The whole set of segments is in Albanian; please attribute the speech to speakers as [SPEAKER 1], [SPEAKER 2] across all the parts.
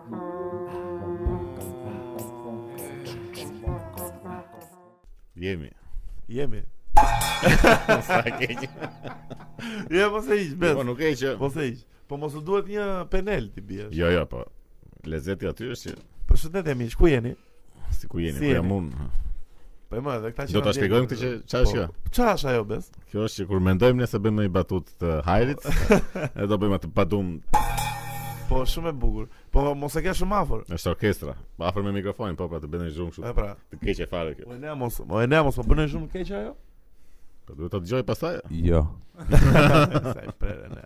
[SPEAKER 1] Jemi. Po,
[SPEAKER 2] Jemi.
[SPEAKER 1] Sa keq.
[SPEAKER 2] Je mos e hiq, bes.
[SPEAKER 1] Po nuk e që.
[SPEAKER 2] Mos e hiq. Po mos u duhet një penel ti Po biesh.
[SPEAKER 1] Jo, jo, po. Lezeti aty është që
[SPEAKER 2] Përshëndetje miq, ku jeni?
[SPEAKER 1] si ku jeni,
[SPEAKER 2] Si
[SPEAKER 1] ku
[SPEAKER 2] jeni?
[SPEAKER 1] jam unë.
[SPEAKER 2] Po e më edhe këta që. Po.
[SPEAKER 1] Do ta shpjegojmë këtë që çfarë është kjo?
[SPEAKER 2] Çfarë është ajo bes?
[SPEAKER 1] Kjo është që kur mendojmë ne se bëjmë një batutë të hajrit, e do bëjmë atë badum,
[SPEAKER 2] Po shumë e bukur. Po mos e ke shumë afër.
[SPEAKER 1] është orkestra, afër me mikrofonin, po pra të bëjmë një zhurmë kështu.
[SPEAKER 2] E pra,
[SPEAKER 1] Të keq e fare kjo.
[SPEAKER 2] o e ne mos, o e ne mos po bën shumë keq ajo.
[SPEAKER 1] Po duhet ta dëgjoj pastaj.
[SPEAKER 3] Jo.
[SPEAKER 2] Sa i prerë ne.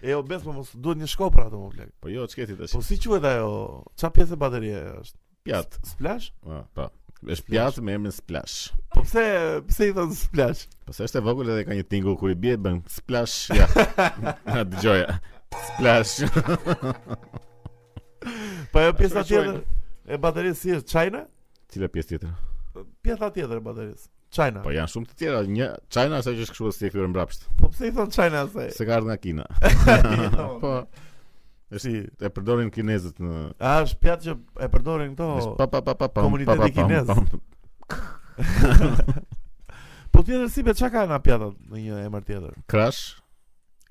[SPEAKER 2] E o bes po mos duhet një shkopër atë më plak.
[SPEAKER 1] Po jo, çketi tash.
[SPEAKER 2] Po si quhet ajo? Çfarë pjesë e baterie është?
[SPEAKER 1] Pjat.
[SPEAKER 2] Splash?
[SPEAKER 1] Ah, po. Është pjat me emrin Splash.
[SPEAKER 2] Po pse pse i thon splash?
[SPEAKER 1] Po se është e vogël edhe ka një tingull kur i bie bën splash. Ja. Na dëgjoja. Splash.
[SPEAKER 2] Po ajo pjesa
[SPEAKER 1] e
[SPEAKER 2] tjetër e baterisë si është China?
[SPEAKER 1] Cila pjesë tjetër?
[SPEAKER 2] Pjesa tjetër e baterisë. China.
[SPEAKER 1] Po janë shumë të tjera. Një China është ajo që është kështu si e kthyer mbrapsht.
[SPEAKER 2] Po pse i thon China asaj?
[SPEAKER 1] Se ka ardhur nga Kina. po. Është
[SPEAKER 2] Si,
[SPEAKER 1] e përdorin kinezët në
[SPEAKER 2] a është pjatë që e përdorin
[SPEAKER 1] është
[SPEAKER 2] këto?
[SPEAKER 1] pa pa pa pa pa
[SPEAKER 2] Po, komuniteti kinez. Po tjetër si be çka ka na pjatat në një emër tjetër?
[SPEAKER 1] Crash.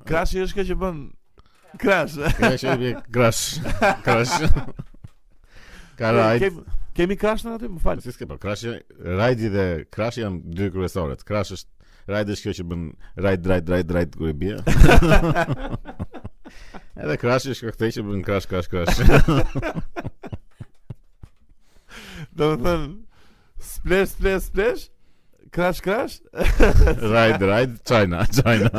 [SPEAKER 2] Krashi është kjo që bën Krash.
[SPEAKER 1] Crash e bie crash. Crash. Ka rajd.
[SPEAKER 2] Kem, kemi Krash në aty, më fal.
[SPEAKER 1] Po si s'ke po Crash rajdi dhe Crash janë dy kryesorët. Crash është Rajdi është kjo që bën rajd rajd rajd rajd kur e bie. Edhe Crash është kjo këtej që bën crash crash crash.
[SPEAKER 2] Domethën splash splash splash. Krash krash.
[SPEAKER 1] rajd rajd China China.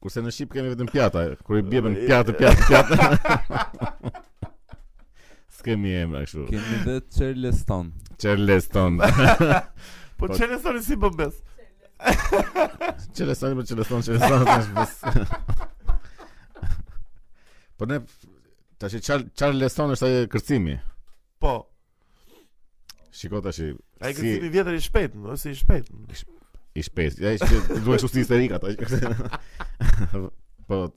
[SPEAKER 1] Kurse në Shqip kemi vetëm pjata, kur i bie bën pjatë pjatë pjatë. S'kemi emra kështu.
[SPEAKER 3] Kemi dhe Charleston.
[SPEAKER 1] Charleston.
[SPEAKER 2] Po
[SPEAKER 1] Po-
[SPEAKER 2] çelë soni si bën bes.
[SPEAKER 1] Qelestani për qeleston, qelestani tash bes. Po ne tash i Char Charleston është ai kërcimi.
[SPEAKER 2] Po.
[SPEAKER 1] Shiko tash i-
[SPEAKER 2] Ai
[SPEAKER 1] Si-
[SPEAKER 2] kërcimi vjetër i shpejt, më, ose i shpejt.
[SPEAKER 1] i shpejt. Ja ishte duhet shusti histerik ata. Po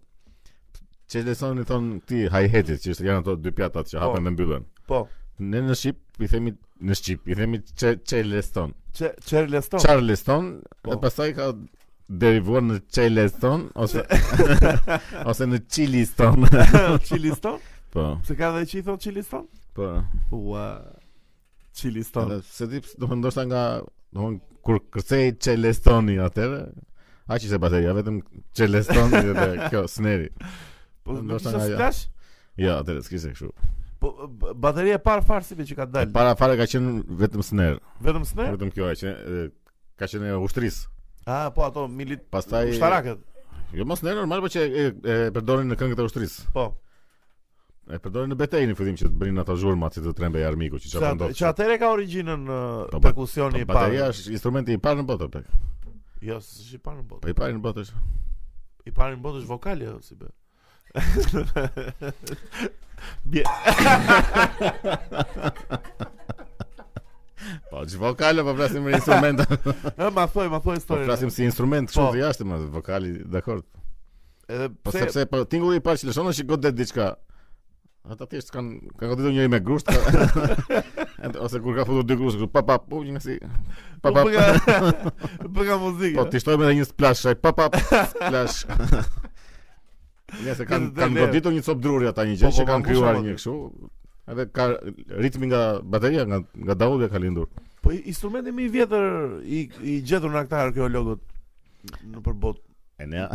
[SPEAKER 1] Qelestoni thon këti high headit që është janë ato dy pjatat që hapen dhe mbyllen.
[SPEAKER 2] Po.
[SPEAKER 1] Ne në Shqip i themi në Shqip i themi Qe- Qeleston.
[SPEAKER 2] Çe Charleston.
[SPEAKER 1] Charleston,
[SPEAKER 2] Po.
[SPEAKER 1] e pastaj ka derivuar në Qeleston ose ose në Chiliston.
[SPEAKER 2] Chiliston?
[SPEAKER 1] Po.
[SPEAKER 2] Se ka dhe që i thon Chiliston?
[SPEAKER 1] Po.
[SPEAKER 2] Ua. Chiliston.
[SPEAKER 1] Edhe se di, do të ndoshta nga, do të kur kërcej Celestoni atëre, aq ishte bateria, vetëm Celestoni dhe kjo sneri.
[SPEAKER 2] Po
[SPEAKER 1] ndoshta
[SPEAKER 2] nuk
[SPEAKER 1] nga
[SPEAKER 2] është
[SPEAKER 1] ajo.
[SPEAKER 2] splash?
[SPEAKER 1] Jo, atëre s'kishte kështu.
[SPEAKER 2] Po b- bateria e parë farsi be që ka
[SPEAKER 1] E
[SPEAKER 2] dalë.
[SPEAKER 1] Para fare ka qenë vetëm sner,
[SPEAKER 2] Vetëm sne?
[SPEAKER 1] vetëm kjo e që e, ka qenë e ushtrisë.
[SPEAKER 2] Ah, po ato milit
[SPEAKER 1] Pastaj
[SPEAKER 2] ushtarakët.
[SPEAKER 1] Jo mos sner normal, po që e, e përdorin në këngët e ushtrisë.
[SPEAKER 2] Po.
[SPEAKER 1] E përdorin në betejë në fillim që të bënin ata zhurmat si të trembej armiku që çfarë ndodh.
[SPEAKER 2] Që atëre ka origjinën ë,
[SPEAKER 1] Po, ba-
[SPEAKER 2] perkusioni i
[SPEAKER 1] Bateria
[SPEAKER 2] parë.
[SPEAKER 1] është instrumenti i parë në botë. plak.
[SPEAKER 2] Jo, s'është i parë në botë.
[SPEAKER 1] Po i parë në botë është.
[SPEAKER 2] I parë në botë është vokali apo si be. Bie,
[SPEAKER 1] Po vokale po flasim për instrumente.
[SPEAKER 2] ë, ma thoj, ma thoj
[SPEAKER 1] Po
[SPEAKER 2] historinë.
[SPEAKER 1] flasim si instrument
[SPEAKER 2] Po.
[SPEAKER 1] kështu të jashtëm, atë, vokali, dakor.
[SPEAKER 2] Edhe
[SPEAKER 1] Po
[SPEAKER 2] pse
[SPEAKER 1] sepse po tingulli i parë që lëshon është që godet diçka. Ata thjesht kanë kanë goditur njëri me grusht. ka- Edhe- ose kur ka futur dy grusht, kështu, pa pa, po një si po pa pa.
[SPEAKER 2] bëga bëga po muzikë.
[SPEAKER 1] Po ti shtojmë edhe një splash, ai pa pa splash. Ja se kanë
[SPEAKER 2] Këtë
[SPEAKER 1] kanë
[SPEAKER 2] dele.
[SPEAKER 1] goditur një copë druri ata një
[SPEAKER 2] Po,
[SPEAKER 1] gjë
[SPEAKER 2] po,
[SPEAKER 1] që kanë
[SPEAKER 2] po,
[SPEAKER 1] krijuar
[SPEAKER 2] po,
[SPEAKER 1] një kështu. Edhe ka ritmi nga bateria, nga nga daulli e ka lindur.
[SPEAKER 2] Po i- instrumenti më i vjetër i i gjetur nga këta arkeologët në përbot.
[SPEAKER 1] E ne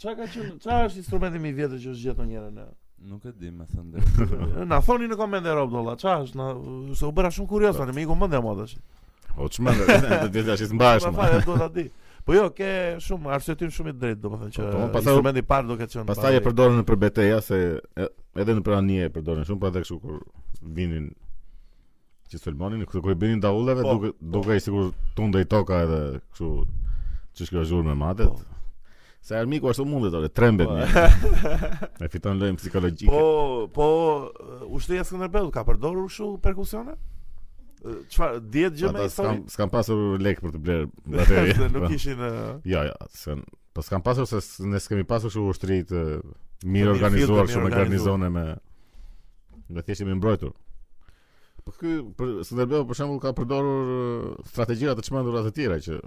[SPEAKER 2] Çka ka qenë? Çfarë është instrumenti më i vjetër që është gjetur njëra në?
[SPEAKER 3] Nuk e di me thënë drejtë.
[SPEAKER 2] Na thoni në komente rob dolla, çfarë është? Na se u bëra shumë kurioz tani, më iku mendja mua tash.
[SPEAKER 1] o çmend, do të dash të mbash.
[SPEAKER 2] Ma fare do ta di. Po jo, ke shumë arsyetim shumë i drejtë, domethënë që
[SPEAKER 1] Po, po, pastaj-
[SPEAKER 2] instrumenti i parë do ketë qenë.
[SPEAKER 1] Pastaj e
[SPEAKER 2] bateri.
[SPEAKER 1] përdorin për beteja se e- edhe në pranie e përdorin shumë, po edhe kështu kur vinin që sulmonin, kur kur i bënin daulleve
[SPEAKER 2] Po,
[SPEAKER 1] duke duke i sigur tundej toka edhe kështu çish kjo zhurmë me matet.
[SPEAKER 2] Po.
[SPEAKER 1] Se armiku ashtu mundet ore, trembet një. E fiton lojën psikologjike.
[SPEAKER 2] Po, po ushtria e Skënderbeut ka përdorur kështu perkusione? Ë, Çfarë dihet gjë me
[SPEAKER 1] Ata
[SPEAKER 2] historinë?
[SPEAKER 1] s'kan s'kan pasur lek për të bler bateri.
[SPEAKER 2] Se
[SPEAKER 1] Po.
[SPEAKER 2] nuk ishin ë,
[SPEAKER 1] Jo, jo, s'kan. Po s'kan pasur se s- ne s'kemi pasur kështu ushtri të mirë
[SPEAKER 2] Të mirë fillë, të
[SPEAKER 1] organizuar,
[SPEAKER 2] mirë
[SPEAKER 1] kështu me
[SPEAKER 2] organizuar.
[SPEAKER 1] garnizone me me thjesht jemi mbrojtur. Po ky për Skënderbeu për shembull ka përdorur eh, strategjira të çmendura të tjera që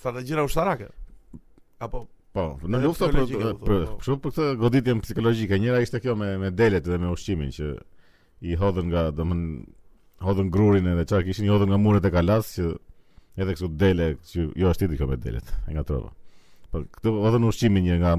[SPEAKER 2] Strategjira ushtarake. Apo
[SPEAKER 1] po, në
[SPEAKER 2] Edhe
[SPEAKER 1] luftë për
[SPEAKER 2] psikologjike,
[SPEAKER 1] për
[SPEAKER 2] po,
[SPEAKER 1] për
[SPEAKER 2] po.
[SPEAKER 1] shumë për këtë goditjen psikologjike. Njëra ishte kjo me me delet dhe me ushqimin që i hodhën nga domthon hodhën grurin edhe çfarë kishin i hodhën nga muret e kalas që edhe kështu dele që jo është tjetër kjo me delet, e ngatrova. Po këtu hodhën ushqimin një nga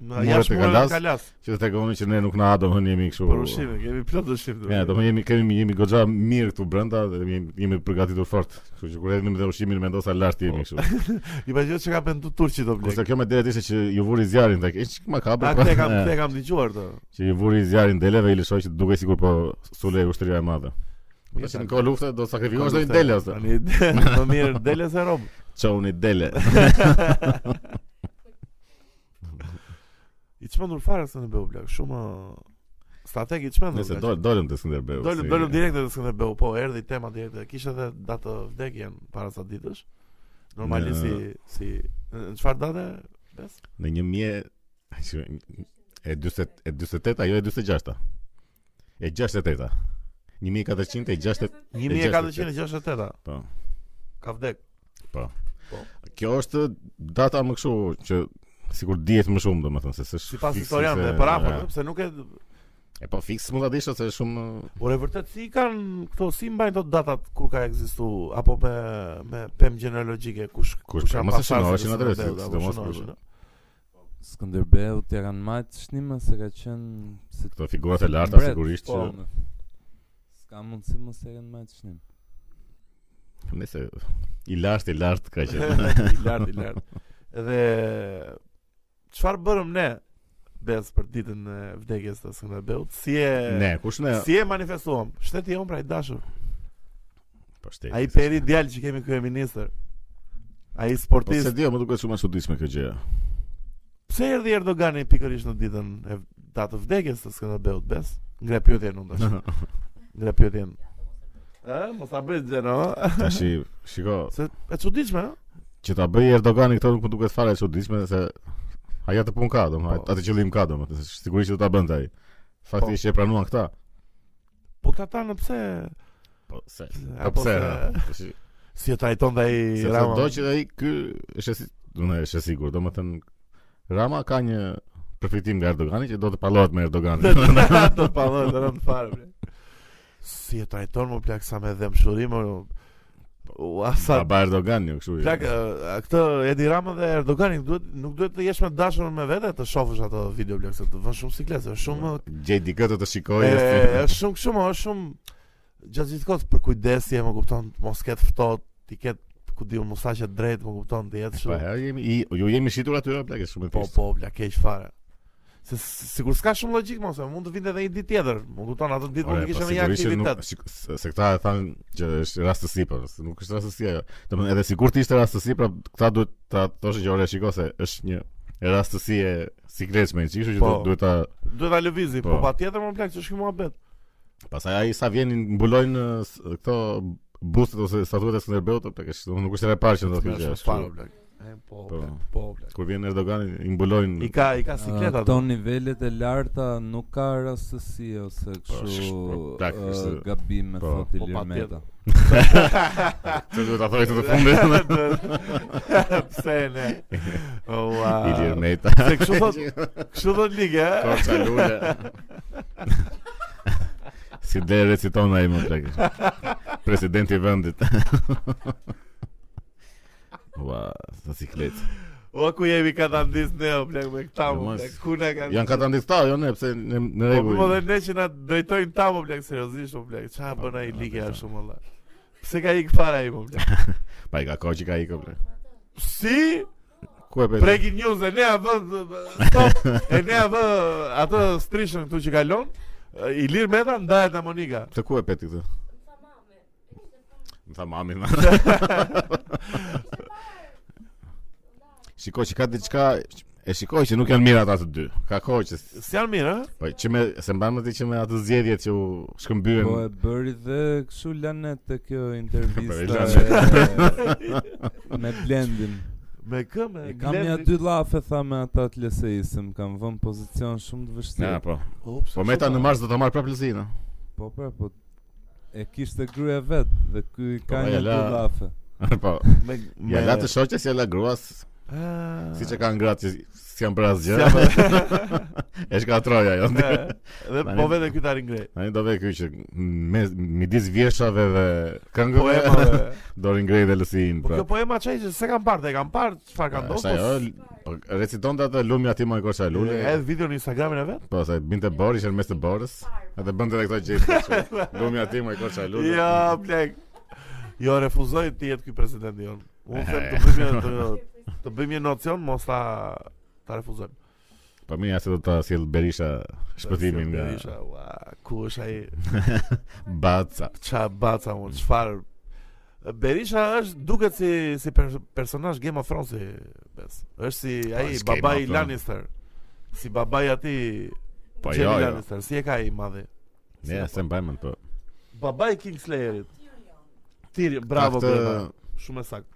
[SPEAKER 2] në
[SPEAKER 1] Muret
[SPEAKER 2] jashtë
[SPEAKER 1] e
[SPEAKER 2] muret
[SPEAKER 1] Kalas.
[SPEAKER 2] e Kalas.
[SPEAKER 1] që të tregonin që ne nuk na domun jemi kështu.
[SPEAKER 2] Për ushqime, kemi plot ushqim.
[SPEAKER 1] Ja, do më jemi kemi jemi goxha mirë këtu brenda dhe jemi, jemi përgatitur fort. Kështu që kur hedhim dhe ushqimin mendosa lart
[SPEAKER 2] Po,
[SPEAKER 1] jemi kështu.
[SPEAKER 2] I pa që ka pendu Turqi do blek.
[SPEAKER 1] Kurse kjo me delet ishte që ju vuri zjarin tek. Ish
[SPEAKER 2] A
[SPEAKER 1] makabër.
[SPEAKER 2] këtë e kam,
[SPEAKER 1] po.
[SPEAKER 2] këtë e kam dëgjuar të.
[SPEAKER 1] Që ju vuri zjarin deleve i lëshoi që duke sikur po sulej ushtria e madhe.
[SPEAKER 2] Jo,
[SPEAKER 1] Po tash në kohë lufte do sakrifikosh dojnë dele ose.
[SPEAKER 2] Tani më mirë dele se rob.
[SPEAKER 1] Çoni dele.
[SPEAKER 2] I çmendur fare se në bëu blek, shumë strateg i çmendur.
[SPEAKER 1] Nëse
[SPEAKER 2] blek.
[SPEAKER 1] dol dolëm te Skënderbeu.
[SPEAKER 2] Dolëm
[SPEAKER 1] si-
[SPEAKER 2] dolëm direkt edhe Skënderbeu, po erdhi tema direkt. Kishte edhe datë të vdekjen para sa ditësh. Normalisht si
[SPEAKER 1] Në-
[SPEAKER 2] si në çfarë date? Bes?
[SPEAKER 1] në 1000 e 40 e 48 ajo e 46-ta. E 68-ta. 1400 e 60
[SPEAKER 2] 1468.
[SPEAKER 1] Po.
[SPEAKER 2] Ka vdek.
[SPEAKER 1] Kjo është data më kështu që sikur dihet më shumë domethënë se s'është
[SPEAKER 2] Sipas
[SPEAKER 1] fikse
[SPEAKER 2] historianëve
[SPEAKER 1] se-
[SPEAKER 2] për afër,
[SPEAKER 1] Ja.
[SPEAKER 2] sepse nuk e
[SPEAKER 1] E po fiks mund ta dish se shumë
[SPEAKER 2] Por e vërtet si kanë këto si mbajnë këto datat kur ka ekzistu apo me me pemë gjenealogjike kush
[SPEAKER 1] Kush-
[SPEAKER 2] ka
[SPEAKER 1] mos e
[SPEAKER 2] pasardhë
[SPEAKER 1] shënoheshin
[SPEAKER 2] të
[SPEAKER 1] atëherë,
[SPEAKER 2] Skënderbeut, apo
[SPEAKER 1] sidomos-
[SPEAKER 2] shënoheshin, a?
[SPEAKER 3] Skënderbeu t'ja kanë marrë shnimë se ka qenë se
[SPEAKER 1] këto figurat e larta
[SPEAKER 3] Mbret,
[SPEAKER 1] sigurisht
[SPEAKER 3] po,
[SPEAKER 1] që
[SPEAKER 3] me- S'ka mundësi mos t'ja kanë marrë shnim.
[SPEAKER 1] nëse i lart i lart ka që.
[SPEAKER 2] i lart i lart. Dhe çfarë bërëm ne bes për ditën e vdekjes të Skënderbeut? Si e
[SPEAKER 1] ne, kush ne?
[SPEAKER 2] si e manifestuam? Shteti jon pra i dashur.
[SPEAKER 1] Po shteti.
[SPEAKER 2] Ai peri djalë që kemi kryeministër. Ai
[SPEAKER 1] Po se
[SPEAKER 2] sportist.
[SPEAKER 1] di, më duket shumë e çuditshme kjo gjë.
[SPEAKER 2] Pse erdhi Erdogani pikërisht në ditën e v- datë të vdekjes të Skënderbeut bes? Ngre pyetjen unë tash. Nga pyetjen. Ë, mos ta bëj gjë, no.
[SPEAKER 1] Tash i- shiko,
[SPEAKER 2] Se e çuditshme, ë?
[SPEAKER 1] që ta bëj Erdogani këto nuk më duket fare e çuditshme se ajo të pun ka domethënë,
[SPEAKER 2] Po.
[SPEAKER 1] atë qëllim ka domethënë, se sigurisht do ta bënte ai.
[SPEAKER 2] Po.
[SPEAKER 1] Fakti që e pranuan këta.
[SPEAKER 2] Po këta tanë pse?
[SPEAKER 1] Po se. Po
[SPEAKER 2] Apo
[SPEAKER 1] pse?
[SPEAKER 2] se
[SPEAKER 1] ha? Tash i-
[SPEAKER 2] si e trajton dhe ai
[SPEAKER 1] Sepse
[SPEAKER 2] Rama?
[SPEAKER 1] do që ai ky është e si- do të është e sigurt, domethënë Rama ka një përfitim nga Erdogani që do të pallohet me Erdoganin.
[SPEAKER 2] të palloj po, të rënd fare. bre. Si e trajton më plak sa me dëmshuri më Ua sa
[SPEAKER 1] Baba Erdogan jo kështu.
[SPEAKER 2] plak
[SPEAKER 1] jo.
[SPEAKER 2] ë, a këtë Edi Rama dhe Erdogani duhet nuk duhet të jesh me dashur me vete të shohësh ato video plak se të vën shumë siklese, është shumë
[SPEAKER 1] gjej dikë të të shikojë.
[SPEAKER 2] E, është shumë shumë, është shumë gjatë gjithë kohës për kujdesje, më kupton, mos ketë ftohtë, ti ketë ku diun mos haqet drejt, më kupton, të jetë
[SPEAKER 1] Po
[SPEAKER 2] shumë.
[SPEAKER 1] herë jemi i, ju jemi shitur aty apo plak është shumë e
[SPEAKER 2] Po,
[SPEAKER 1] thjeshtë.
[SPEAKER 2] po, bla keq fare. Se s- sigur s'ka shumë logjik mos, e, mund të vinte edhe një ditë tjetër. Më kupton, atë ditë mund
[SPEAKER 1] Ore,
[SPEAKER 2] të
[SPEAKER 1] po,
[SPEAKER 2] kishte një
[SPEAKER 1] sigurisht që nuk-
[SPEAKER 2] aktivitet.
[SPEAKER 1] shik- se- Se këta e thanë që është rastësi, po se nuk është rastësi ajo. Domethënë edhe sikur të ishte rastësi, pra këta duhet ta thoshë që ore shiko se është një rastësi e sikletshme, kështu që
[SPEAKER 2] Po.
[SPEAKER 1] do- duhet ta
[SPEAKER 2] Duhet ta lëvizim, po
[SPEAKER 1] Po.
[SPEAKER 2] patjetër më plak, ç'është kjo muhabet.
[SPEAKER 1] Pastaj ai sa vjenin mbulojnë eh, s- këto bustet ose statuet e Skënderbeut, apo tek është, nuk është era e parë që ndodh Po, kjo gjë.
[SPEAKER 2] Është
[SPEAKER 1] është
[SPEAKER 2] fare blak. E, Po,
[SPEAKER 1] Po.
[SPEAKER 2] blak, po, blak.
[SPEAKER 1] Kur vjen Erdogani i
[SPEAKER 2] I
[SPEAKER 1] mbulojnë
[SPEAKER 2] ka i ka
[SPEAKER 3] Ë,
[SPEAKER 2] sikletat.
[SPEAKER 3] Këto nivelet e larta nuk ka rastësi ose
[SPEAKER 1] sh- po,
[SPEAKER 3] kështu
[SPEAKER 1] plak,
[SPEAKER 3] ë,
[SPEAKER 1] është-
[SPEAKER 3] gabim me
[SPEAKER 1] po.
[SPEAKER 3] thotë
[SPEAKER 2] Po,
[SPEAKER 3] Ilir
[SPEAKER 2] patjetër.
[SPEAKER 3] Meta.
[SPEAKER 1] Ço do ta thojë të fundit.
[SPEAKER 2] Pse ne? Ah. Ua.
[SPEAKER 1] Ilir Meta.
[SPEAKER 2] Se kështu thot, kështu thot ligë, eh? ë?
[SPEAKER 1] Korça lule. Si dhe reciton ai më tek. Presidenti i vendit. Ua, sa siklet.
[SPEAKER 2] O ku jemi katandis ne o plak me këta
[SPEAKER 1] Jo,
[SPEAKER 2] më
[SPEAKER 1] mos.
[SPEAKER 2] plak Kuna kanë
[SPEAKER 1] Jan katandista, jo ne, pse në në
[SPEAKER 2] Po po dhe
[SPEAKER 1] rregull.
[SPEAKER 2] ne që na drejtojnë ta më plak seriozisht më plak Qa bën ai ligë ashtu më Allah Pse ka ikë fara ai më plak
[SPEAKER 1] Pa i ka kohë që ka ikë. bre.
[SPEAKER 2] Si?
[SPEAKER 1] Ku e bëj?
[SPEAKER 2] Breaking news e ne a vë Stop E ne a vë atë strishën këtu që kalon e, Ilir Meta ndahet nga Monika
[SPEAKER 1] Të ku e peti këtë? Më tha mami. Më Shikoj që ka diçka e shikoj që nuk janë mirë ata të dy. Ka kohë që
[SPEAKER 2] Si janë mirë, ë?
[SPEAKER 1] po që me se mban më ti që me atë zgjedhjet që u shkëmbyen.
[SPEAKER 3] Po e bëri dhe kështu lanet te kjo
[SPEAKER 1] Po, e
[SPEAKER 3] intervista e- me Blendin.
[SPEAKER 2] Me kë me
[SPEAKER 3] E kam ja dy llafe tha me ata të leseisëm, kam vënë pozicion shumë të
[SPEAKER 1] Na
[SPEAKER 3] vështirë.
[SPEAKER 1] po.
[SPEAKER 2] Ups,
[SPEAKER 1] Po meta në mars do ta marr prapë Lëzina.
[SPEAKER 3] Po pra, po e kishte gruaja vet dhe ky ka
[SPEAKER 1] Po,
[SPEAKER 3] një
[SPEAKER 1] e la-
[SPEAKER 3] gjafe.
[SPEAKER 1] po,
[SPEAKER 2] Me, me...
[SPEAKER 1] ja la të shoqes, ja la gruas,
[SPEAKER 2] Ah.
[SPEAKER 1] siç e kanë gratë që si janë bërë
[SPEAKER 2] Si
[SPEAKER 1] asgjë.
[SPEAKER 2] jam-
[SPEAKER 1] E shkatroj ajo.
[SPEAKER 2] Eh, Dhe po
[SPEAKER 1] Tani-
[SPEAKER 2] vetë ky ta ngrej.
[SPEAKER 1] Tani do ve ky që mes midis vjeshave dhe këngëve
[SPEAKER 2] Poema. be.
[SPEAKER 1] do ringrej dhe lësin. pra.
[SPEAKER 2] Po kjo poema çaj që s'e kam parë, e kam parë çfarë ka ndodhur. po s-
[SPEAKER 1] po reciton të atë lumi aty më kosha lule.
[SPEAKER 2] E video në Instagramin e vet?
[SPEAKER 1] Po sa binte Bori ishte në mes të Borës, edhe bënte edhe këto gjë. Lumi aty më kosha lule.
[SPEAKER 2] Jo, blek. Jo, refuzoj të jetë ky presidenti jon. Unë them të bëjmë një- të, të bëjmë një nocion mos ta ta refuzojmë.
[SPEAKER 1] Po mirë, ja se do ta sjell Berisha shpëtimin nga
[SPEAKER 2] Berisha, ua, ku është ai?
[SPEAKER 1] Baca.
[SPEAKER 2] Ça baca unë, çfarë Berisha është duket si si per, personazh Game of Thrones i bes. Është si ai
[SPEAKER 1] është Game
[SPEAKER 2] babai
[SPEAKER 1] of Thrones.
[SPEAKER 2] Lannister. Si babai aty
[SPEAKER 1] Po
[SPEAKER 2] Jamie
[SPEAKER 1] jo, jo.
[SPEAKER 2] Lannister, si e ka ai i madhi?
[SPEAKER 1] Ne se mbajmën po.
[SPEAKER 2] Babai Kingslayerit. Tyrion, bravo
[SPEAKER 1] Ka këtë-
[SPEAKER 2] Brema. Shumë e saktë.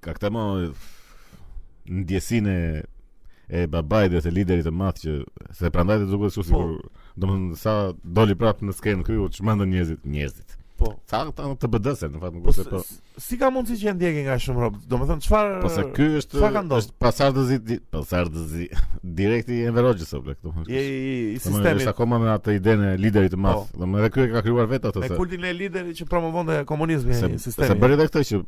[SPEAKER 1] Ka këtë më ndjesinë e- e babait dhe të liderit të madh që se prandaj të duket kështu sikur
[SPEAKER 2] Po.
[SPEAKER 1] domethënë sa doli prapë në skenë kryu çmendën njerëzit, njerëzit.
[SPEAKER 2] Po.
[SPEAKER 1] Sa ata të BD-se në fakt nuk
[SPEAKER 2] Po
[SPEAKER 1] është
[SPEAKER 2] s-
[SPEAKER 1] po.
[SPEAKER 2] s- si ka mundësi që e ndjekin nga shumë rob? Domethënë çfarë
[SPEAKER 1] Po se ky është
[SPEAKER 2] çfarë ka ndodhur?
[SPEAKER 1] është pasardhëzi, di- pasardhëzi direkt i Enver Hoxhës apo
[SPEAKER 2] i, i, i
[SPEAKER 1] Sistemi
[SPEAKER 2] sistemit
[SPEAKER 1] Po është akoma me atë idenë e liderit të madh.
[SPEAKER 2] Po.
[SPEAKER 1] Domethënë edhe ky e ka krijuar vetë atë
[SPEAKER 2] me
[SPEAKER 1] se.
[SPEAKER 2] kultin e liderit që promovonte komunizmin
[SPEAKER 1] Se,
[SPEAKER 2] i
[SPEAKER 1] se
[SPEAKER 2] sistemi.
[SPEAKER 1] bëri edhe këtë që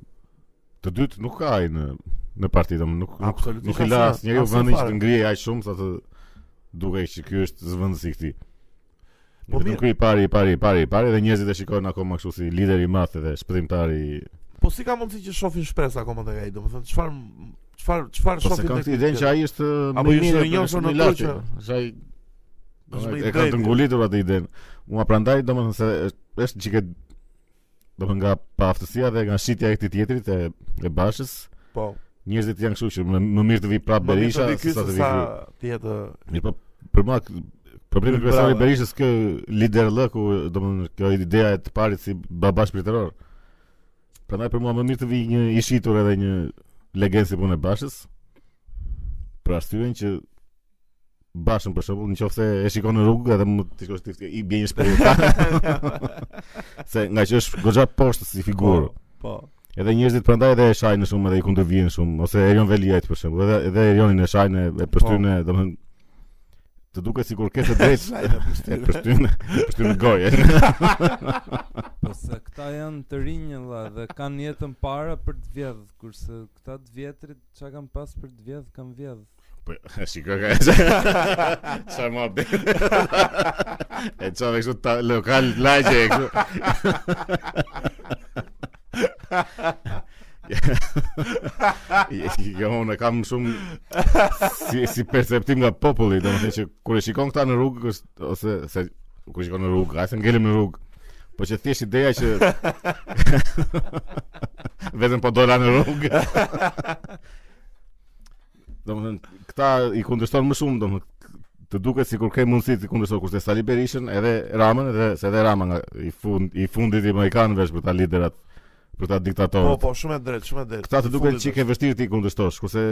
[SPEAKER 1] të dytë nuk ka ai në në parti, domethënë nuk nuk,
[SPEAKER 2] Absolutisht
[SPEAKER 1] nuk i la
[SPEAKER 2] asnjë-
[SPEAKER 1] asnjëri
[SPEAKER 2] asnjë
[SPEAKER 1] vendin që
[SPEAKER 2] fare.
[SPEAKER 1] të ngrihej aq shumë sa të dukej që ky është zvendësi i këtij.
[SPEAKER 2] Po
[SPEAKER 1] Po
[SPEAKER 2] mirë.
[SPEAKER 1] ky i pari, i pari, i pari, i pari dhe njerëzit e shikojnë akoma kështu si lideri i madh dhe shpëtimtari. i-
[SPEAKER 2] Po si ka mundësi që shohin shpresë akoma tek ai? Domethënë çfarë çfarë çfarë
[SPEAKER 1] Po se
[SPEAKER 2] shohin
[SPEAKER 1] kanë
[SPEAKER 2] tek
[SPEAKER 1] këtë idenë që ai është
[SPEAKER 2] Apo
[SPEAKER 1] më i
[SPEAKER 2] ishte
[SPEAKER 1] mirë,
[SPEAKER 2] i njohur
[SPEAKER 1] është më i
[SPEAKER 2] në
[SPEAKER 1] lartë,
[SPEAKER 2] Turqi.
[SPEAKER 1] është ai
[SPEAKER 2] Është më i
[SPEAKER 1] e kanë të
[SPEAKER 2] drejti.
[SPEAKER 1] ngulitur atë idenë. Mua prandaj domethënë se është- është çike domethënë nga paaftësia dhe nga shitja e këtij tjetrit e, e bashës,
[SPEAKER 2] po.
[SPEAKER 1] njerëzit janë kështu që më, më mirë të vi prapë
[SPEAKER 2] më mirë
[SPEAKER 1] Berisha
[SPEAKER 2] të vi ky
[SPEAKER 1] se sa të vi
[SPEAKER 2] sa
[SPEAKER 1] ky.
[SPEAKER 2] tjetë
[SPEAKER 1] Mirë, po për mua k- problemi
[SPEAKER 2] Ky
[SPEAKER 1] kryesor i
[SPEAKER 2] brava.
[SPEAKER 1] Berishës kë lider lë ku domethënë kjo ideja e të parit si baba shpirtëror. Prandaj për mua më mirë të vi një i shitur edhe një legendë si punë e Bashës. Për arsyen që Bashën për shembull, nëse e shikon në rrugë edhe mund të shkosh ti i bie një shpërthyer. se nga që është goxha poshtë si figurë.
[SPEAKER 2] Po.
[SPEAKER 1] Edhe njerëzit prandaj edhe e shajnë shumë edhe i kundërvijnë shumë ose Erion Veliajt për shembull, edhe edhe Erionin e shajnë e pështynë, domethënë të duket sikur ke të drejtë
[SPEAKER 2] Shajnë e
[SPEAKER 1] e
[SPEAKER 2] pështynë.
[SPEAKER 1] pështynë, e pështynë goje.
[SPEAKER 3] Po se këta janë të rinj valla dhe kanë jetën para për të vjedh, kurse këta të vjetrit çka kanë pas për të vjedh, kanë vjedh.
[SPEAKER 1] Po shikoj ka. Çfarë më bë. E çave kështu ta lokal lagje e kështu. Jo, unë e kam shumë si, si perceptim nga populli, domethënë që kur e shikon këta në rrugë kës- ose se kur shikon në rrugë, ai se ngelim në rrugë. Po që thjesht ideja që vetëm po dola në rrugë. Domethënë këta i kundërshton më shumë, domethënë të duket sikur ke mundësi të kundërshton kurse Sali Berishën edhe Ramën edhe se edhe Rama nga i fund i fundit i Amerikanëve është për ta liderat për ta
[SPEAKER 2] Po,
[SPEAKER 1] diktatorët.
[SPEAKER 2] po, shumë e drejtë, shumë e drejtë.
[SPEAKER 1] Këta të duket
[SPEAKER 2] Fundit
[SPEAKER 1] çike vështirë ti kundërshtosh, kurse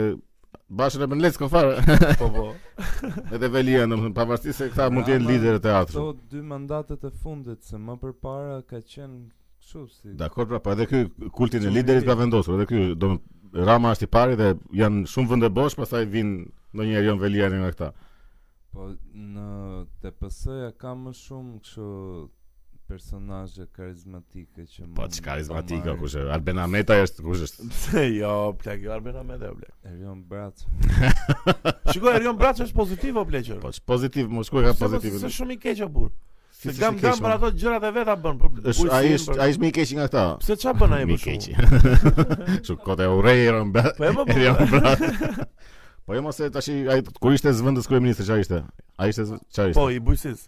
[SPEAKER 1] Bashën e bën lec fare.
[SPEAKER 2] është, Po, po.
[SPEAKER 1] Edhe Velia, domethënë pavarësisht se këta mund të jenë
[SPEAKER 3] Rama,
[SPEAKER 1] liderë Po, të
[SPEAKER 3] Ato
[SPEAKER 1] teatrit.
[SPEAKER 3] dy mandatet e fundit se më përpara ka qenë kështu si.
[SPEAKER 1] Dakor, pra, po edhe ky kultin e liderit ka vendosur, edhe ky do Rama është i pari dhe janë shumë vende bosh, pastaj vin ndonjëherë Jon Velia nga këta.
[SPEAKER 3] Po në TPS-ja ka më shumë kështu personazhe karizmatike që
[SPEAKER 1] Po
[SPEAKER 3] mund ta
[SPEAKER 1] çkarizmatika
[SPEAKER 3] marrin.
[SPEAKER 1] kush është? Alben Ameta është kush është?
[SPEAKER 2] Se, Jo, plak, jo Arben Ahmed e plak.
[SPEAKER 3] Erion Braç.
[SPEAKER 2] Shikoj Erion Braç është pozitiv o pleqër.
[SPEAKER 1] Po është pozitiv, mos ku e ka
[SPEAKER 2] Se mos-
[SPEAKER 1] pozitivin.
[SPEAKER 2] Se shumë i keq o burr.
[SPEAKER 1] Si
[SPEAKER 2] Se
[SPEAKER 1] s'është
[SPEAKER 2] gam
[SPEAKER 1] i keq,
[SPEAKER 2] gam
[SPEAKER 1] mo.
[SPEAKER 2] për ato gjërat e veta bën. për
[SPEAKER 1] Është ai
[SPEAKER 2] bujqësinë,
[SPEAKER 1] është
[SPEAKER 2] për-
[SPEAKER 1] ai është më i keq nga këta.
[SPEAKER 2] Pse ç'a bën ai
[SPEAKER 1] Mi
[SPEAKER 2] më
[SPEAKER 1] keqi.
[SPEAKER 2] shumë?
[SPEAKER 1] Kështu kota e urrejë mba.
[SPEAKER 2] Po e
[SPEAKER 1] E
[SPEAKER 2] më bën.
[SPEAKER 1] jam brat. Po jo mos e tash ai kur ishte zvendës kryeministri çfarë ishte? Ai ishte zv- çfarë ishte?
[SPEAKER 2] Po i bujqësis.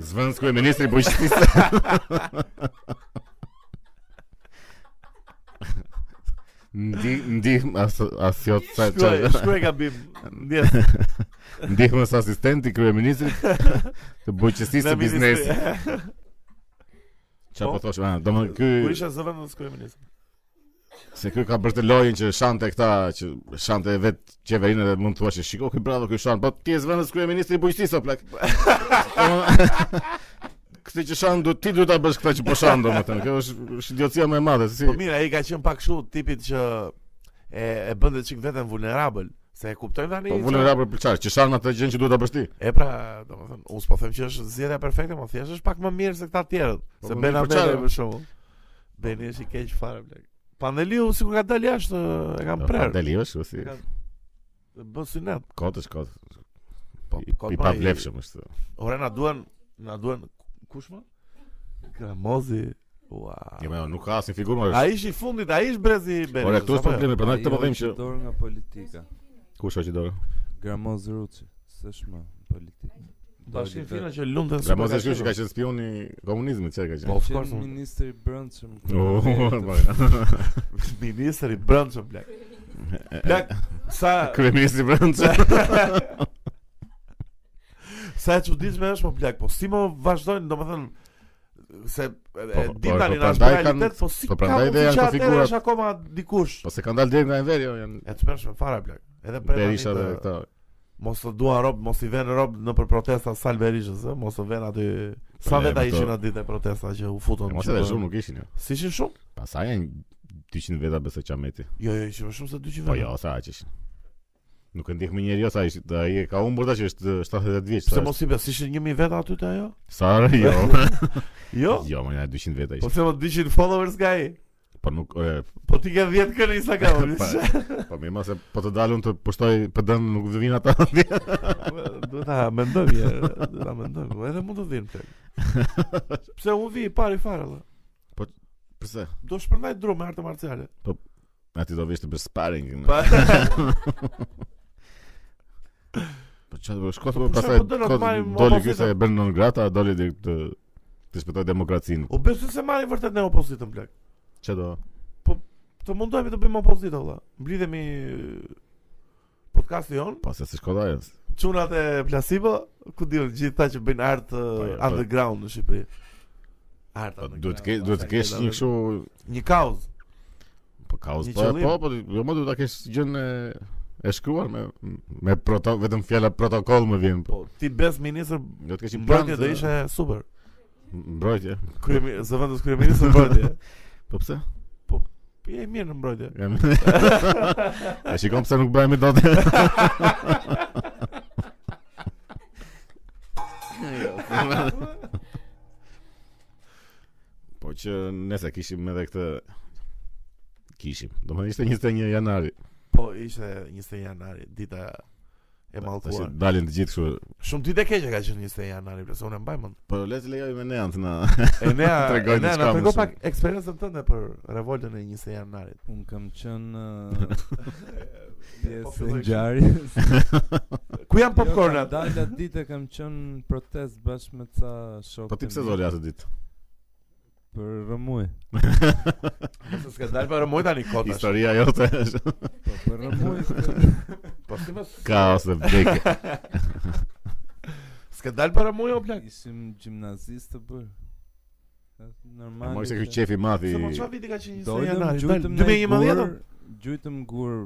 [SPEAKER 1] Zvendës kryeministri bujqësisë. Ndi ndihmë as asjot sa
[SPEAKER 2] Shkruaj, shkruaj gabim. Ndjes.
[SPEAKER 1] ndihmës asistent i kryeministrit të bujqësisë
[SPEAKER 2] në
[SPEAKER 1] të biznesit.
[SPEAKER 2] ministri.
[SPEAKER 1] Çfarë po
[SPEAKER 2] Po.
[SPEAKER 1] thosh? Ah, domethënë
[SPEAKER 2] Kur
[SPEAKER 1] ky
[SPEAKER 2] isha zëvendës kryeminist.
[SPEAKER 1] Se kjo ka bërë të lojën që shante këta që shante vetë qeverinë dhe mund të thuash që shiko ky bravo ky shan, po ti je vendës kryeministri i bujqësisë o plak. Këtë që shan do ti duhet ta bësh këtë që po shan domethënë. Kjo është është idiocia më e madhe se si.
[SPEAKER 2] Po mirë, ai ka qenë pak kështu tipit që e e bën dhe çik veten vulnerabël, se e kuptoj tani.
[SPEAKER 1] Po
[SPEAKER 2] se-
[SPEAKER 1] vulnerabël për çfarë? Që shan atë gjën që duhet ta bësh ti.
[SPEAKER 2] E pra, domethënë, unë s'po them që është zgjedhja perfekte, më thjesht është pak më mirë se këta të tjerët,
[SPEAKER 1] Po,
[SPEAKER 2] se
[SPEAKER 1] po,
[SPEAKER 2] Ben
[SPEAKER 1] mirë, për
[SPEAKER 2] Ameli
[SPEAKER 1] çfarë?
[SPEAKER 2] për shembull. Beni është i keq fare bler. Pandeliu sikur ka dalë jashtë, e
[SPEAKER 1] Po,
[SPEAKER 2] kam prerë.
[SPEAKER 1] Deli është si.
[SPEAKER 2] Ka- Bën synet.
[SPEAKER 1] Kot është kot.
[SPEAKER 2] Po,
[SPEAKER 1] I- I pa vlefshëm është.
[SPEAKER 2] Ora na duan, na duan kush më? Kramozi. Ua.
[SPEAKER 1] Jo, më nuk ka asnjë figurë më.
[SPEAKER 2] Ai ishi i fundit, ai ish brezi i Benit.
[SPEAKER 1] Ora, këtu është problemi, prandaj
[SPEAKER 3] Ai
[SPEAKER 1] këtë po them
[SPEAKER 3] hoqi
[SPEAKER 1] që
[SPEAKER 3] dorë nga politika.
[SPEAKER 1] kush është dorë.
[SPEAKER 3] Gramoz Ruçi, s'është më politik.
[SPEAKER 2] Tashin fina që lumtën.
[SPEAKER 1] Ramosi është ky që ka qenë spioni i komunizmit, çka ka qenë.
[SPEAKER 2] Po, of
[SPEAKER 3] Qenë
[SPEAKER 2] course. unë-
[SPEAKER 3] ministri i brëndshëm.
[SPEAKER 1] Oh, po.
[SPEAKER 2] Ministri i brendshëm blek. Blek sa
[SPEAKER 1] Kryeministri i Francës.
[SPEAKER 2] sa e çuditshme është po blek, po si më vazhdojnë, domethënë se e
[SPEAKER 1] Po,
[SPEAKER 2] di
[SPEAKER 1] po,
[SPEAKER 2] tani
[SPEAKER 1] po,
[SPEAKER 2] na është
[SPEAKER 1] prandaj
[SPEAKER 2] realitet,
[SPEAKER 1] kanë-
[SPEAKER 2] po si
[SPEAKER 1] po, prandaj
[SPEAKER 2] ka
[SPEAKER 1] dhe janë
[SPEAKER 2] mundësi që
[SPEAKER 1] këto
[SPEAKER 2] atëherë
[SPEAKER 1] figurat.
[SPEAKER 2] është akoma dikush.
[SPEAKER 1] Po se kanë dalë deri nga Enveri, jo, janë
[SPEAKER 2] E të shpershme fare blek. Edhe prej tani
[SPEAKER 1] Berisha dhe
[SPEAKER 2] të-
[SPEAKER 1] këta.
[SPEAKER 2] Mos të duan rob, mos i vënë rob në për protesta Salberishës, ë, mos të vënë aty sa
[SPEAKER 1] Po,
[SPEAKER 2] veta
[SPEAKER 1] e,
[SPEAKER 2] ishin
[SPEAKER 1] këto-
[SPEAKER 2] atë ditë e protesta që u futën.
[SPEAKER 1] E, Mos
[SPEAKER 2] që
[SPEAKER 1] edhe
[SPEAKER 2] bërën.
[SPEAKER 1] shumë nuk ishin. jo.
[SPEAKER 2] Si ishin shumë?
[SPEAKER 1] Pastaj janë 200 veta besoj Çameti.
[SPEAKER 2] Jo, jo, ishin më shumë se 200 veta.
[SPEAKER 1] Po jo, sa aq ishin. Nuk e ndihmë njeriu sa ishin. Ai e ka humbur tash është 70 vjeç.
[SPEAKER 2] Pse
[SPEAKER 1] sa
[SPEAKER 2] mos i bes, ishin 1000 veta aty te ajo?
[SPEAKER 1] është. Sa are, jo.
[SPEAKER 2] Jo.
[SPEAKER 1] Jo, më janë 200 veta
[SPEAKER 2] Po
[SPEAKER 1] ishin.
[SPEAKER 2] pse mos 200 followers ka ai?
[SPEAKER 1] Po nuk e,
[SPEAKER 2] Po ti ke 10 kënë Instagram.
[SPEAKER 1] Po, po më se po të dalun të pushtoj PD-n nuk vinë ata.
[SPEAKER 2] Duhet ta mendoj mirë, duhet ta mendoj. po Edhe mund të vinë tek. Pse u vi i pari fare valla.
[SPEAKER 1] Pse?
[SPEAKER 2] Do shpërndaj dru me artë marciale.
[SPEAKER 1] A ti do vish të bësh sparring. në-
[SPEAKER 2] Pa,
[SPEAKER 1] Po çfarë do shkoj
[SPEAKER 2] Po,
[SPEAKER 1] po
[SPEAKER 2] po,
[SPEAKER 1] pastaj
[SPEAKER 2] po, do na
[SPEAKER 1] kot-
[SPEAKER 2] marrim
[SPEAKER 1] doli
[SPEAKER 2] opozitën.
[SPEAKER 1] ky se e bën non grata, doli direkt të të shpëtoj demokracinë.
[SPEAKER 2] u besoj se marrin vërtet në opozitën blek.
[SPEAKER 1] Çe do?
[SPEAKER 2] Të mundohemi të bëjmë opozitë valla. Mblidhemi eh, podcasti jon,
[SPEAKER 1] Po se si shkoda ajo.
[SPEAKER 2] çunat e Placebo, ku diun gjithë ta që bëjnë art eh,
[SPEAKER 1] ja, po.
[SPEAKER 2] underground në Shqipëri. Art
[SPEAKER 1] Po,
[SPEAKER 2] underground,
[SPEAKER 1] Duhet të kesh duhet të
[SPEAKER 2] pastaj
[SPEAKER 1] kesh
[SPEAKER 2] kena
[SPEAKER 1] një
[SPEAKER 2] vetë.
[SPEAKER 1] kështu
[SPEAKER 2] një kauzë.
[SPEAKER 1] po kaos
[SPEAKER 2] Një
[SPEAKER 1] po
[SPEAKER 2] qëllim.
[SPEAKER 1] po po jo më duhet ta kesh gjën e e shkruar me me proto vetëm fjala protokoll më vjen. Po,
[SPEAKER 2] Po ti bes ministër
[SPEAKER 1] do të kesh një plan
[SPEAKER 2] mbrojtje do ishte super.
[SPEAKER 1] mbrojtje.
[SPEAKER 2] Kryemi, zëvendës kryeministër mbrojtje.
[SPEAKER 1] Po
[SPEAKER 2] Po,
[SPEAKER 1] pse?
[SPEAKER 2] Je mirë në mbrojtje.
[SPEAKER 1] E shikon pse nuk bëhemi dot. Po që nëse kishim edhe këtë kishim. Do më ishte 21 janari.
[SPEAKER 2] Po ishte 21 janari, dita e mallkuar.
[SPEAKER 1] Tash dalin të gjithë kështu.
[SPEAKER 2] Shumë ditë e keqe ka qenë 21 janari, pse unë e mbaj mend.
[SPEAKER 1] Po le të lejoj me Po neant na.
[SPEAKER 2] E nea,
[SPEAKER 1] Tregoj
[SPEAKER 2] e
[SPEAKER 1] diçka
[SPEAKER 2] nea
[SPEAKER 1] më
[SPEAKER 2] na tregoj
[SPEAKER 1] shumë.
[SPEAKER 2] pak eksperiencën tënde për revoltën e 21 janarit.
[SPEAKER 3] Unë kam qenë uh,
[SPEAKER 2] Po,
[SPEAKER 3] pjesë e
[SPEAKER 2] filloj kështu.
[SPEAKER 3] ngjarjes.
[SPEAKER 2] Ku janë
[SPEAKER 3] Jo,
[SPEAKER 2] popcornat?
[SPEAKER 3] kam dalë atë ditë kam qenë në protest bashkë me ca shokë.
[SPEAKER 1] Po ti pse doli atë ditë?
[SPEAKER 3] Për rëmuj.
[SPEAKER 2] Se s'ka dalë po, para moj tani kotash.
[SPEAKER 1] Historia jote është
[SPEAKER 3] Po për rëmuj.
[SPEAKER 2] Po si mos
[SPEAKER 1] kaos dhe vdekje.
[SPEAKER 2] s'ka dalë para moj o plak.
[SPEAKER 3] Ishim gjimnazist të bërë.
[SPEAKER 1] E
[SPEAKER 3] Normal.
[SPEAKER 1] Mos e ky qefi madh i
[SPEAKER 2] Se mos çfarë viti ka qenë 21
[SPEAKER 3] Dojtëm,
[SPEAKER 2] janari? Dal
[SPEAKER 3] gjujtëm në
[SPEAKER 2] 2011.
[SPEAKER 3] gur, gjujtëm gur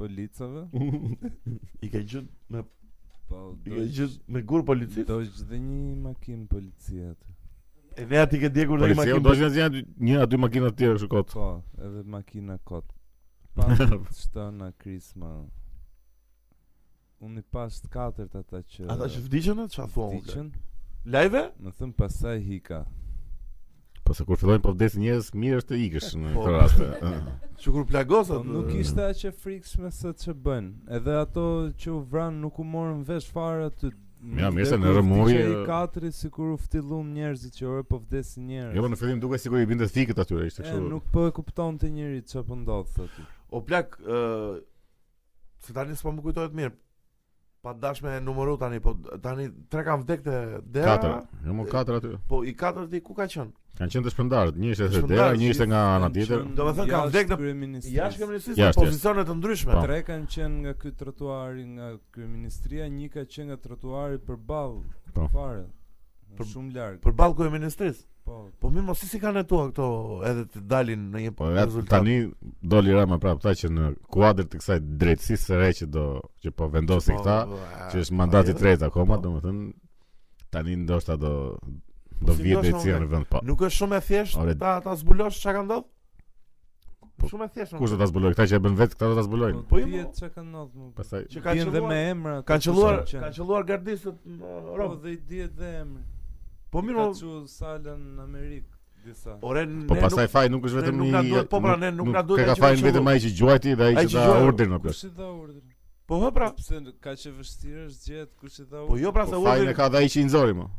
[SPEAKER 3] policave.
[SPEAKER 2] I ke gjut me
[SPEAKER 3] Po,
[SPEAKER 2] i ke
[SPEAKER 3] do
[SPEAKER 2] gjut me gur policisë.
[SPEAKER 3] dojtë dhe një makinë policie atë.
[SPEAKER 2] E nea ti ke djegur dhe një
[SPEAKER 1] Policia
[SPEAKER 2] makinë.
[SPEAKER 1] do të jenë një a dy makina të tjera kështu kot.
[SPEAKER 3] Po, edhe makina kot. Pastë shtëna krisma. Unë i pas të katërt ata që
[SPEAKER 2] Ata që po, vdiqën atë çfarë thon?
[SPEAKER 3] vdiqën,
[SPEAKER 2] Live?
[SPEAKER 3] më thënë pasaj hika.
[SPEAKER 1] Po se kur fillojnë po vdesin njerëz, mirë është të ikësh në
[SPEAKER 2] Po.
[SPEAKER 1] këtë rast.
[SPEAKER 2] Që kur plagosat
[SPEAKER 3] Po nuk ishte aq e frikshme se që bën. Edhe ato që u vran nuk u morën vesh fare aty.
[SPEAKER 1] Ja, mirë se
[SPEAKER 3] Dhe
[SPEAKER 1] në
[SPEAKER 3] kur
[SPEAKER 1] rëmuri,
[SPEAKER 3] vdiqe i
[SPEAKER 1] e-
[SPEAKER 3] katri sikur u ftillum njerëzit që ore po vdesin njerëz.
[SPEAKER 1] Jo, po në fillim duket sikur i binte fikët atyre, ishte
[SPEAKER 3] e,
[SPEAKER 1] kështu.
[SPEAKER 3] nuk po e kuptonte njëri çfarë po ndodhte aty.
[SPEAKER 2] O plak, ë se tani s'po më kujtohet mirë. Pa dash me numëru tani, po tani tre kanë vdekë te dera.
[SPEAKER 1] Katër. Jo, më katër aty.
[SPEAKER 2] Po i katërti ku ka qënë?
[SPEAKER 1] Kanë qenë të shpëndarët, një ishte se
[SPEAKER 2] Shpëndarët,
[SPEAKER 1] dera, një
[SPEAKER 2] që
[SPEAKER 1] ishte nga ana tjetër.
[SPEAKER 2] Do me thënë, ka vdek në- Jashtë
[SPEAKER 3] Jashtë
[SPEAKER 2] kryeministrisë në
[SPEAKER 1] Jashtë,
[SPEAKER 2] pozicione të ndryshme.
[SPEAKER 1] Po.
[SPEAKER 3] Tre kanë qenë nga ky trotuari nga kryeministria, një ka qenë nga trotuari përballë
[SPEAKER 1] Po.
[SPEAKER 3] fare.
[SPEAKER 2] Për-
[SPEAKER 3] shumë larg.
[SPEAKER 2] Për balku e ministrisë.
[SPEAKER 3] Po.
[SPEAKER 2] Po mirë, mos si si kanë hetua këto edhe të dalin në një
[SPEAKER 1] Po atë
[SPEAKER 2] rezultat.
[SPEAKER 1] tani doli Rama prapë tha që në kuadër të kësaj drejtësisë së re që do që po vendosin këta, që është
[SPEAKER 2] po,
[SPEAKER 1] mandati i tretë akoma, domethënë tani ndoshta do do
[SPEAKER 2] Po si
[SPEAKER 1] vjet
[SPEAKER 2] ndoshta,
[SPEAKER 1] drejtësia
[SPEAKER 2] unë-
[SPEAKER 1] në vend pa.
[SPEAKER 2] jo. Nuk është shumë e thjeshtë
[SPEAKER 1] Ore-
[SPEAKER 2] ta ta zbulosh çka ka ndodhur?
[SPEAKER 1] Po,
[SPEAKER 2] Shumë e thjeshtë.
[SPEAKER 1] Kush do ta zbulojë këta që e bën vetë, këta do ta zbulojnë.
[SPEAKER 2] Po,
[SPEAKER 3] Po
[SPEAKER 2] jo,
[SPEAKER 3] ju
[SPEAKER 2] mo.
[SPEAKER 3] çka kanë ndodhur më. po.
[SPEAKER 1] Pastaj
[SPEAKER 2] Që kanë
[SPEAKER 3] Dihen dhe
[SPEAKER 2] qelluar-
[SPEAKER 3] me emra. ato
[SPEAKER 2] Kanë
[SPEAKER 3] kush
[SPEAKER 2] qelluar,
[SPEAKER 3] kanë qenë.
[SPEAKER 2] kanë qelluar gardistët në
[SPEAKER 3] Po
[SPEAKER 2] Europë.
[SPEAKER 3] dhe i dihet dhe emri.
[SPEAKER 2] Po
[SPEAKER 3] Ka
[SPEAKER 2] mirë, mo,
[SPEAKER 3] çu salën në Amerikë disa.
[SPEAKER 2] ore ne
[SPEAKER 1] Po
[SPEAKER 2] nuk-
[SPEAKER 1] pastaj faj nuk është
[SPEAKER 2] ne
[SPEAKER 1] vetëm
[SPEAKER 2] nuk
[SPEAKER 1] i
[SPEAKER 2] na duhet- po, pra, ne nuk na duhet
[SPEAKER 1] ka- ka
[SPEAKER 2] ai që
[SPEAKER 1] fajin
[SPEAKER 2] ka
[SPEAKER 1] vetëm ai që gjuajti dhe ai
[SPEAKER 2] Ai
[SPEAKER 1] që
[SPEAKER 2] që
[SPEAKER 1] dha
[SPEAKER 2] gjuajti.
[SPEAKER 1] urdin në plot.
[SPEAKER 3] Kush i dha urdhër?
[SPEAKER 2] Po hë pra.
[SPEAKER 3] Pse kaq e vështirë është gjetë kush i dha urdhër?
[SPEAKER 2] Po jo pra se
[SPEAKER 1] Po
[SPEAKER 2] u.
[SPEAKER 1] fajin e ka dhe ai që i nxori më.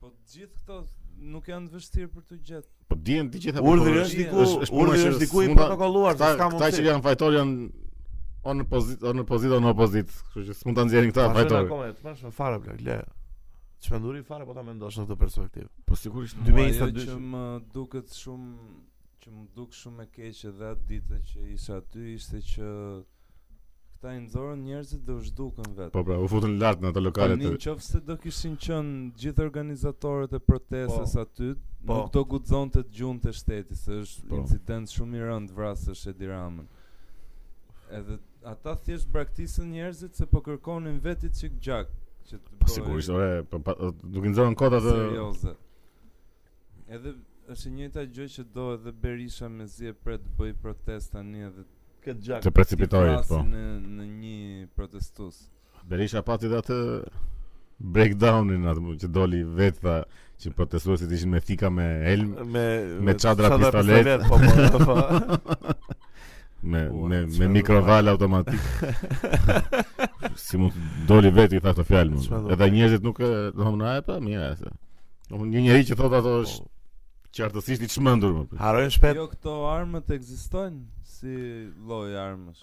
[SPEAKER 3] Po gjithë këto nuk janë të vështirë për të gjetë.
[SPEAKER 1] Po dihen të gjitha. po,
[SPEAKER 2] Urdhri
[SPEAKER 1] po,
[SPEAKER 2] është
[SPEAKER 3] është-
[SPEAKER 2] diku,
[SPEAKER 1] është puna
[SPEAKER 2] urdhri
[SPEAKER 1] që
[SPEAKER 2] është diku i
[SPEAKER 1] s'mund ta-
[SPEAKER 2] protokolluar,
[SPEAKER 1] Këta,
[SPEAKER 2] s'ka
[SPEAKER 1] këta që
[SPEAKER 2] mundësi.
[SPEAKER 1] janë fajtor janë on në pozit, on në pozit, on në opozit. Kështu që s'mund ta nxjerrin këta
[SPEAKER 2] Vazhdojnë
[SPEAKER 1] fajtor.
[SPEAKER 2] akoma, të mëshme fare blek, le. Çmenduri fare po ta mendosh në këtë perspektivë.
[SPEAKER 1] Po sigurisht.
[SPEAKER 3] Mua
[SPEAKER 2] 2022.
[SPEAKER 3] ajo që më duket shumë që më duk shumë e keqe dhe atë ditë që isha aty ishte që këta i nxorën njerëzit dhe u zhdukën vetë.
[SPEAKER 1] Po pra, u futën lart në ato lokale
[SPEAKER 3] Tani
[SPEAKER 1] të.
[SPEAKER 3] në qoftë se do kishin qënë gjithë organizatorët e protestës aty,
[SPEAKER 2] Po.
[SPEAKER 3] nuk do guxonte të gjumë të shteti, se është
[SPEAKER 1] Po.
[SPEAKER 3] incident shumë i rëndë vrasësh Edi Ramën. Edhe ata thjesht braktisën njerëzit se po kërkonin veti çik gjak që të
[SPEAKER 1] Po
[SPEAKER 3] bëjë
[SPEAKER 1] sigurisht, ore, po pa- nuk i nxorën kota të.
[SPEAKER 3] serioze. Edhe është e njëjta gjë që do edhe Berisha me zi e pret të bëj protest tani edhe
[SPEAKER 2] Këtë gjak.
[SPEAKER 1] Të precipitorit,
[SPEAKER 3] t'i
[SPEAKER 1] po.
[SPEAKER 3] vrasin në, në një protestues.
[SPEAKER 1] Berisha pati dhe atë breakdownin atë që doli vetë tha që protestuesit ishin me thika me helm,
[SPEAKER 2] me
[SPEAKER 1] me çadra pistolet.
[SPEAKER 2] po po. po.
[SPEAKER 1] me
[SPEAKER 3] Ua,
[SPEAKER 1] me me
[SPEAKER 3] çfarë
[SPEAKER 1] mikroval automatik. si mund të doli vetë i tha këto fjalë. më.
[SPEAKER 2] Çfarë do
[SPEAKER 1] Edhe njerëzit nuk e domthonë ai pa mirë. se. Domthonë një njerëz që thot
[SPEAKER 2] Po.
[SPEAKER 1] ato është qartësisht i çmendur më.
[SPEAKER 2] Harojnë shpejt.
[SPEAKER 3] Jo këto armët ekzistojnë si lloj armësh.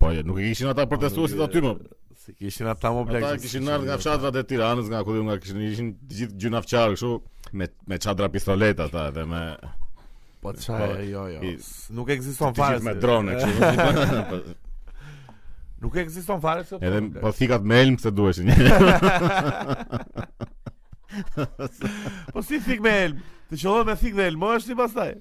[SPEAKER 1] Po jo, nuk e kishin ata protestuesit aty më.
[SPEAKER 2] Si kishin ata më blek.
[SPEAKER 1] Ata kishin ardhur nga fshatrat e Tiranës, nga ku diun nga kishin ishin të gjithë gjunafçar kështu me me çadra pistolet ata dhe me
[SPEAKER 2] Po
[SPEAKER 1] Po,
[SPEAKER 2] çaj, jo jo.
[SPEAKER 1] i-
[SPEAKER 2] S- Nuk ekziston
[SPEAKER 1] të
[SPEAKER 2] fare.
[SPEAKER 1] gjithë me
[SPEAKER 2] si-
[SPEAKER 1] drone kështu.
[SPEAKER 2] Nuk ekziston fare se.
[SPEAKER 1] Edhe po thikat me elm se duheshin.
[SPEAKER 2] Ε, Po si thik me elm? Të qellon me thik dhe elm, o është i pastaj.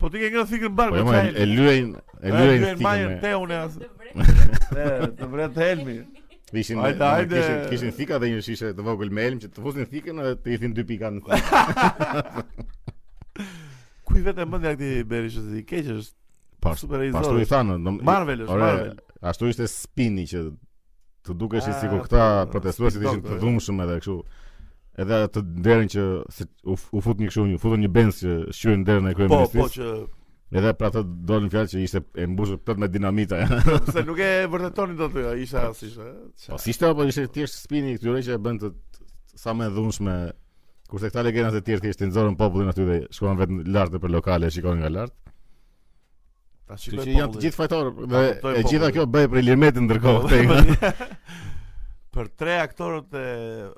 [SPEAKER 2] Po ti ke ngrënë thikën bark
[SPEAKER 1] Po
[SPEAKER 2] me
[SPEAKER 1] jo,
[SPEAKER 2] çaj.
[SPEAKER 1] e- e lyejn, e
[SPEAKER 2] Ε,
[SPEAKER 1] lyejn thikën me.
[SPEAKER 2] te unë as. E, Të vret helmi.
[SPEAKER 1] Ishin
[SPEAKER 2] Hajde, hajde.
[SPEAKER 1] kishin kishin thika dhe një shishe të vogël me elm që të fusin thikën edhe të hithin dy pika në thikë.
[SPEAKER 2] Ku i vetë mendja këtij Berishës i keq është.
[SPEAKER 1] Po,
[SPEAKER 2] super
[SPEAKER 1] po ashtu i
[SPEAKER 2] izor.
[SPEAKER 1] thanë, do
[SPEAKER 2] Marvel është
[SPEAKER 1] Ore,
[SPEAKER 2] Marvel.
[SPEAKER 1] Ashtu ishte spini që të dukeshin
[SPEAKER 2] Ah,
[SPEAKER 1] sikur
[SPEAKER 2] po,
[SPEAKER 1] këta protestuesit
[SPEAKER 2] Spin
[SPEAKER 1] ishin
[SPEAKER 2] Doctor,
[SPEAKER 1] të
[SPEAKER 2] jo.
[SPEAKER 1] dhunshëm edhe kështu. Edhe të derën që se, u, f- u fut një kështu, u futën një benz që shqyrën derën e
[SPEAKER 2] Po, po
[SPEAKER 1] kryeministrisë.
[SPEAKER 2] që
[SPEAKER 1] Edhe pra të dolën fjalë që ishte e mbushur plot me dinamita.
[SPEAKER 2] se nuk e vërtetoni dot ajo, isha as isha.
[SPEAKER 1] Po si ishte apo ishte thjesht spini i këtyre që e bën të të- sa më e dhunshme kurse këta legendat e tjerë thjesht i nxorën popullin aty dhe shkojnë vetëm lart nëpër lokale e shikojnë nga lart.
[SPEAKER 2] Ta
[SPEAKER 1] Kështu
[SPEAKER 2] shikoj
[SPEAKER 1] që janë të gjithë fajtorë dhe
[SPEAKER 2] kuptoj
[SPEAKER 1] e gjitha
[SPEAKER 2] Po, popullin. Po,
[SPEAKER 1] kjo bëhet për Ilirmetin ndërkohë. te nga-
[SPEAKER 2] Për tre aktorët e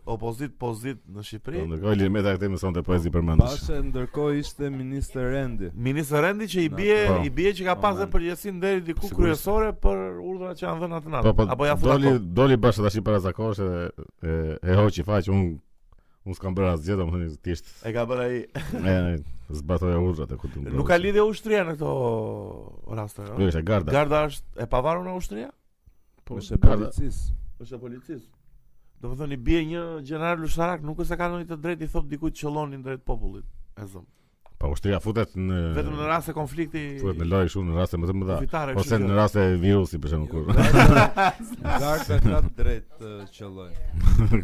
[SPEAKER 2] opozit pozit në Shqipëri,
[SPEAKER 1] Ndërkohë Ilirmeti këtë më sonte poezi përmendesh.
[SPEAKER 3] Pasha ndërkohë ishte ministër Rendi.
[SPEAKER 2] Ministër Rendi që i bie
[SPEAKER 1] Po.
[SPEAKER 2] i bie që ka pasur
[SPEAKER 3] Moment.
[SPEAKER 2] përgjegjësinë deri diku
[SPEAKER 1] Sigurisht.
[SPEAKER 2] kryesore për urdhrat që janë dhënë atë
[SPEAKER 1] Po po
[SPEAKER 2] natë. Apo ja fut
[SPEAKER 1] doli
[SPEAKER 2] doli...
[SPEAKER 1] doli bash tash para zakosh edhe e, e hoqi faq un un s'kam bërë asgjë domethënë thjesht
[SPEAKER 2] E ka bërë ai.
[SPEAKER 1] e, zbatoja urdhrat e ku të
[SPEAKER 2] Nuk ka lidhje ushtria në këto raste,
[SPEAKER 1] Jo,
[SPEAKER 2] no?
[SPEAKER 1] ishte garda.
[SPEAKER 2] Garda është e pavarur nga ushtria?
[SPEAKER 1] Po,
[SPEAKER 3] Është e
[SPEAKER 1] garda.
[SPEAKER 3] policisë.
[SPEAKER 2] është e policisë. Do të thonë i bie një gjeneral lushtarak, nuk është se ka ndonjë të drejtë i thot dikujt qellonin drejt popullit. E zëm.
[SPEAKER 1] Po ushtria futet në
[SPEAKER 2] Vetëm në rast Po, se konflikti
[SPEAKER 1] futet Po, në lojë shumë në raste më të mëdha.
[SPEAKER 2] kufitare
[SPEAKER 1] Ose në rast e virusi për shembull
[SPEAKER 3] Jo,
[SPEAKER 1] kur.
[SPEAKER 3] Garda garda ka të drejtë të qelloj.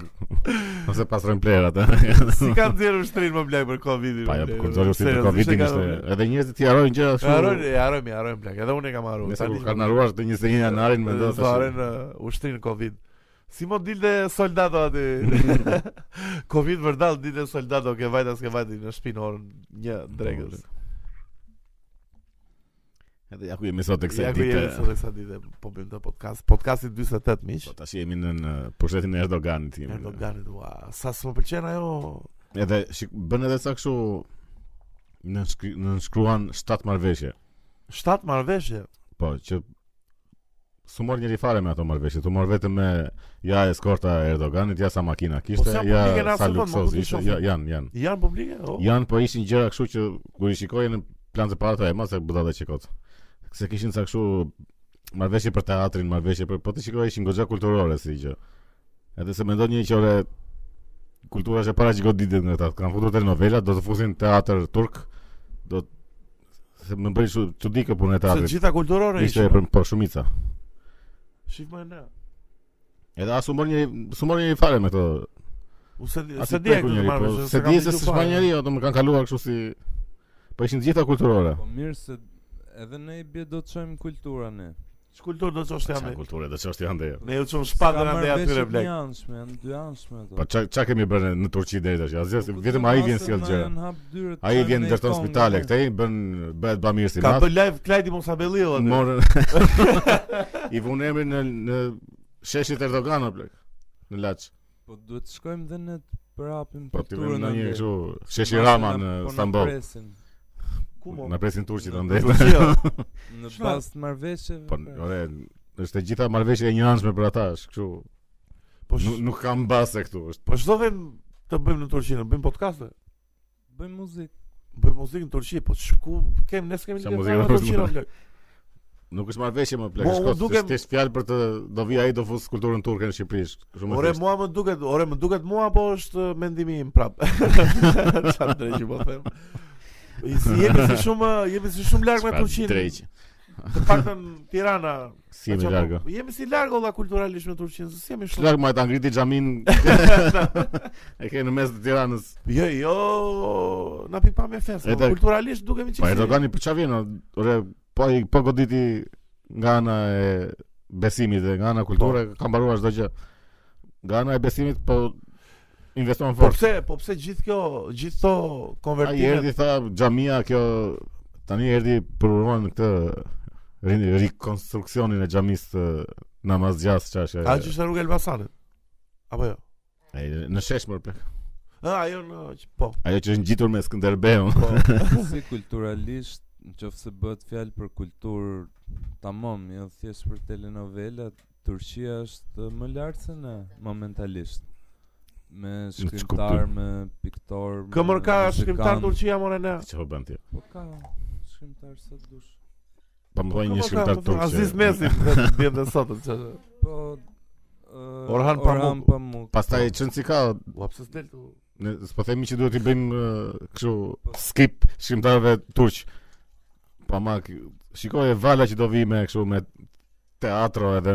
[SPEAKER 1] Ose pastrojnë plerat.
[SPEAKER 2] si ka nxjerrë ushtrin më blaq për Covidin.
[SPEAKER 1] Pa jo,
[SPEAKER 2] blaq,
[SPEAKER 1] kur doli si të
[SPEAKER 2] seriozisht,
[SPEAKER 1] Covidin
[SPEAKER 2] e ka-
[SPEAKER 1] ishte edhe njerëzit ti harrojnë gjëra
[SPEAKER 2] E Harojnë,
[SPEAKER 1] kështu.
[SPEAKER 2] e harojmë, e harojmë blaq. Edhe unë e kam harruar.
[SPEAKER 1] Nëse
[SPEAKER 2] Tani
[SPEAKER 1] kur kanë harruar të 21 janarin me
[SPEAKER 2] do
[SPEAKER 1] do
[SPEAKER 2] të harojnë uh, ushtrin Covid. Si mo dilte soldato aty. Covid vërdall dilte soldato ke vajta s'ke vajti në shtëpi në orën 1 drekës.
[SPEAKER 1] Edhe ja ku jemi sot e kësaj
[SPEAKER 2] Ja ku
[SPEAKER 1] dite.
[SPEAKER 2] jemi sot e kësaj dite po bëjmë të podcast, podcasti 48 miq.
[SPEAKER 1] Po tash jemi në në pushtetin e Erdoganit jemi.
[SPEAKER 2] Erdoganit, ua, sa s'më pëlqen ajo.
[SPEAKER 1] Edhe shik, bën edhe sa kështu në shkri, në shkruan 7 marrëveshje.
[SPEAKER 2] 7 marrëveshje.
[SPEAKER 1] Po, që Su mor njëri fare me ato marrëveshje, tu mor vetëm me ja eskorta e Erdoganit, ja sa makina
[SPEAKER 2] Po
[SPEAKER 1] kishte,
[SPEAKER 2] sa publike na
[SPEAKER 1] ja sa
[SPEAKER 2] absolvon, ma
[SPEAKER 1] luksos
[SPEAKER 2] ku ti
[SPEAKER 1] ishte,
[SPEAKER 2] shohim?
[SPEAKER 1] ja, janë, janë.
[SPEAKER 2] Janë publike? O,
[SPEAKER 1] Janë po ishin gjëra kështu që kur i shikoje në plan të parë të ema se budalla çikot. Se kishin sa kështu marrëveshje për teatrin, marrëveshje për po ti shikoje ishin goxha kulturore si gjë. Edhe se mendon një që ore kultura është e para çikot ditën në ta. Kan futur telenovela, do të fusin teatr turk, do të se më bëri shu- çudi kjo punë e
[SPEAKER 2] se
[SPEAKER 1] teatrit.
[SPEAKER 2] gjitha kulturore
[SPEAKER 1] Ishte
[SPEAKER 2] ishin.
[SPEAKER 1] për, për shumica.
[SPEAKER 2] Shif më ne.
[SPEAKER 1] Edhe as u mor një su mor një fare me këto
[SPEAKER 2] U se di-
[SPEAKER 1] Ati
[SPEAKER 2] se di e
[SPEAKER 1] preku
[SPEAKER 2] këtë
[SPEAKER 1] njëri, po,
[SPEAKER 2] marrë.
[SPEAKER 1] Se di se s'ka njeri, ato më kanë kaluar kështu si po ishin të gjitha kulturore.
[SPEAKER 3] Po mirë se edhe ne i bie do të çojmë kulturën ne.
[SPEAKER 2] Kultur do të çosh
[SPEAKER 1] Çfarë
[SPEAKER 2] jamë.
[SPEAKER 1] kulture, do ç'është janë dhe.
[SPEAKER 2] Ne u çum shpatën atë atyre blek.
[SPEAKER 3] Një anshme, janë dy anshme ato.
[SPEAKER 1] Po ç'a ç'a kemi bërë në Turqi deri tash? Asgjë, se
[SPEAKER 3] Po,
[SPEAKER 1] vetëm
[SPEAKER 3] po,
[SPEAKER 1] ai
[SPEAKER 3] të
[SPEAKER 1] vjen
[SPEAKER 3] masën
[SPEAKER 1] si
[SPEAKER 3] na
[SPEAKER 1] gjë.
[SPEAKER 3] janë hap dyrët,
[SPEAKER 1] Ai
[SPEAKER 3] çojmë
[SPEAKER 1] vjen
[SPEAKER 3] ne i
[SPEAKER 1] ndërton
[SPEAKER 3] Kongën,
[SPEAKER 1] spitale
[SPEAKER 3] ne.
[SPEAKER 1] këtej, bën bëhet bamir si
[SPEAKER 2] Ka
[SPEAKER 1] mat.
[SPEAKER 2] bë live Klajdi mos abelliu atë.
[SPEAKER 1] Morën i vonë emrin në në sheshit Erdogan o plak. Në Laç.
[SPEAKER 3] Po duhet të shkojmë dhe ne të përhapim
[SPEAKER 1] Po ti vjen
[SPEAKER 3] kulturën
[SPEAKER 1] në një
[SPEAKER 3] ande.
[SPEAKER 1] kështu sheshi
[SPEAKER 3] Masën
[SPEAKER 1] Rama
[SPEAKER 3] na-
[SPEAKER 1] në
[SPEAKER 3] po na
[SPEAKER 1] Stamboll.
[SPEAKER 3] presin.
[SPEAKER 2] Ku mo?
[SPEAKER 1] Na presin turqit
[SPEAKER 3] Në
[SPEAKER 1] ande.
[SPEAKER 2] Turqia.
[SPEAKER 3] Në
[SPEAKER 2] Çfarë?
[SPEAKER 3] pas të marrëveshjeve.
[SPEAKER 1] Po
[SPEAKER 3] pra.
[SPEAKER 1] ore, është e gjitha marrëveshja e një anshme për ata, është kështu.
[SPEAKER 2] Po sh-
[SPEAKER 1] Nuk- Nuk kam base këtu, është
[SPEAKER 2] po çdo vend të bëjmë në Turqi, ne bëjmë podcaste.
[SPEAKER 3] bëjmë muzikë.
[SPEAKER 2] Bëjmë muzikë në Turqi, po sh- ku kem ne s'kemi
[SPEAKER 1] Sa
[SPEAKER 2] lidhje
[SPEAKER 1] muzikë
[SPEAKER 2] fare me
[SPEAKER 1] do të
[SPEAKER 2] Turqinë,
[SPEAKER 1] bëjmë?
[SPEAKER 2] blek.
[SPEAKER 1] Nuk është marrëveshje më plak,
[SPEAKER 2] Mo,
[SPEAKER 1] është
[SPEAKER 2] unë
[SPEAKER 1] kot.
[SPEAKER 2] dukem-
[SPEAKER 1] Dukem... Është fjalë për të do vi ai do fus kulturën turke në Shqipëri. është Shumë e
[SPEAKER 2] Ore
[SPEAKER 1] thjeshtë.
[SPEAKER 2] mua më duket, ore më duket mua apo është mendimi im prap. Çfarë drejtë që po them. I si jemi si shumë jemi si shumë larg me
[SPEAKER 1] S'ka
[SPEAKER 2] Turqinë.
[SPEAKER 1] drejtë.
[SPEAKER 2] Të paktën Tirana.
[SPEAKER 1] Si jemi
[SPEAKER 2] Qa po,
[SPEAKER 1] larg. o?
[SPEAKER 2] Jemi si larg olla kulturalisht me Turqinë, se si jemi
[SPEAKER 1] Është
[SPEAKER 2] shumë.
[SPEAKER 1] larg më ta ngriti xhamin. e ke në mes të Tiranës.
[SPEAKER 2] Jo, jo, na pi pa me fest.
[SPEAKER 1] Edhe-
[SPEAKER 2] po, Kulturalisht dukemi
[SPEAKER 1] Pa
[SPEAKER 2] çfarë.
[SPEAKER 1] Erdogani për çfarë vjen? o? Ore, po i po goditi nga ana e besimit dhe nga ana kulture ka mbaruar çdo gjë. Nga ana e besimit po investon
[SPEAKER 2] Po
[SPEAKER 1] fort.
[SPEAKER 2] pse, po pse gjithë kjo, gjithë këto
[SPEAKER 1] Ai
[SPEAKER 2] konvertimet
[SPEAKER 1] erdhi tha xhamia kjo tani erdhi përuron këtë ri- rikonstruksionin e xhamisë të namazgjas çfarë.
[SPEAKER 2] A që është rruga e Elbasanit? Apo jo?
[SPEAKER 1] Ai në sheshmër plak.
[SPEAKER 2] Ë, ajo në që- po.
[SPEAKER 1] Ajo që është ngjitur me Skënderbeun.
[SPEAKER 2] Po.
[SPEAKER 3] si kulturalisht, nëse bëhet fjalë për kulturë, tamam, jo thjesht për telenovela, Turqia është më lart se ne momentalisht. Me
[SPEAKER 1] kuptoj.
[SPEAKER 3] shkrimtar, me piktor, me
[SPEAKER 2] Këmër ka
[SPEAKER 3] muzikant.
[SPEAKER 2] shkrimtar Turqia more ne.
[SPEAKER 1] Çfarë bën ti?
[SPEAKER 3] Po ka shkrimtar sa dush.
[SPEAKER 1] Po më thoni
[SPEAKER 2] Këmër
[SPEAKER 1] një
[SPEAKER 2] ka,
[SPEAKER 1] shkrimtar
[SPEAKER 2] po,
[SPEAKER 1] turk.
[SPEAKER 2] Aziz
[SPEAKER 1] që-
[SPEAKER 2] Mesi vjen dhe sot. që-
[SPEAKER 3] Po uh,
[SPEAKER 2] Orhan Pamuk.
[SPEAKER 3] Pamuk. po.
[SPEAKER 1] Pastaj çon si ka,
[SPEAKER 2] Ua pse s'del tu?
[SPEAKER 1] ne s'po themi që duhet i bëjmë eh, kështu skip shkrimtarëve turq. Pa ma k- shikoj e vala që do vi me kështu me teatro edhe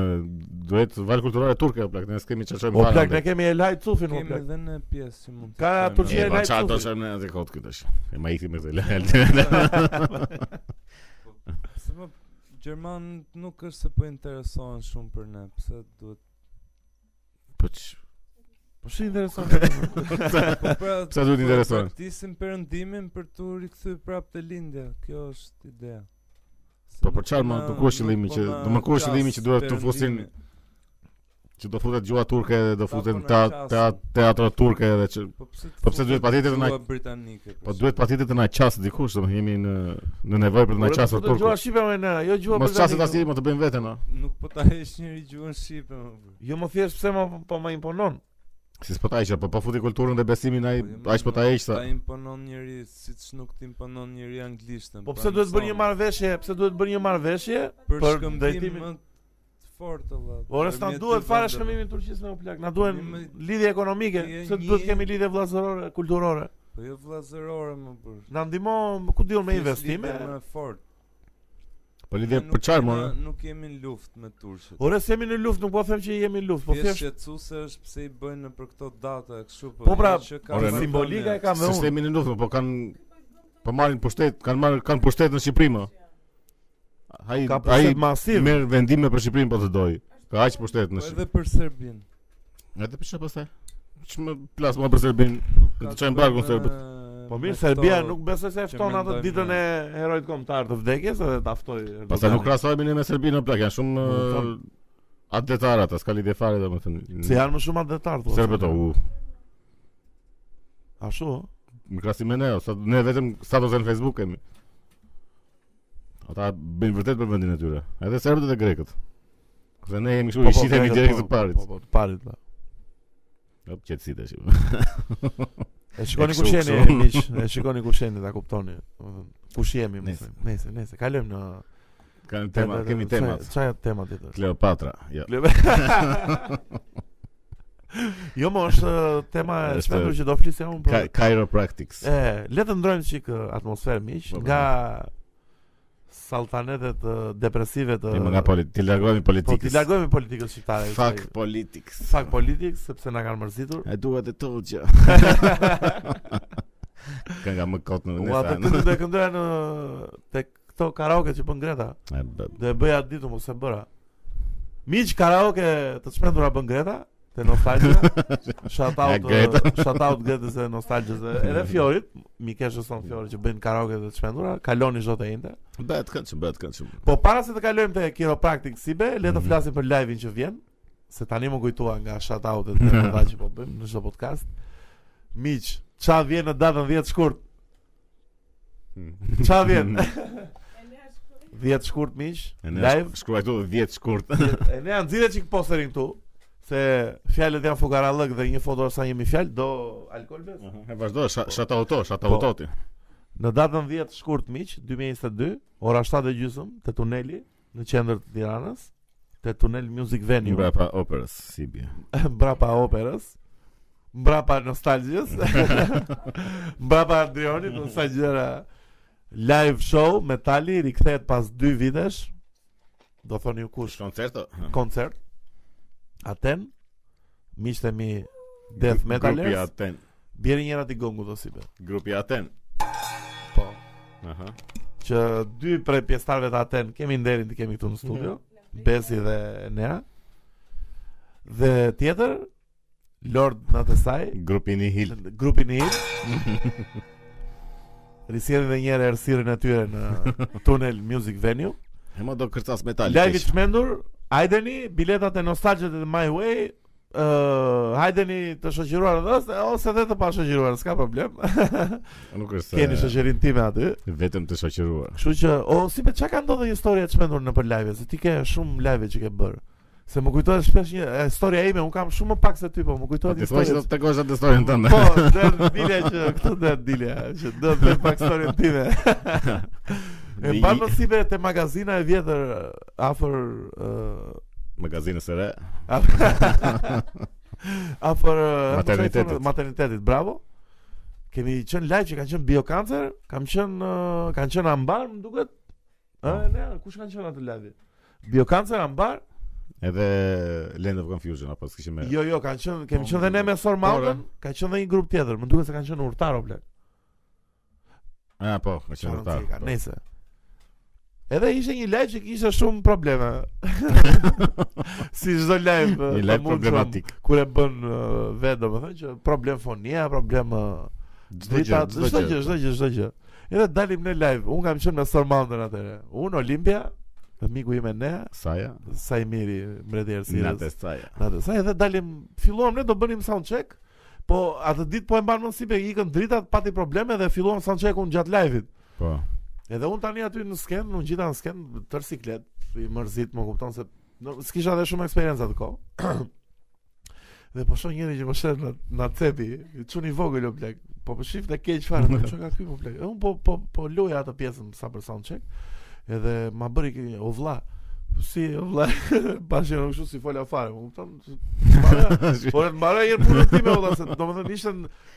[SPEAKER 1] duhet val kulturore turke plak ne s'kemi çfarë
[SPEAKER 2] O
[SPEAKER 1] çojmë
[SPEAKER 2] plak
[SPEAKER 1] ne
[SPEAKER 2] ne kemi Elhaj Cufin o
[SPEAKER 3] Kemi
[SPEAKER 2] plak.
[SPEAKER 3] edhe në pjesë që mund të
[SPEAKER 2] Ka
[SPEAKER 3] shkojmë.
[SPEAKER 2] Turqia
[SPEAKER 1] E
[SPEAKER 2] e
[SPEAKER 1] pa
[SPEAKER 2] lajt
[SPEAKER 1] çfarë do
[SPEAKER 2] Cufin.
[SPEAKER 1] shojmë ne atë kot këtu tash. E ma ikthi me këtë lajt.
[SPEAKER 3] Se më Gjerman nuk është se po interesohen shumë për ne, pse duhet
[SPEAKER 1] Po ç-
[SPEAKER 2] Po shi interesant.
[SPEAKER 3] Po pra,
[SPEAKER 1] Pse duhet
[SPEAKER 3] po
[SPEAKER 1] interesohen?
[SPEAKER 3] Praktisim perëndimin për tu rikthy prapë te lindja. Kjo është ideja. Se
[SPEAKER 1] Po, po
[SPEAKER 3] nuk
[SPEAKER 1] çfarë,
[SPEAKER 3] po
[SPEAKER 1] ma,
[SPEAKER 3] na-
[SPEAKER 1] po ku është qëllimi
[SPEAKER 3] nuk
[SPEAKER 1] që-
[SPEAKER 3] po na
[SPEAKER 1] do më ku është qëllimi që
[SPEAKER 3] qas
[SPEAKER 1] duhet të fusin
[SPEAKER 3] perëndimi.
[SPEAKER 1] që do futet gjua turke dhe do
[SPEAKER 3] Ta
[SPEAKER 1] futen
[SPEAKER 3] po na
[SPEAKER 1] ta-
[SPEAKER 3] qasin.
[SPEAKER 1] ta- teatro turke edhe që
[SPEAKER 3] Po pse të
[SPEAKER 1] Po pse
[SPEAKER 3] fusin
[SPEAKER 1] duhet patjetër të na-
[SPEAKER 3] gjua britanike.
[SPEAKER 1] Po duhet patjetër të na qasë dikush, domethënë jemi në në nevojë për të na qasur
[SPEAKER 2] Po gjua
[SPEAKER 1] turkut.
[SPEAKER 2] shipe me ne, jo gjua
[SPEAKER 1] Mos
[SPEAKER 2] britanike.
[SPEAKER 1] qaset asnjëri, mos të bëjmë veten, a.
[SPEAKER 3] Nuk po ta hesh njëri gjuhën shqipe më bërë.
[SPEAKER 2] Jo më thjesht pse më po më imponon.
[SPEAKER 1] Si s'po ta heqë, po po futi kulturën dhe besimin ai
[SPEAKER 3] Po,
[SPEAKER 1] ai s'po ta heq sa.
[SPEAKER 3] Ta imponon njëri, siç nuk t'imponon njëri anglishtën. pra
[SPEAKER 2] Po pse duhet bërë një marrëveshje? Pse duhet bërë një marrëveshje?
[SPEAKER 3] për
[SPEAKER 2] për
[SPEAKER 3] shkëmbim
[SPEAKER 2] drejtimin?
[SPEAKER 3] më të fortë valla.
[SPEAKER 2] Ora s'na
[SPEAKER 3] përmjet
[SPEAKER 2] duhet fare
[SPEAKER 3] ditëndave.
[SPEAKER 2] shkëmbimi i Turqisë me o plak. Na duhen
[SPEAKER 3] Një me-
[SPEAKER 2] lidhje ekonomike,
[SPEAKER 3] Ti je
[SPEAKER 2] pse
[SPEAKER 3] një-
[SPEAKER 2] duhet kemi lidhje vëllazërore, kulturore.
[SPEAKER 3] Po jo vllazërore më bër.
[SPEAKER 2] Na ndihmo, ku diun me
[SPEAKER 3] Thjesht
[SPEAKER 2] investime.
[SPEAKER 3] lidhje Më fort.
[SPEAKER 1] Po lidhje
[SPEAKER 3] Ne nuk
[SPEAKER 1] për çfarë
[SPEAKER 3] jemi-
[SPEAKER 1] më?
[SPEAKER 3] Nuk jemi në luftë me turqët.
[SPEAKER 2] Ora se jemi në luftë, nuk po them që jemi në luftë, po
[SPEAKER 3] Po thjesht
[SPEAKER 2] thjesht
[SPEAKER 3] shqetësuese është pse i bëjnë në për këto data kështu po.
[SPEAKER 2] Po, pra,
[SPEAKER 3] që
[SPEAKER 1] ore,
[SPEAKER 3] marrëdhënie.
[SPEAKER 2] simbolika e ka me unë.
[SPEAKER 1] Sistemi në luftë, po kanë po marrin pushtet, kanë marrë kanë pushtet në Shqipëri më. Ai
[SPEAKER 2] Ka
[SPEAKER 1] ai
[SPEAKER 2] pushtet masiv.
[SPEAKER 1] merr vendime për Shqipërinë po të doj. Ka aq pushtet
[SPEAKER 3] Po
[SPEAKER 1] në
[SPEAKER 3] edhe
[SPEAKER 1] Shqipëri.
[SPEAKER 3] për Serbin.
[SPEAKER 1] Edhe pse pastaj. Po Ç'më plas më për Serbinë.
[SPEAKER 3] Nuk
[SPEAKER 1] Do
[SPEAKER 3] ka
[SPEAKER 1] të çojmë
[SPEAKER 3] bëjnë
[SPEAKER 1] barkun
[SPEAKER 3] me-
[SPEAKER 1] serbët.
[SPEAKER 2] Po
[SPEAKER 3] me
[SPEAKER 2] mirë, Serbia
[SPEAKER 3] këto-
[SPEAKER 2] nuk besoj se e
[SPEAKER 3] që
[SPEAKER 2] fton atë
[SPEAKER 3] mendojmë
[SPEAKER 2] ditën
[SPEAKER 3] ne.
[SPEAKER 2] e herojt kombëtar të vdekjes edhe ta ftoi.
[SPEAKER 1] Pastaj
[SPEAKER 2] Erdoganin.
[SPEAKER 1] nuk krahasohemi ne me Serbinë, o plak, janë shumë
[SPEAKER 2] Po,
[SPEAKER 1] eh, atletarë ata, s'ka lidhje fare
[SPEAKER 2] Se
[SPEAKER 1] domethënë.
[SPEAKER 2] janë më shumë atletar thua.
[SPEAKER 1] Serbët u
[SPEAKER 2] Ashtu. ë?
[SPEAKER 1] Në krasim me ne, o, sa, ne vetëm status në Facebook kemi. Ata bëjnë vërtet për vendin e tyre. Edhe serbët dhe grekët. Se ne jemi kështu i shitemi direkt të parit.
[SPEAKER 2] Po, po, të parit. Po.
[SPEAKER 1] Hop, qetësi tash.
[SPEAKER 2] E shikoni
[SPEAKER 1] E
[SPEAKER 2] ku
[SPEAKER 1] kështu,
[SPEAKER 2] sheni
[SPEAKER 1] kështu.
[SPEAKER 2] miq, e shikoni ku sheni ta kuptoni. Domethënë, Kush jemi më
[SPEAKER 1] Nese.
[SPEAKER 2] thënë. Nese, nese, kalojmë në
[SPEAKER 1] Kanë tema, kemi temat.
[SPEAKER 2] Çfarë tema tjetër?
[SPEAKER 1] Kleopatra, jo.
[SPEAKER 2] Klebe. jo, më është uh, tema e
[SPEAKER 1] Është-
[SPEAKER 2] shmendur që do flisja unë
[SPEAKER 1] Ka
[SPEAKER 2] për.
[SPEAKER 1] chiropractics.
[SPEAKER 2] E, le të ndrojmë çik uh, atmosferë miq
[SPEAKER 1] Po, po.
[SPEAKER 2] nga saltanetet uh, depresive të
[SPEAKER 1] Tema nga politik, ti largohemi
[SPEAKER 2] Po ti
[SPEAKER 1] politikës.
[SPEAKER 2] largojmë politikën shqiptare.
[SPEAKER 1] Fuck politics.
[SPEAKER 2] fak politik sepse na kanë mërzitur.
[SPEAKER 1] I do what I told you. Ka nga më kot në
[SPEAKER 2] Ua të
[SPEAKER 1] nesër.
[SPEAKER 2] të të këndoja në tek këto karaoke që bën Greta. Do e bëja ditë mos e bëra. Miq karaoke të çmendura bën Greta te Nostalgia. Shout
[SPEAKER 1] Ja,
[SPEAKER 2] out
[SPEAKER 1] Greta.
[SPEAKER 2] uh, shout out Gretës e Nostalgjës e- edhe Fiorit, Mikeshës son Fiori që bëjnë karaoke të çmendura, kaloni çdo të njëjtë.
[SPEAKER 1] Bëhet këndshëm, bëhet këndshëm.
[SPEAKER 2] Po para se të kalojmë te chiropractic Sibe, le të
[SPEAKER 1] Mhm.
[SPEAKER 2] flasim për live-in që vjen, se tani më kujtua nga shout-outet e ata që po bëjmë në çdo podcast. Miq, ça vjen në datën 10 shkurt? Ça vjen? 10 shkurt miq,
[SPEAKER 1] E ne
[SPEAKER 2] live.
[SPEAKER 1] Shkruaj këtu 10 shkurt.
[SPEAKER 2] E ne nxirret çik posterin këtu, se fjalët janë fukarallëk dhe një foto sa jemi fjalë do alkol bes.
[SPEAKER 1] E vazhdo, sha- shatauto, shatauto ti.
[SPEAKER 2] Në datën 10 shkurt miq 2022, ora 7:30 te tuneli në qendër të Tiranës, te Tunel Music Venue.
[SPEAKER 1] Mbrapa pra operës Sibi.
[SPEAKER 2] mbrapa operës, mbrapa nostalgjës, mbrapa Adrionit, në sa gjëra live show, metali, rikthehet pas 2 vitesh, do thoni ju kush,
[SPEAKER 1] Koncerto?
[SPEAKER 2] koncert, Aten, miqtë e mi Death
[SPEAKER 1] Grupi
[SPEAKER 2] Metalers,
[SPEAKER 1] Aten.
[SPEAKER 2] bjeri njëra t'i gongu do si be.
[SPEAKER 1] Grupi Aten.
[SPEAKER 2] Po.
[SPEAKER 1] Aha.
[SPEAKER 2] Që dy prej pjestarve të Aten kemi nderin të kemi këtu në studio, Besi dhe Nea. Dhe tjetër, Lord Natesaj,
[SPEAKER 1] Grupi Nihil.
[SPEAKER 2] Në grupin e hit Risjerin dhe njëre ersirin e tyre në Tunnel Music Venue
[SPEAKER 1] E mo do kërcas metal.
[SPEAKER 2] Live i
[SPEAKER 1] keq.
[SPEAKER 2] të mendur Hajdeni, biletat e nostalgjët e My Way Uh, hajdeni të shoqëruar edhe ose, ose dhe të pa shoqëruar, s'ka problem.
[SPEAKER 1] Nuk është se
[SPEAKER 2] Keni shoqërinë time aty.
[SPEAKER 1] vetëm të shoqëruar.
[SPEAKER 2] Kështu që o si be çka ka ndodhur historia e çmendur në për live, se ti ke shumë live që ke bër. Se më kujtohet shpesh një e, historia ime, un kam shumë më pak se ty, po më
[SPEAKER 1] Po
[SPEAKER 2] kujtohet
[SPEAKER 1] ti thua që
[SPEAKER 2] historia.
[SPEAKER 1] do të tregosh atë historinë tënde.
[SPEAKER 2] Po, do të dilja që këtu do të dilja që do të bëj pak historinë time. e
[SPEAKER 1] Di-
[SPEAKER 2] mban mësive te magazina e vjetër afër ë,
[SPEAKER 1] Magazinës së re.
[SPEAKER 2] afër afër ë,
[SPEAKER 1] Maternitetit.
[SPEAKER 2] më thonë, maternitetit, bravo. Kemi qenë live që kanë qenë biokancer, kam qenë ë, kanë qenë ambar, më duket.
[SPEAKER 1] Po.
[SPEAKER 2] Ë, ne, kush kanë qenë atë live? Biokancer ambar?
[SPEAKER 1] Edhe Land of Confusion apo s'kishim me.
[SPEAKER 2] Jo, jo, kanë qenë, kemi
[SPEAKER 1] Po,
[SPEAKER 2] qenë dhe ne me Sor Mountain, ka qenë dhe një grup tjetër, më duket se kanë qenë urtar o blek.
[SPEAKER 1] Ah, po, më qenë
[SPEAKER 2] Qarën
[SPEAKER 1] rëtar.
[SPEAKER 2] cika, Nese. Edhe ishte një live që kishte shumë probleme. si çdo live.
[SPEAKER 1] Një
[SPEAKER 2] të
[SPEAKER 1] live
[SPEAKER 2] po mund
[SPEAKER 1] problematik.
[SPEAKER 2] shumë, Kur e bën uh, vetë, domethënë që problem fonia, problem uh,
[SPEAKER 1] Çdo gjë,
[SPEAKER 2] drita,
[SPEAKER 1] çdo gjë. po.
[SPEAKER 2] çdo gjë, çdo gjë. Edhe dalim në live. Un kam qenë me Sor Mountain atëherë. Un Olimpia, dhe miku im e ne,
[SPEAKER 1] Saja,
[SPEAKER 2] Po, Sajmiri, mbreti i Ersirës.
[SPEAKER 1] natë saja.
[SPEAKER 2] Atë sa edhe dalim, filluam ne do bënim sound check, po atë ditë po e mbanë mësi pe ikën dritat pati probleme dhe filluam sound check-un gjatë live-it.
[SPEAKER 1] Po.
[SPEAKER 2] Edhe un tani aty në sken, unë gjitha në sken tër siklet, i mërzit, më kupton se në, s'kisha edhe shumë eksperiencë atë kohë. dhe po shoh njëri që më shet në na cepi, çuni vogël o blek. Po po shif të keq fare, po çka ky po blek. Un po po po loja atë pjesën sa për sound check. Edhe ma bëri ky o vlla. Si o vlla, bashkë nuk kështu si fola fare, më kupton? Mara- Por e të mbaroj herë punën time olla se domethënë ishte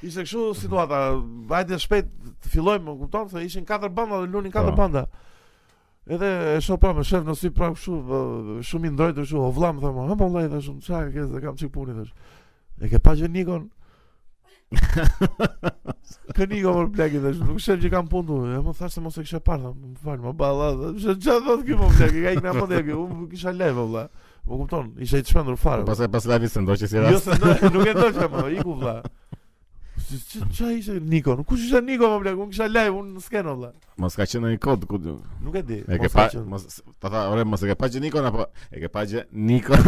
[SPEAKER 2] ishte kështu situata. Hajde shpejt të fillojmë, më kupton se ishin katër banda dhe lunin katër
[SPEAKER 1] Po.
[SPEAKER 2] banda. Edhe e shoh pra me shef në sy prap kështu vë- shumë i ndrojtur kështu, o vlla më tha, "Ha mollaj thash, unë, çfarë ke se kam çik punë thash." E ke pa gjë Nikon? Kë Niko më bleki thash, nuk shef që kam punë. tu." E më thash se mos e kisha parë, thash, "Më fal, më balla." Thash, "Çfarë thot ky më bleki? Ka ikë na më deri, unë kisha leve valla." Më kupton, isha i çmendur fare. vëlla.
[SPEAKER 1] Pastaj Po, pas live se ndoqë si
[SPEAKER 2] Jo
[SPEAKER 1] rast.
[SPEAKER 2] se ndo- nuk e ndoqja më, iku vlla. Si si ç'a ishte Niko? Kush ishte Niko më blek? Unë kisha live, unë s'ken vlla.
[SPEAKER 1] Mos ka qenë një kod ku. du-
[SPEAKER 2] Nuk e di.
[SPEAKER 1] E ke
[SPEAKER 2] mos
[SPEAKER 1] pa,
[SPEAKER 2] ka qenë.
[SPEAKER 1] mos ta tha, ore, mos e ke pa gjë Nikon apo e ke pa gjë Nikon.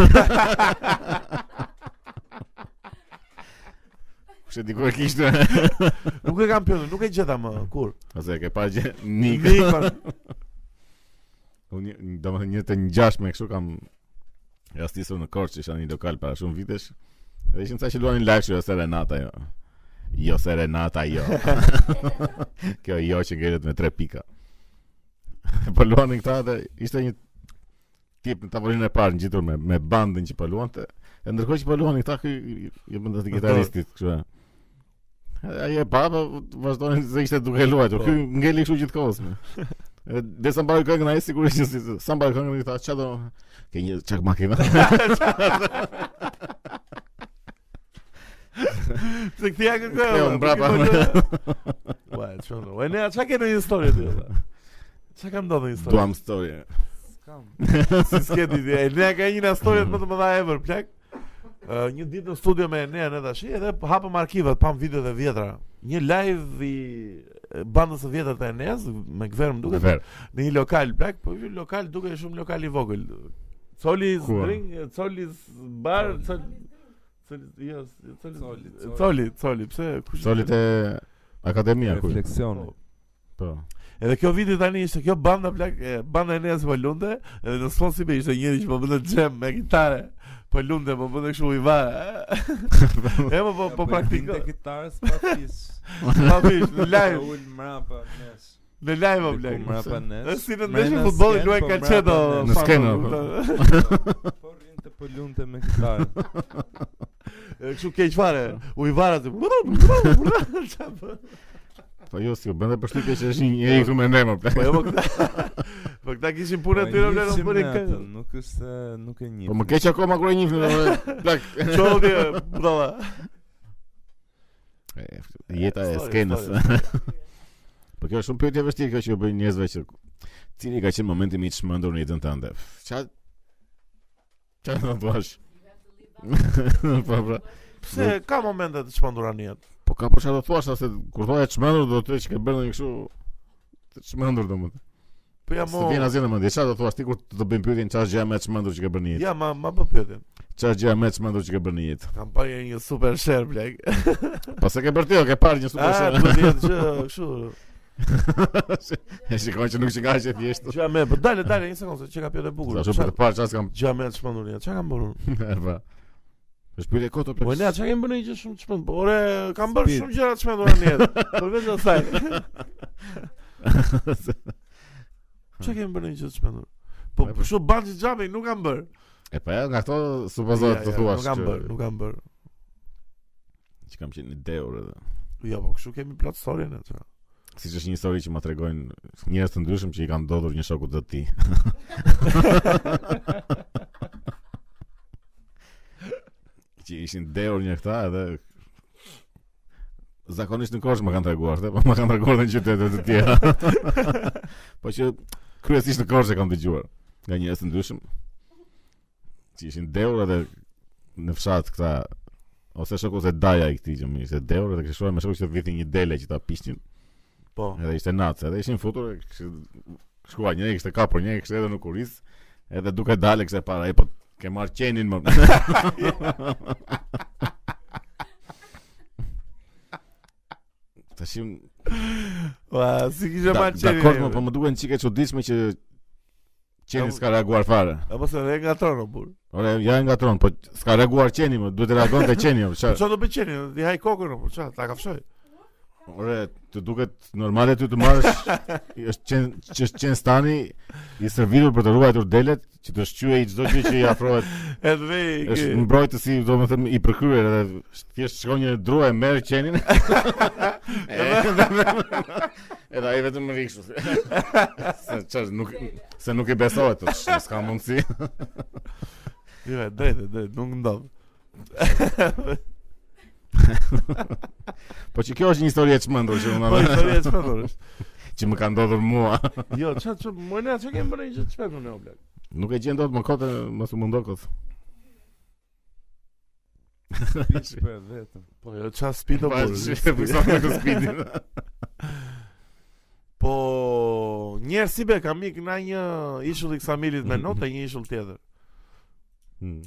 [SPEAKER 1] Kush e di ku e kishte?
[SPEAKER 2] Nuk e kam pyetur, nuk e gjeta më kur.
[SPEAKER 1] Ose e ke pa gjë Nikon.
[SPEAKER 2] Niko.
[SPEAKER 1] Unë do më thënë një të ngjashme kështu kam Ja stisëm në Korçë, isha në një lokal para shumë vitesh. Dhe ishin sa që luanin lakshu jo serenata jo. Jo serenata jo. Kjo jo që ngelet me tre pika. po luanin këta dhe ishte një tip në tavolinën e parë ngjitur me me bandin që po luante. E ndërkohë që po luanin këta ky jo mund të gitaristit kështu. e. Edhe Ai e pa, po vazhdonin se ishte duke luajtur. Ky ngeli kështu gjithkohës. me. Edhe desa mbaroi këngën ai sigurisht që si- sa mbaroi këngën i tha çfarë do ke një çak makina.
[SPEAKER 2] Se këti ja kërkoj.
[SPEAKER 1] Ktheu
[SPEAKER 2] valla,
[SPEAKER 1] mbrapa.
[SPEAKER 2] po kërkoj. Ua, çfarë? Ua, ne çka kemi një histori aty. valla? Çka kam ndodhur një histori?
[SPEAKER 1] Duam story.
[SPEAKER 3] S'kam.
[SPEAKER 2] si s'ke ditë. Enea ka një nga storyt më të mëdha ever, plak. Ë, një ditë në studio me Enea ne tash, edhe hapëm arkivat, pam videot e vjetra. Një live i e, bandës së vjetër të Eneas me Gver më duket
[SPEAKER 1] Ver.
[SPEAKER 2] në një lokal plak, po ky lokal duke shumë lokal i vogël. Coli
[SPEAKER 1] Ku?
[SPEAKER 2] drink, coli bar, coli coli jo, coli
[SPEAKER 3] Coli,
[SPEAKER 2] coli,
[SPEAKER 3] coli.
[SPEAKER 2] coli, pse kush
[SPEAKER 1] Solit e akademia ku.
[SPEAKER 3] Refleksioni.
[SPEAKER 1] Po.
[SPEAKER 2] Edhe kjo viti tani ishte kjo banda plak, e, banda e nesër po lunde, edhe në sfond si be ishte njëri që po bënte xhem me kitare. Po lunde, po bënte kështu i vara. e mo po po praktikoj.
[SPEAKER 3] Te kitarës pa fish.
[SPEAKER 2] Pa fish në
[SPEAKER 3] Ka
[SPEAKER 2] live,
[SPEAKER 3] Ul mrapa mes.
[SPEAKER 2] në live o
[SPEAKER 3] Diku
[SPEAKER 2] plak.
[SPEAKER 3] mrapa nes.
[SPEAKER 2] Është si në
[SPEAKER 3] Mrena
[SPEAKER 2] ndeshje futbolli
[SPEAKER 3] sken,
[SPEAKER 2] luaj
[SPEAKER 3] po
[SPEAKER 2] ka
[SPEAKER 3] mrapa
[SPEAKER 2] çedo.
[SPEAKER 1] Në
[SPEAKER 3] nes.
[SPEAKER 2] pa-
[SPEAKER 1] skenë, po.
[SPEAKER 3] Po rrin të pëllunte me kitarë.
[SPEAKER 2] E, Kështu keq fare. U i vara ti.
[SPEAKER 1] Po jo, si u bënte përshtypje që është një njeri këtu me ne më plak.
[SPEAKER 2] Po jo po këta. Po këta kishin punë aty në
[SPEAKER 3] Po,
[SPEAKER 2] plak,
[SPEAKER 3] njihsim
[SPEAKER 2] punë
[SPEAKER 3] ne
[SPEAKER 2] kë.
[SPEAKER 3] atë, Nuk është se nuk e njih.
[SPEAKER 1] Po më keq akoma kur e njihni domethënë plak.
[SPEAKER 2] Çodi, budalla.
[SPEAKER 1] E, Jeta e
[SPEAKER 2] Sorry,
[SPEAKER 1] skenës.
[SPEAKER 2] sorry.
[SPEAKER 1] Po kjo është shumë pyetje e vështirë kjo që u bën njerëzve që cili ka qenë momenti më i çmendur në jetën tënde. Ça Ça do të thuash? Po pra.
[SPEAKER 2] Pse ka momente të çmendura në jetë?
[SPEAKER 1] Po ka po çfarë do thuash se kur thoya çmendur do të thotë që ke bërë një kështu të çmendur domethënë.
[SPEAKER 2] Po ja
[SPEAKER 1] S'të
[SPEAKER 2] mo.
[SPEAKER 1] vjen asgjë në mendje. Çfarë do thuash ti kur të të bëjmë pyetjen çfarë gjëja më e çmendur që ke bërë në jetë?
[SPEAKER 2] Ja, ma ma po pyetim.
[SPEAKER 1] Çfarë gjëja më e çmendur që ke bërë në jetë?
[SPEAKER 2] Kam parë një super share blek.
[SPEAKER 1] Po se ke bërë ti, o, ke parë një super
[SPEAKER 2] Ah,
[SPEAKER 1] shë.
[SPEAKER 2] po di atë gjë kështu.
[SPEAKER 1] E shikon që nuk që ka që thjesht.
[SPEAKER 2] Gjë më, po dale dale një sekondë, se çka pyetë e bukur.
[SPEAKER 1] Sa shumë për të parë çfarë kam.
[SPEAKER 2] Gjë më të çmendur një. Çka kam bërë? unë?
[SPEAKER 1] Po. Është pyetje koto
[SPEAKER 2] Po ne
[SPEAKER 1] plot.
[SPEAKER 2] çka kemi bërë një gjë shumë të çmendur. Po ore, kam bërë
[SPEAKER 3] Spit.
[SPEAKER 2] shumë gjëra të çmendura në jetë. Përveç asaj. Çka kemi bërë një gjë të çmendur? Po
[SPEAKER 1] E, po.
[SPEAKER 2] kështu banxhi xhami nuk kam bërë.
[SPEAKER 1] E pa, nga këto supozohet Po, të thuash.
[SPEAKER 2] Nuk kam
[SPEAKER 1] që-
[SPEAKER 2] bërë, nuk kam bërë.
[SPEAKER 1] Që kam qenë në deur edhe.
[SPEAKER 2] Jo, po kështu kemi plot storyn atë.
[SPEAKER 1] Siç është një histori që më tregojnë njerëz të ndryshëm që i kanë ndodhur një shoku të tij. që ishin deur një këta edhe zakonisht në Korçë më kanë treguar, se, po më kanë treguar edhe në qytete të tjera. po që kryesisht në Korçë e kam dëgjuar nga njerëz të ndryshëm që ishin deur edhe në fshat këta ose shoku se daja i këtij që më ishte deur edhe kishte shkuar me shoku që vitin një dele që ta pishtin
[SPEAKER 2] Po.
[SPEAKER 1] Edhe ishte natë, edhe ishin futur, e kishte shkuar një, kishte kapur një, kishte edhe në kuriz, edhe duke dalë kishte para, e po ke marr qenin më. Tashim,
[SPEAKER 2] Ua, si kishe
[SPEAKER 1] da-
[SPEAKER 2] marrë qenin.
[SPEAKER 1] dakord më, po më duken çike çuditshme që qeni s'ka reaguar fare.
[SPEAKER 2] Apo se dhe nga tronë burr.
[SPEAKER 1] Ore, ja e ngatron, po s'ka reaguar qeni më, duhet të reagonte qeni, jo, më,
[SPEAKER 2] Po
[SPEAKER 1] çfarë?
[SPEAKER 2] çfarë do bëj qenin? Ti haj kokën apo çfarë? Ta kafshoj.
[SPEAKER 1] Ore, të duket normale ty të marrësh është qen që është qen stani i servitur për të ruajtur delet që të shqyej çdo gjë që i afrohet.
[SPEAKER 2] Edhe vej.
[SPEAKER 1] Është
[SPEAKER 2] ke-
[SPEAKER 1] mbrojtësi, domethënë i përkryer edhe thjesht shkon një drua e merr qenin. E, Edhe ai vetëm rri kështu. Se çfarë nuk se nuk i besohet, thotë, "Sh, s'ka mundësi.
[SPEAKER 2] Jo, drejtë, drejtë, nuk ndodh.
[SPEAKER 1] Po që kjo është një histori e çmendur që unë
[SPEAKER 2] Po
[SPEAKER 1] them,
[SPEAKER 2] historia e çfarë është?
[SPEAKER 1] që më ka ndodhur mua.
[SPEAKER 2] Jo, ç'a ç'a, më ne ç'a kemi bërë një gjë të çmendur ne o blek.
[SPEAKER 1] Nuk e gjen dot më kote, mos u mundo kot.
[SPEAKER 3] Pish për vetëm.
[SPEAKER 2] Po jo, ç'a spi do
[SPEAKER 1] Po, që-
[SPEAKER 2] burr.
[SPEAKER 1] fikson me kuspidin.
[SPEAKER 2] Po njerë si be kam ik na një ishull i Ksamilit me notë e një ishull tjetër.
[SPEAKER 1] Hmm.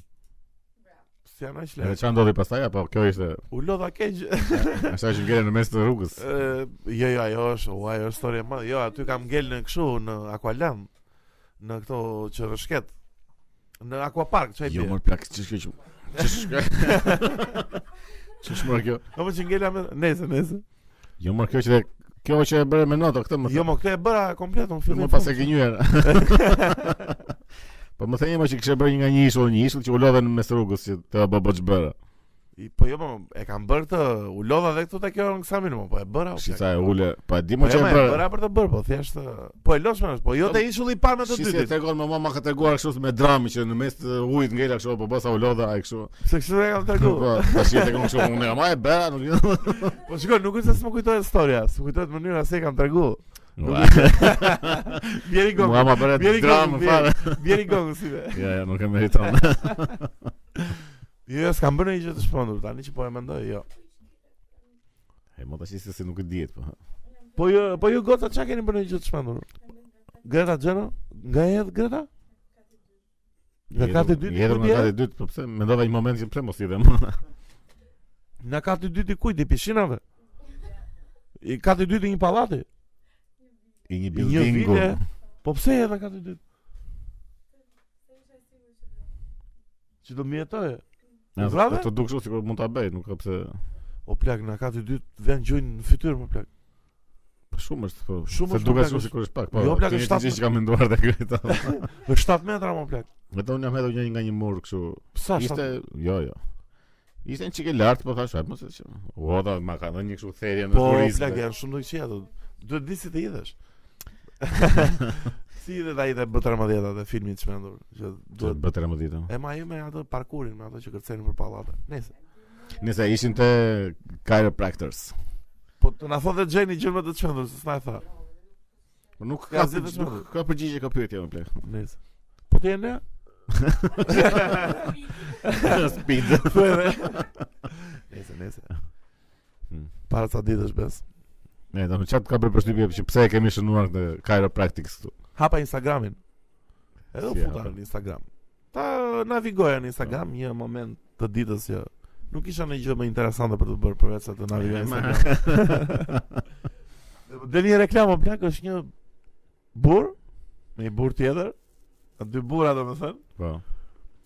[SPEAKER 2] Si janë aq
[SPEAKER 1] Edhe
[SPEAKER 2] lehtë.
[SPEAKER 1] çfarë ndodhi pastaj apo kjo ishte
[SPEAKER 2] U lodha keq.
[SPEAKER 1] Ashtu që ngelen në mes të rrugës.
[SPEAKER 2] Ë, jo, jo, ajo është, ua, ajo është story e madhe. Jo, aty kam ngel në kështu në Aqualand, në këto që rëshket. në Aquapark, çaj
[SPEAKER 1] Jo
[SPEAKER 2] bie.
[SPEAKER 1] më plak, ç'është kjo? që- Ç'është kjo? Ç'është më kjo?
[SPEAKER 2] Jo më që ngela me nese, nese.
[SPEAKER 1] Jo më kjo që dhe- kjo që e bëre me noto këtë më. Jo,
[SPEAKER 2] Jo më këtë e bëra komplet unë
[SPEAKER 1] më
[SPEAKER 2] fillim.
[SPEAKER 1] pas e gënyer. Po më thënë më që kishte bërë një nga një ishull, një ishull që u lodhen mes rrugës që të baba ç'bëra.
[SPEAKER 2] I- Po jo më e kam bërë të u lodha dhe këtu te kjo në Ksamin më, po e bëra. o,
[SPEAKER 1] Si
[SPEAKER 2] plak.
[SPEAKER 1] sa e ule, pa e di
[SPEAKER 2] Po
[SPEAKER 1] më
[SPEAKER 2] jo,
[SPEAKER 1] ç'e
[SPEAKER 2] më e
[SPEAKER 1] bëra.
[SPEAKER 2] bëra për të bërë, po thjesht ë, po e losh më, po jo te ishulli pa me të
[SPEAKER 1] Si si e
[SPEAKER 2] dytit.
[SPEAKER 1] tregon më mama ka treguar kështu me dramë që në mes të ujit ngela kështu po bosa u lodha ai kështu.
[SPEAKER 2] Se kështu e kam treguar.
[SPEAKER 1] Po tash e tregon kështu unë ama e bëra, nuk e
[SPEAKER 2] Po shikoj, nuk është se më kujtohet historia, s'më kujtohet mënyra se e kam treguar.
[SPEAKER 1] Ua,
[SPEAKER 2] Bjeri gong,
[SPEAKER 1] Mua ma bëre
[SPEAKER 2] Bjeri
[SPEAKER 1] dramë
[SPEAKER 2] gong,
[SPEAKER 1] fare.
[SPEAKER 2] bjeri gong si be.
[SPEAKER 1] Ja, ja, nuk e meriton.
[SPEAKER 2] Jo, jo, s'kam bërë një gjë të shpendur tani që po e mendoj, jo.
[SPEAKER 1] E mo tash se si nuk e dihet po.
[SPEAKER 2] Po jo, po ju goca çka keni bërë një gjë të shpendur? Greta Gjeno? Nga edhe Greta? Nga kati dytë?
[SPEAKER 1] Jetër
[SPEAKER 2] kujt
[SPEAKER 1] nga
[SPEAKER 2] je?
[SPEAKER 1] kati dytë, po pse mendova një moment që pse mos i dhe më.
[SPEAKER 2] Nga kati dytë i kujt i pishinave? I kati dytë i një pallati?
[SPEAKER 1] I një
[SPEAKER 2] I një
[SPEAKER 1] buildingu.
[SPEAKER 2] vile? Po pse je nga kati dytë? Që do mjetoje?
[SPEAKER 1] Ja,
[SPEAKER 2] U vrave?
[SPEAKER 1] Të duk kështu sikur mund ta bëj, nuk ka pse.
[SPEAKER 2] O plak, nga kati dytë vjen gjojnë në fytyrë, më plak.
[SPEAKER 1] Po shumë është, po.
[SPEAKER 2] Shumë
[SPEAKER 1] se
[SPEAKER 2] është,
[SPEAKER 1] duket
[SPEAKER 2] plak,
[SPEAKER 1] shumë
[SPEAKER 2] është-
[SPEAKER 1] sikur është pak, po.
[SPEAKER 2] Jo, plak,
[SPEAKER 1] kjo
[SPEAKER 2] është
[SPEAKER 1] është gjë që kam menduar tek këta.
[SPEAKER 2] Në 7 metra, më plak.
[SPEAKER 1] Vetëm unë jam hedhur një nga një mur kështu.
[SPEAKER 2] Sa
[SPEAKER 1] Ishte,
[SPEAKER 2] 7?
[SPEAKER 1] jo, jo. Ishte një çike lart, po thash, "Ai, mos e që. Uoda, ma ka dhënë një kështu therje në
[SPEAKER 2] Po,
[SPEAKER 1] turizëm.
[SPEAKER 2] plak, janë shumë të këqia, do- duhet di si të hidhesh. si hidhet ai te B13 te filmi i çmendur, që
[SPEAKER 1] Do të
[SPEAKER 2] duhet
[SPEAKER 1] bëj 13.
[SPEAKER 2] E ma ju me atë parkurin, me ato që kërcenin për pallate. Nëse.
[SPEAKER 1] Nëse ishin te chiropractors.
[SPEAKER 2] Po të na thonë dhe Gjeni gjë më të çmendur, se s'na e tha.
[SPEAKER 1] Po nuk
[SPEAKER 2] Ka
[SPEAKER 1] ka,
[SPEAKER 2] zënë
[SPEAKER 1] përgj-
[SPEAKER 2] shumë.
[SPEAKER 1] nuk ka përgjigje ka pyetje më plak.
[SPEAKER 2] Nëse. Po ti e ne?
[SPEAKER 1] Speed.
[SPEAKER 2] Po e ne. Nëse, nëse.
[SPEAKER 1] Hmm.
[SPEAKER 2] Para sa ditësh bes.
[SPEAKER 1] Ne, do të çat ka bërë përshtypje që pse e kemi shënuar këtë chiropractics këtu.
[SPEAKER 2] Hapa Instagramin. Edhe u
[SPEAKER 1] Si e
[SPEAKER 2] futa
[SPEAKER 1] hapa?
[SPEAKER 2] në Instagram. Ta navigoja në Instagram një moment të ditës që nuk isha në gjë më interesante për të bërë përveç se të navigoja në Instagram. Dhe një reklamë plak është një burr, me një burr tjetër, dy burra domethënë.
[SPEAKER 1] Po.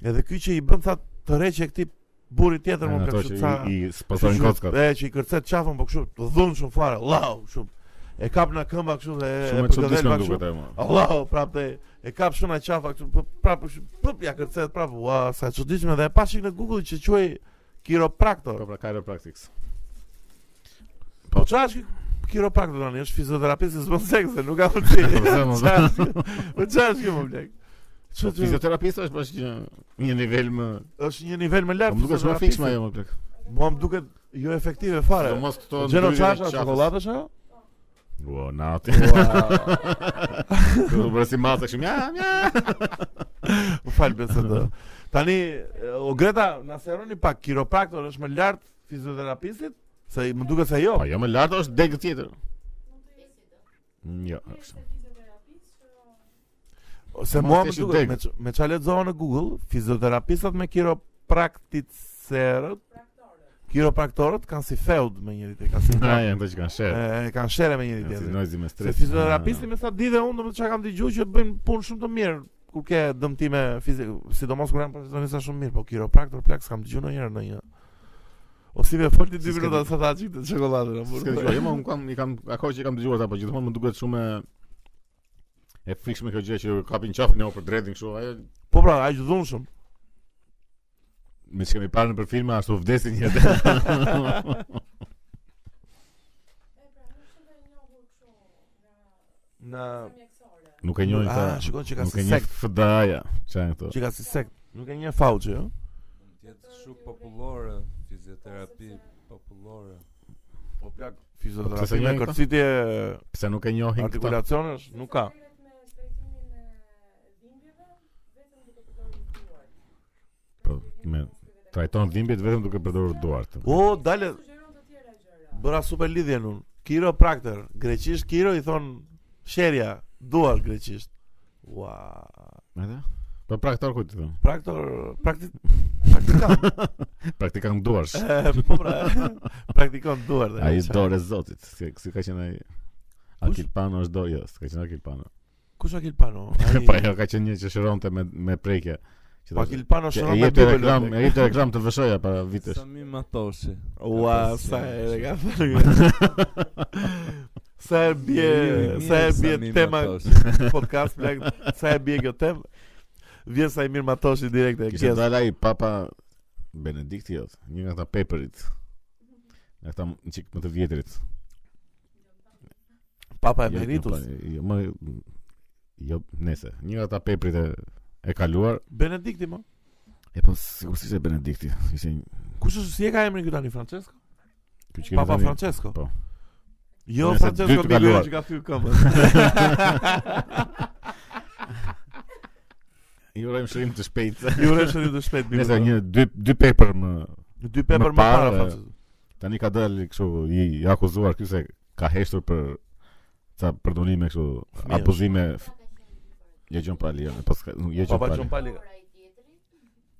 [SPEAKER 2] Edhe ky që i bën tha të rreqe këtij burri tjetër më
[SPEAKER 1] Janë
[SPEAKER 2] plak
[SPEAKER 1] ato
[SPEAKER 2] kështu
[SPEAKER 1] që
[SPEAKER 2] ca.
[SPEAKER 1] i, i spasojnë Po kockat.
[SPEAKER 2] E që i kërcet qafën po kështu të dhun shumë fare. Allahu, shumë. E kap në këmba kështu dhe e-
[SPEAKER 1] Shumë
[SPEAKER 2] e
[SPEAKER 1] e çuditshme
[SPEAKER 2] përgëdhelma kështu.
[SPEAKER 1] duket ajo. mo.
[SPEAKER 2] Allahu, prapë e kap shumë qafa kështu, po prapë kështu, pop ja kërcet prapë. Ua, sa e çuditshme dhe e pashin në Google që quhej
[SPEAKER 1] Po
[SPEAKER 2] kiropraktor.
[SPEAKER 1] pra chiropractics.
[SPEAKER 2] Po çfarë është ky kiropraktor tani? Është fizioterapist i s'bën seks, se nuk ka
[SPEAKER 1] Po
[SPEAKER 2] mundësi.
[SPEAKER 1] pse mos?
[SPEAKER 2] Çfarë është ky? Po çfarë është kjo më blek?
[SPEAKER 1] Po,
[SPEAKER 2] Çu çu
[SPEAKER 1] Fizioterapisti është bash një një nivel më,
[SPEAKER 2] është një nivel më
[SPEAKER 1] po
[SPEAKER 2] lart.
[SPEAKER 1] më duket shumë
[SPEAKER 2] fizioterapisti.
[SPEAKER 1] fikshme ajo më plak.
[SPEAKER 2] Mua më duket jo efektive fare.
[SPEAKER 1] Domos këto
[SPEAKER 2] Gjeno
[SPEAKER 1] ndryshime
[SPEAKER 2] çfarë
[SPEAKER 1] të
[SPEAKER 2] është
[SPEAKER 1] qafës.
[SPEAKER 2] çokoladësh ajo?
[SPEAKER 1] Ua, nati.
[SPEAKER 2] Ua,
[SPEAKER 1] Do bëre si masa kështu. Ja, ja.
[SPEAKER 2] Më fal besë të. Tani e, o Greta, na seroni pak kiropraktor është më lart fizioterapistit? Se i- më duket se jo.
[SPEAKER 1] Po jo më lart është degë tjetër. Mm, Jo. është.
[SPEAKER 2] Po. Se
[SPEAKER 1] mos
[SPEAKER 2] mua
[SPEAKER 1] të
[SPEAKER 2] më
[SPEAKER 1] ishi po, deg.
[SPEAKER 2] duket me ç- me çfarë lexova në Google, fizioterapistët me kiroprakticerët kiropraktorët kanë si feud me njëri tjetrin, kanë si
[SPEAKER 1] Na janë ato që kanë share.
[SPEAKER 2] e, kanë shere me njëri
[SPEAKER 1] Janë Si
[SPEAKER 2] tjetrin.
[SPEAKER 1] noizi me
[SPEAKER 2] Se
[SPEAKER 1] stres.
[SPEAKER 2] fizioterapisti me sa di dhe unë, do të çka kam dëgjuar që bëjnë punë shumë të mirë kur ke dëmtime fizike, sidomos kur janë profesionistë shumë mirë, po kiropraktor plak s'kam dëgjuar ndonjëherë ndonjë. O si më folti 2
[SPEAKER 1] S'ke
[SPEAKER 2] minuta
[SPEAKER 1] dëgjuar.
[SPEAKER 2] sa ta çikte çokoladën. apo-
[SPEAKER 1] S'ke dëgjuar, jo, më unë kam, i kam, ako që i kam dëgjuar ta, po gjithmonë më duket shumë e e frikshme kjo gjë që kapin qafën e o për dredin kështu, ajo
[SPEAKER 2] Po pra, ai dhunshëm.
[SPEAKER 1] me që kemi parë në për filma ashtu vdesin një ditë.
[SPEAKER 2] Në
[SPEAKER 1] Nuk e njohin
[SPEAKER 2] Ah,
[SPEAKER 1] ta.
[SPEAKER 2] shikon që ka
[SPEAKER 1] Nuk
[SPEAKER 2] si
[SPEAKER 1] e njeh
[SPEAKER 2] sekt,
[SPEAKER 1] fdaja, çan këto.
[SPEAKER 2] që ka si sekt. Nuk e njeh jo? fauçi,
[SPEAKER 1] Po
[SPEAKER 2] ëh.
[SPEAKER 3] Tjetë shumë popullore, fizioterapi popullore.
[SPEAKER 2] Po plak
[SPEAKER 1] Po pse
[SPEAKER 2] fizioterapi
[SPEAKER 1] janë
[SPEAKER 2] me
[SPEAKER 1] këta?
[SPEAKER 2] kërcitje
[SPEAKER 1] Pse nuk e njohin këta?
[SPEAKER 2] artikulacionesh nuk ka.
[SPEAKER 1] Po, me trajton dhimbjet vetëm duke përdorur duart.
[SPEAKER 2] O dale Po, bëra super lidhjen unë. Kiropraktor, greqisht kiro i thon sherja, duar greqisht. Ua.
[SPEAKER 1] Edhe? Po praktor ku ti thon?
[SPEAKER 2] Praktor, praktik praktikant.
[SPEAKER 1] Praktikant duarsh.
[SPEAKER 2] E, po pra. Praktikon duar dhe.
[SPEAKER 1] Ai
[SPEAKER 2] Qa-
[SPEAKER 1] dorë e Zotit, si, si ka qenë ai Akil Pano është do, jo, s'ka qenë Akil Pano.
[SPEAKER 2] Kush Akil Pano?
[SPEAKER 1] Po
[SPEAKER 2] Ai. Po,
[SPEAKER 1] ajo ka qenë një që shëronte me me prekje Që
[SPEAKER 2] Pa
[SPEAKER 1] ta-
[SPEAKER 2] Kilpano
[SPEAKER 1] që E
[SPEAKER 2] shënon me
[SPEAKER 1] jep të
[SPEAKER 2] dubel.
[SPEAKER 1] reklam, e jep të reklam të vëshoja para vitesh.
[SPEAKER 3] Sami Matoshi.
[SPEAKER 2] Ua,
[SPEAKER 3] Ka pas
[SPEAKER 2] sa
[SPEAKER 3] qenë
[SPEAKER 2] herë
[SPEAKER 3] që-
[SPEAKER 2] ka thënë. Sa herë bie,
[SPEAKER 3] Mirë,
[SPEAKER 2] sa herë bie
[SPEAKER 3] mirë, Sami
[SPEAKER 2] tema
[SPEAKER 3] Matoshi.
[SPEAKER 1] Po,
[SPEAKER 2] podcast plak, sa herë bie kjo temë. Vjen sa i mirë Matoshi direkt e
[SPEAKER 1] Kishte
[SPEAKER 2] kjes.
[SPEAKER 1] dalë ai Papa Benedikti jot, një nga ata paperit. Nga ata m- një çik më të vjetrit.
[SPEAKER 2] Papa
[SPEAKER 1] Jo, jo,
[SPEAKER 2] Emeritus.
[SPEAKER 1] pa- Jo, më jo, nese. Një nga ata paperit e e kaluar.
[SPEAKER 2] Benedikti më.
[SPEAKER 1] E po sigurisht ishte Benedikti. Ishte një-
[SPEAKER 2] Kush është si e ka emrin këtu tani Francesco?
[SPEAKER 1] ky që kemi
[SPEAKER 2] Papa
[SPEAKER 1] tani.
[SPEAKER 2] Francesco.
[SPEAKER 1] Po.
[SPEAKER 2] Jo
[SPEAKER 1] Nëse dy
[SPEAKER 2] Francesco
[SPEAKER 1] të
[SPEAKER 2] Migu
[SPEAKER 1] kaluar.
[SPEAKER 2] që ka thyr këmbën.
[SPEAKER 1] Ju urojmë shërim të shpejtë.
[SPEAKER 2] Ju uroj shërim të shpejt Migu.
[SPEAKER 1] Nëse një dy dy paper më
[SPEAKER 2] dy pepër
[SPEAKER 1] më
[SPEAKER 2] më para
[SPEAKER 1] parë,
[SPEAKER 2] Francesco.
[SPEAKER 1] tani ka dalë kështu i i akuzuar ky se ka heshtur për ca përdorime kështu
[SPEAKER 2] Fëmijësh.
[SPEAKER 1] abuzime. Jo gjon pa lirë, po s'ka- nuk jo gjon
[SPEAKER 2] Papa
[SPEAKER 1] pa.
[SPEAKER 2] John Pali.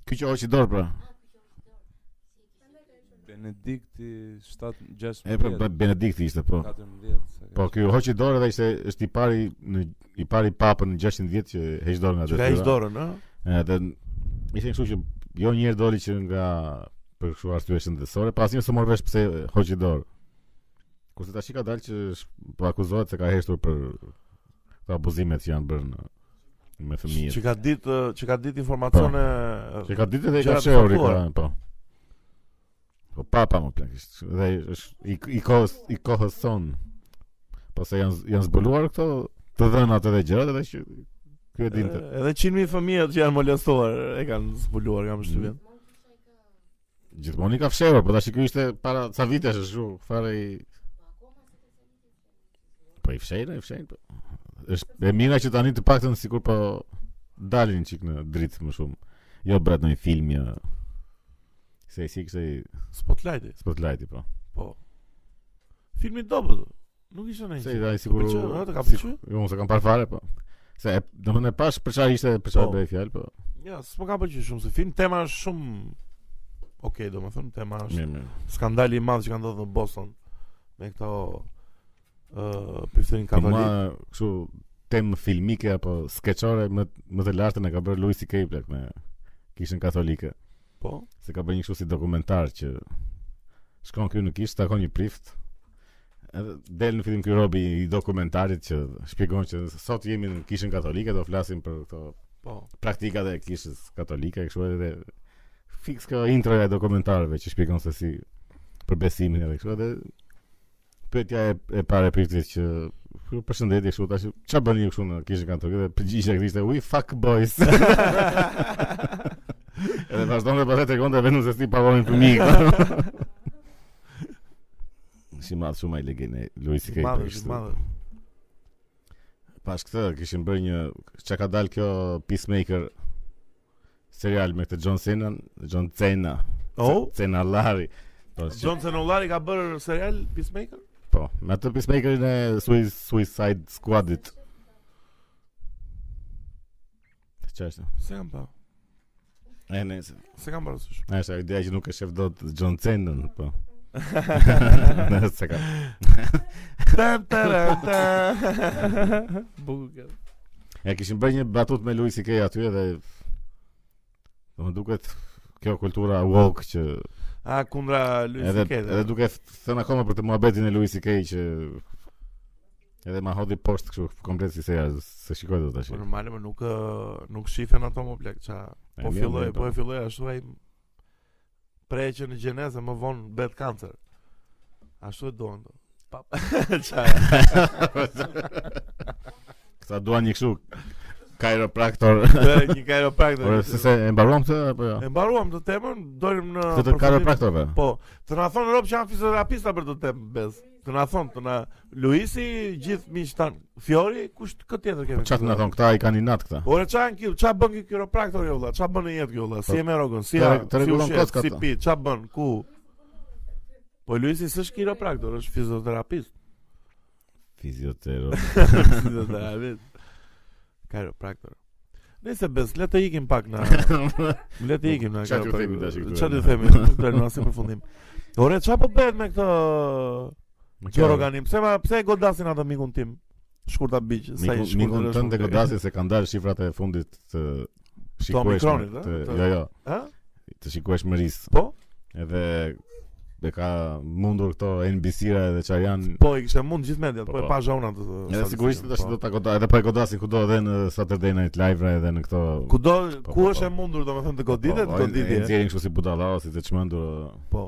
[SPEAKER 1] Ky që hoqi dorë pra.
[SPEAKER 3] Benedikti 7 16.
[SPEAKER 1] E po Benedikti ishte po.
[SPEAKER 3] 14. se ka
[SPEAKER 1] Po ky hoqi dorë dhe ishte është i pari në i pari papën në 600 vjet që heq dorë nga
[SPEAKER 2] Që ka hiq
[SPEAKER 1] detyra.
[SPEAKER 2] dorën, ëh?
[SPEAKER 1] Edhe n- ishte kështu që jo një herë doli që nga për kështu arsye shëndetësore, pas një s'u mor vesh pse hoqi dorë. Kurse tash i ka dalë që sh- po akuzohet se ka heshtur për këto abuzimet që janë bërë në me fëmijët.
[SPEAKER 2] Që ka ditë ë, që ka ditë informacione
[SPEAKER 1] Po. Që ka ditë dhe i ka
[SPEAKER 2] Gjëra të
[SPEAKER 1] shehur i ka,
[SPEAKER 2] caktuar.
[SPEAKER 1] po. Po papa më plak ishte. Dhe është i, i kohës i kohës son. Pastaj janë z- janë zbuluar këto të dhënat edhe gjërat edhe që ky e dinte.
[SPEAKER 2] E- Edhe 100.000 fëmijë që janë molestuar e kanë zbuluar kam
[SPEAKER 1] Mhm.
[SPEAKER 2] shtypjen.
[SPEAKER 1] Gjithmonë i ka fshehur, po tash ky ishte para ca vitesh ashtu, fare i Po i fshehën, i fshehën. Po. Është e mira që tani të paktën sikur po dalin çik në dritë më shumë. Jo bret në një film ja. Se si kishte i
[SPEAKER 2] Spotlighti.
[SPEAKER 1] spotlighti po.
[SPEAKER 2] Po. Filmi i dobët. Nuk
[SPEAKER 1] Se
[SPEAKER 2] ishte ndonjë.
[SPEAKER 1] i daj
[SPEAKER 2] Të
[SPEAKER 1] sigur.
[SPEAKER 2] pëlqeu, ëh, të Po, ka
[SPEAKER 1] si-
[SPEAKER 2] pëlqyer?
[SPEAKER 1] Jo, unë se kam parë fare, po. Se e- domethënë e pash për çfarë ishte, për çfarë
[SPEAKER 2] Po.
[SPEAKER 1] bëhej fjalë, po.
[SPEAKER 2] Ja, s'më ka pëlqyer shumë se film, tema është shumë Okej, domethënë tema është
[SPEAKER 1] Mirë, mirë.
[SPEAKER 2] skandali i madh që ka ndodhur në Boston me këto ë prifterin
[SPEAKER 1] Ka
[SPEAKER 2] katolik.
[SPEAKER 1] kështu temë filmike apo skeçore më më të lartën e ka bërë Louis C.K. plak me kishën katolike.
[SPEAKER 2] Po.
[SPEAKER 1] Se ka bërë një kështu si dokumentar që shkon këtu në kishë, takon një prift. Edhe del në fillim ky robi i dokumentarit që shpjegon që sot jemi në kishën katolike, do flasim për këto
[SPEAKER 2] Po.
[SPEAKER 1] praktikat e kishës katolike, kështu edhe fiks ka introja e dokumentarëve që shpjegon se si për besimin edhe kështu edhe pyetja e, e parë e priftit që "Ju përshëndetje kështu tash ç'a bën ju kështu në kishën katolike dhe përgjigjja kishte we fuck boys. edhe vazhdonte pastaj tregonte vetëm se si pavonin fëmijë. Si madh shumë ai legjende Luisi Kej.
[SPEAKER 2] Madh, është, madh.
[SPEAKER 1] Pas këtë kishin bërë një çka ka dalë kjo Peacemaker serial me këtë John Cena, John Cena.
[SPEAKER 2] Oh,
[SPEAKER 1] Cena Lari. Po, që-
[SPEAKER 2] John Cenollari ka bërë serial Peacemaker?
[SPEAKER 1] po, me atë Peacemakerin e Sui- Suicide Squadit. Çfarë është?
[SPEAKER 2] Se kam pa.
[SPEAKER 1] E nëse.
[SPEAKER 2] Se kam parasysh.
[SPEAKER 1] A është ideja që nuk e shef dot John Cena, po. Nëse ka.
[SPEAKER 2] Tan tan tan. Bukur.
[SPEAKER 1] E kishin bërë një batut me Louis C.K. aty edhe do më duket kjo kultura woke që
[SPEAKER 2] A kundra Luis
[SPEAKER 1] Edhe
[SPEAKER 2] Kete.
[SPEAKER 1] edhe duke f- thënë akoma për të muhabetin e Louis C.K. që edhe ma hodhi poshtë kështu komplet si seja, se shikoj dot tash.
[SPEAKER 2] Po normale, më nuk ë, nuk shifen ato më plak ça.
[SPEAKER 1] E,
[SPEAKER 2] Po
[SPEAKER 1] mirë,
[SPEAKER 2] filloi,
[SPEAKER 1] mirë,
[SPEAKER 2] po
[SPEAKER 1] po.
[SPEAKER 2] e filloi ashtu ai preqe në gjenezë më vonë bet kancer. Ashtu e duan. do. Pa. Ça.
[SPEAKER 1] Këta duan një kështu kajropraktor.
[SPEAKER 2] Bëre një kajropraktor.
[SPEAKER 1] Por se se e mbaruam këtë apo jo?
[SPEAKER 2] E mbaruam të temën, dolim në
[SPEAKER 1] Këtë të
[SPEAKER 2] përfundim.
[SPEAKER 1] kajropraktorëve.
[SPEAKER 2] Po, të na thonë në Europë që janë fizioterapista për të temë, bez. Të na thonë, të na Luisi, gjithë miqtë tanë. Fiori, kush këtë tjetër kemi?
[SPEAKER 1] Po Çfarë të na thon këta i kanë inat këta.
[SPEAKER 2] Ora çan kjo, ç'a bën ky kiropraktor jo vëlla? Ç'a bën në jetë kjo vëlla? Si
[SPEAKER 1] Po,
[SPEAKER 2] e merr rrogën? Si
[SPEAKER 1] të
[SPEAKER 2] ha?
[SPEAKER 1] reg- të rregullon
[SPEAKER 2] si ushqet,
[SPEAKER 1] kockat,
[SPEAKER 2] Si
[SPEAKER 1] ta.
[SPEAKER 2] pi? Ç'a bën? Ku? Po Luisi s'është kiropraktor, është fizioterapist.
[SPEAKER 1] Fiziotero.
[SPEAKER 2] fizioterapist. Kiropraktor. Nëse bes, le të ikim pak na. Le të ikim na.
[SPEAKER 1] Ç'a t'ju
[SPEAKER 2] kiropraktor.
[SPEAKER 1] themi tash këtu,
[SPEAKER 2] Ç'a
[SPEAKER 1] e,
[SPEAKER 2] t'ju
[SPEAKER 1] na?
[SPEAKER 2] themi? Nuk do të na përfundim. Ore, ç'a po bëhet me këtë Gjoroganin? Pse ma, pse e godasin atë mikun tim? Shkurta biç, sa i
[SPEAKER 1] Mikun
[SPEAKER 2] shkurtër
[SPEAKER 1] mikun
[SPEAKER 2] është,
[SPEAKER 1] tënd e
[SPEAKER 2] nuk e-
[SPEAKER 1] godasin se kanë dalë shifrat e fundit të shikohesh.
[SPEAKER 2] Omikronit,
[SPEAKER 1] me-
[SPEAKER 2] ë?
[SPEAKER 1] të-
[SPEAKER 2] Të-
[SPEAKER 1] Jo, jo.
[SPEAKER 2] Ha?
[SPEAKER 1] Të shikohesh mëris.
[SPEAKER 2] Po?
[SPEAKER 1] Edhe e ka mundur këto NBC-ra edhe çfarë janë.
[SPEAKER 2] Po, i kishte mund gjithë mediat,
[SPEAKER 1] Po,
[SPEAKER 2] po e
[SPEAKER 1] po.
[SPEAKER 2] pa zhauna atë. të-
[SPEAKER 1] Edhe
[SPEAKER 2] statistikën,
[SPEAKER 1] sigurisht tash
[SPEAKER 2] po.
[SPEAKER 1] do ta goda, edhe po e godasin kudo edhe në Saturday Night Live ra edhe në këto
[SPEAKER 2] Kudo
[SPEAKER 1] Po, po,
[SPEAKER 2] ku është
[SPEAKER 1] po.
[SPEAKER 2] e mundur domethënë të goditet,
[SPEAKER 1] po,
[SPEAKER 2] të
[SPEAKER 1] po, e- e
[SPEAKER 2] goditje.
[SPEAKER 1] Nxjerrin kështu si budalla ose si të çmendur. ë.
[SPEAKER 2] Po.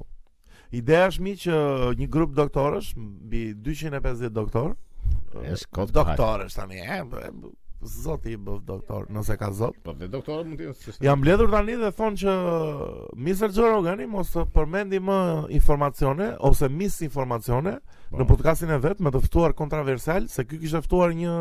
[SPEAKER 2] Ideja është mi që një grup doktorësh, mbi 250 doktor,
[SPEAKER 1] Është kot
[SPEAKER 2] doktorësh tani, e, e, zoti i bëv doktor, nëse ka zot.
[SPEAKER 1] Po, dhe doktor mund të jetë.
[SPEAKER 2] Jam mbledhur tani dhe thonë që Mr. Joe Rogani mos të përmendi më informacione ose misinformacione
[SPEAKER 1] Po.
[SPEAKER 2] në podcastin e vet me të ftuar kontroversial se ky kishte ftuar një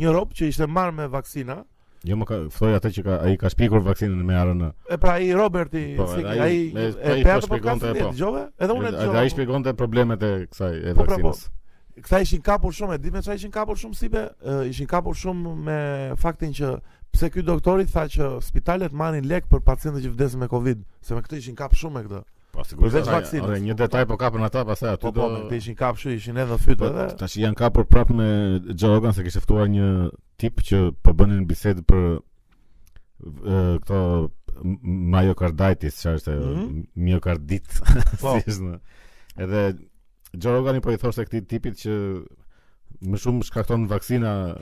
[SPEAKER 2] një rob që ishte marrë me vaksina.
[SPEAKER 1] Jo më ka ftoi atë që ka ai ka shpikur vaksinën me RN.
[SPEAKER 2] E pra ai Roberti,
[SPEAKER 1] Po,
[SPEAKER 2] si-
[SPEAKER 1] edhe ai-
[SPEAKER 2] ai
[SPEAKER 1] me-
[SPEAKER 2] e
[SPEAKER 1] ai po
[SPEAKER 2] pe atë
[SPEAKER 1] shpjegonte,
[SPEAKER 2] podcastin e
[SPEAKER 1] po.
[SPEAKER 2] dëgjove? Edhe unë e
[SPEAKER 1] Edhe ai
[SPEAKER 2] dëgjova.
[SPEAKER 1] shpjegonte problemet e kësaj e
[SPEAKER 2] Po, pra, po.
[SPEAKER 1] vaksinës.
[SPEAKER 2] Këta ishin kapur shumë, e di me çfarë ishin kapur shumë si be, e, ishin kapur shumë me faktin që pse ky doktori tha që spitalet marrin lek për pacientët që vdesin me Covid, se me këtë ishin kap shumë me këtë.
[SPEAKER 1] Po sigurisht.
[SPEAKER 2] Përveç
[SPEAKER 1] ata-
[SPEAKER 2] vaksinës.
[SPEAKER 1] ore, Një detaj po kapën ata pastaj aty
[SPEAKER 2] Po
[SPEAKER 1] do.
[SPEAKER 2] po, me këtë ishin kap shumë, ishin edhe fytë edhe.
[SPEAKER 1] Po, Tash janë kapur prap me Joe Rogan se kishte ftuar një tip që po bënin bisedë për e, këto m- myocarditis, çfarë është ajo?
[SPEAKER 2] Mhm.
[SPEAKER 1] Myocardit.
[SPEAKER 2] Po.
[SPEAKER 1] si është në. Edhe Joe Rogani po i thoshte këtij tipit që më shumë shkakton vaksina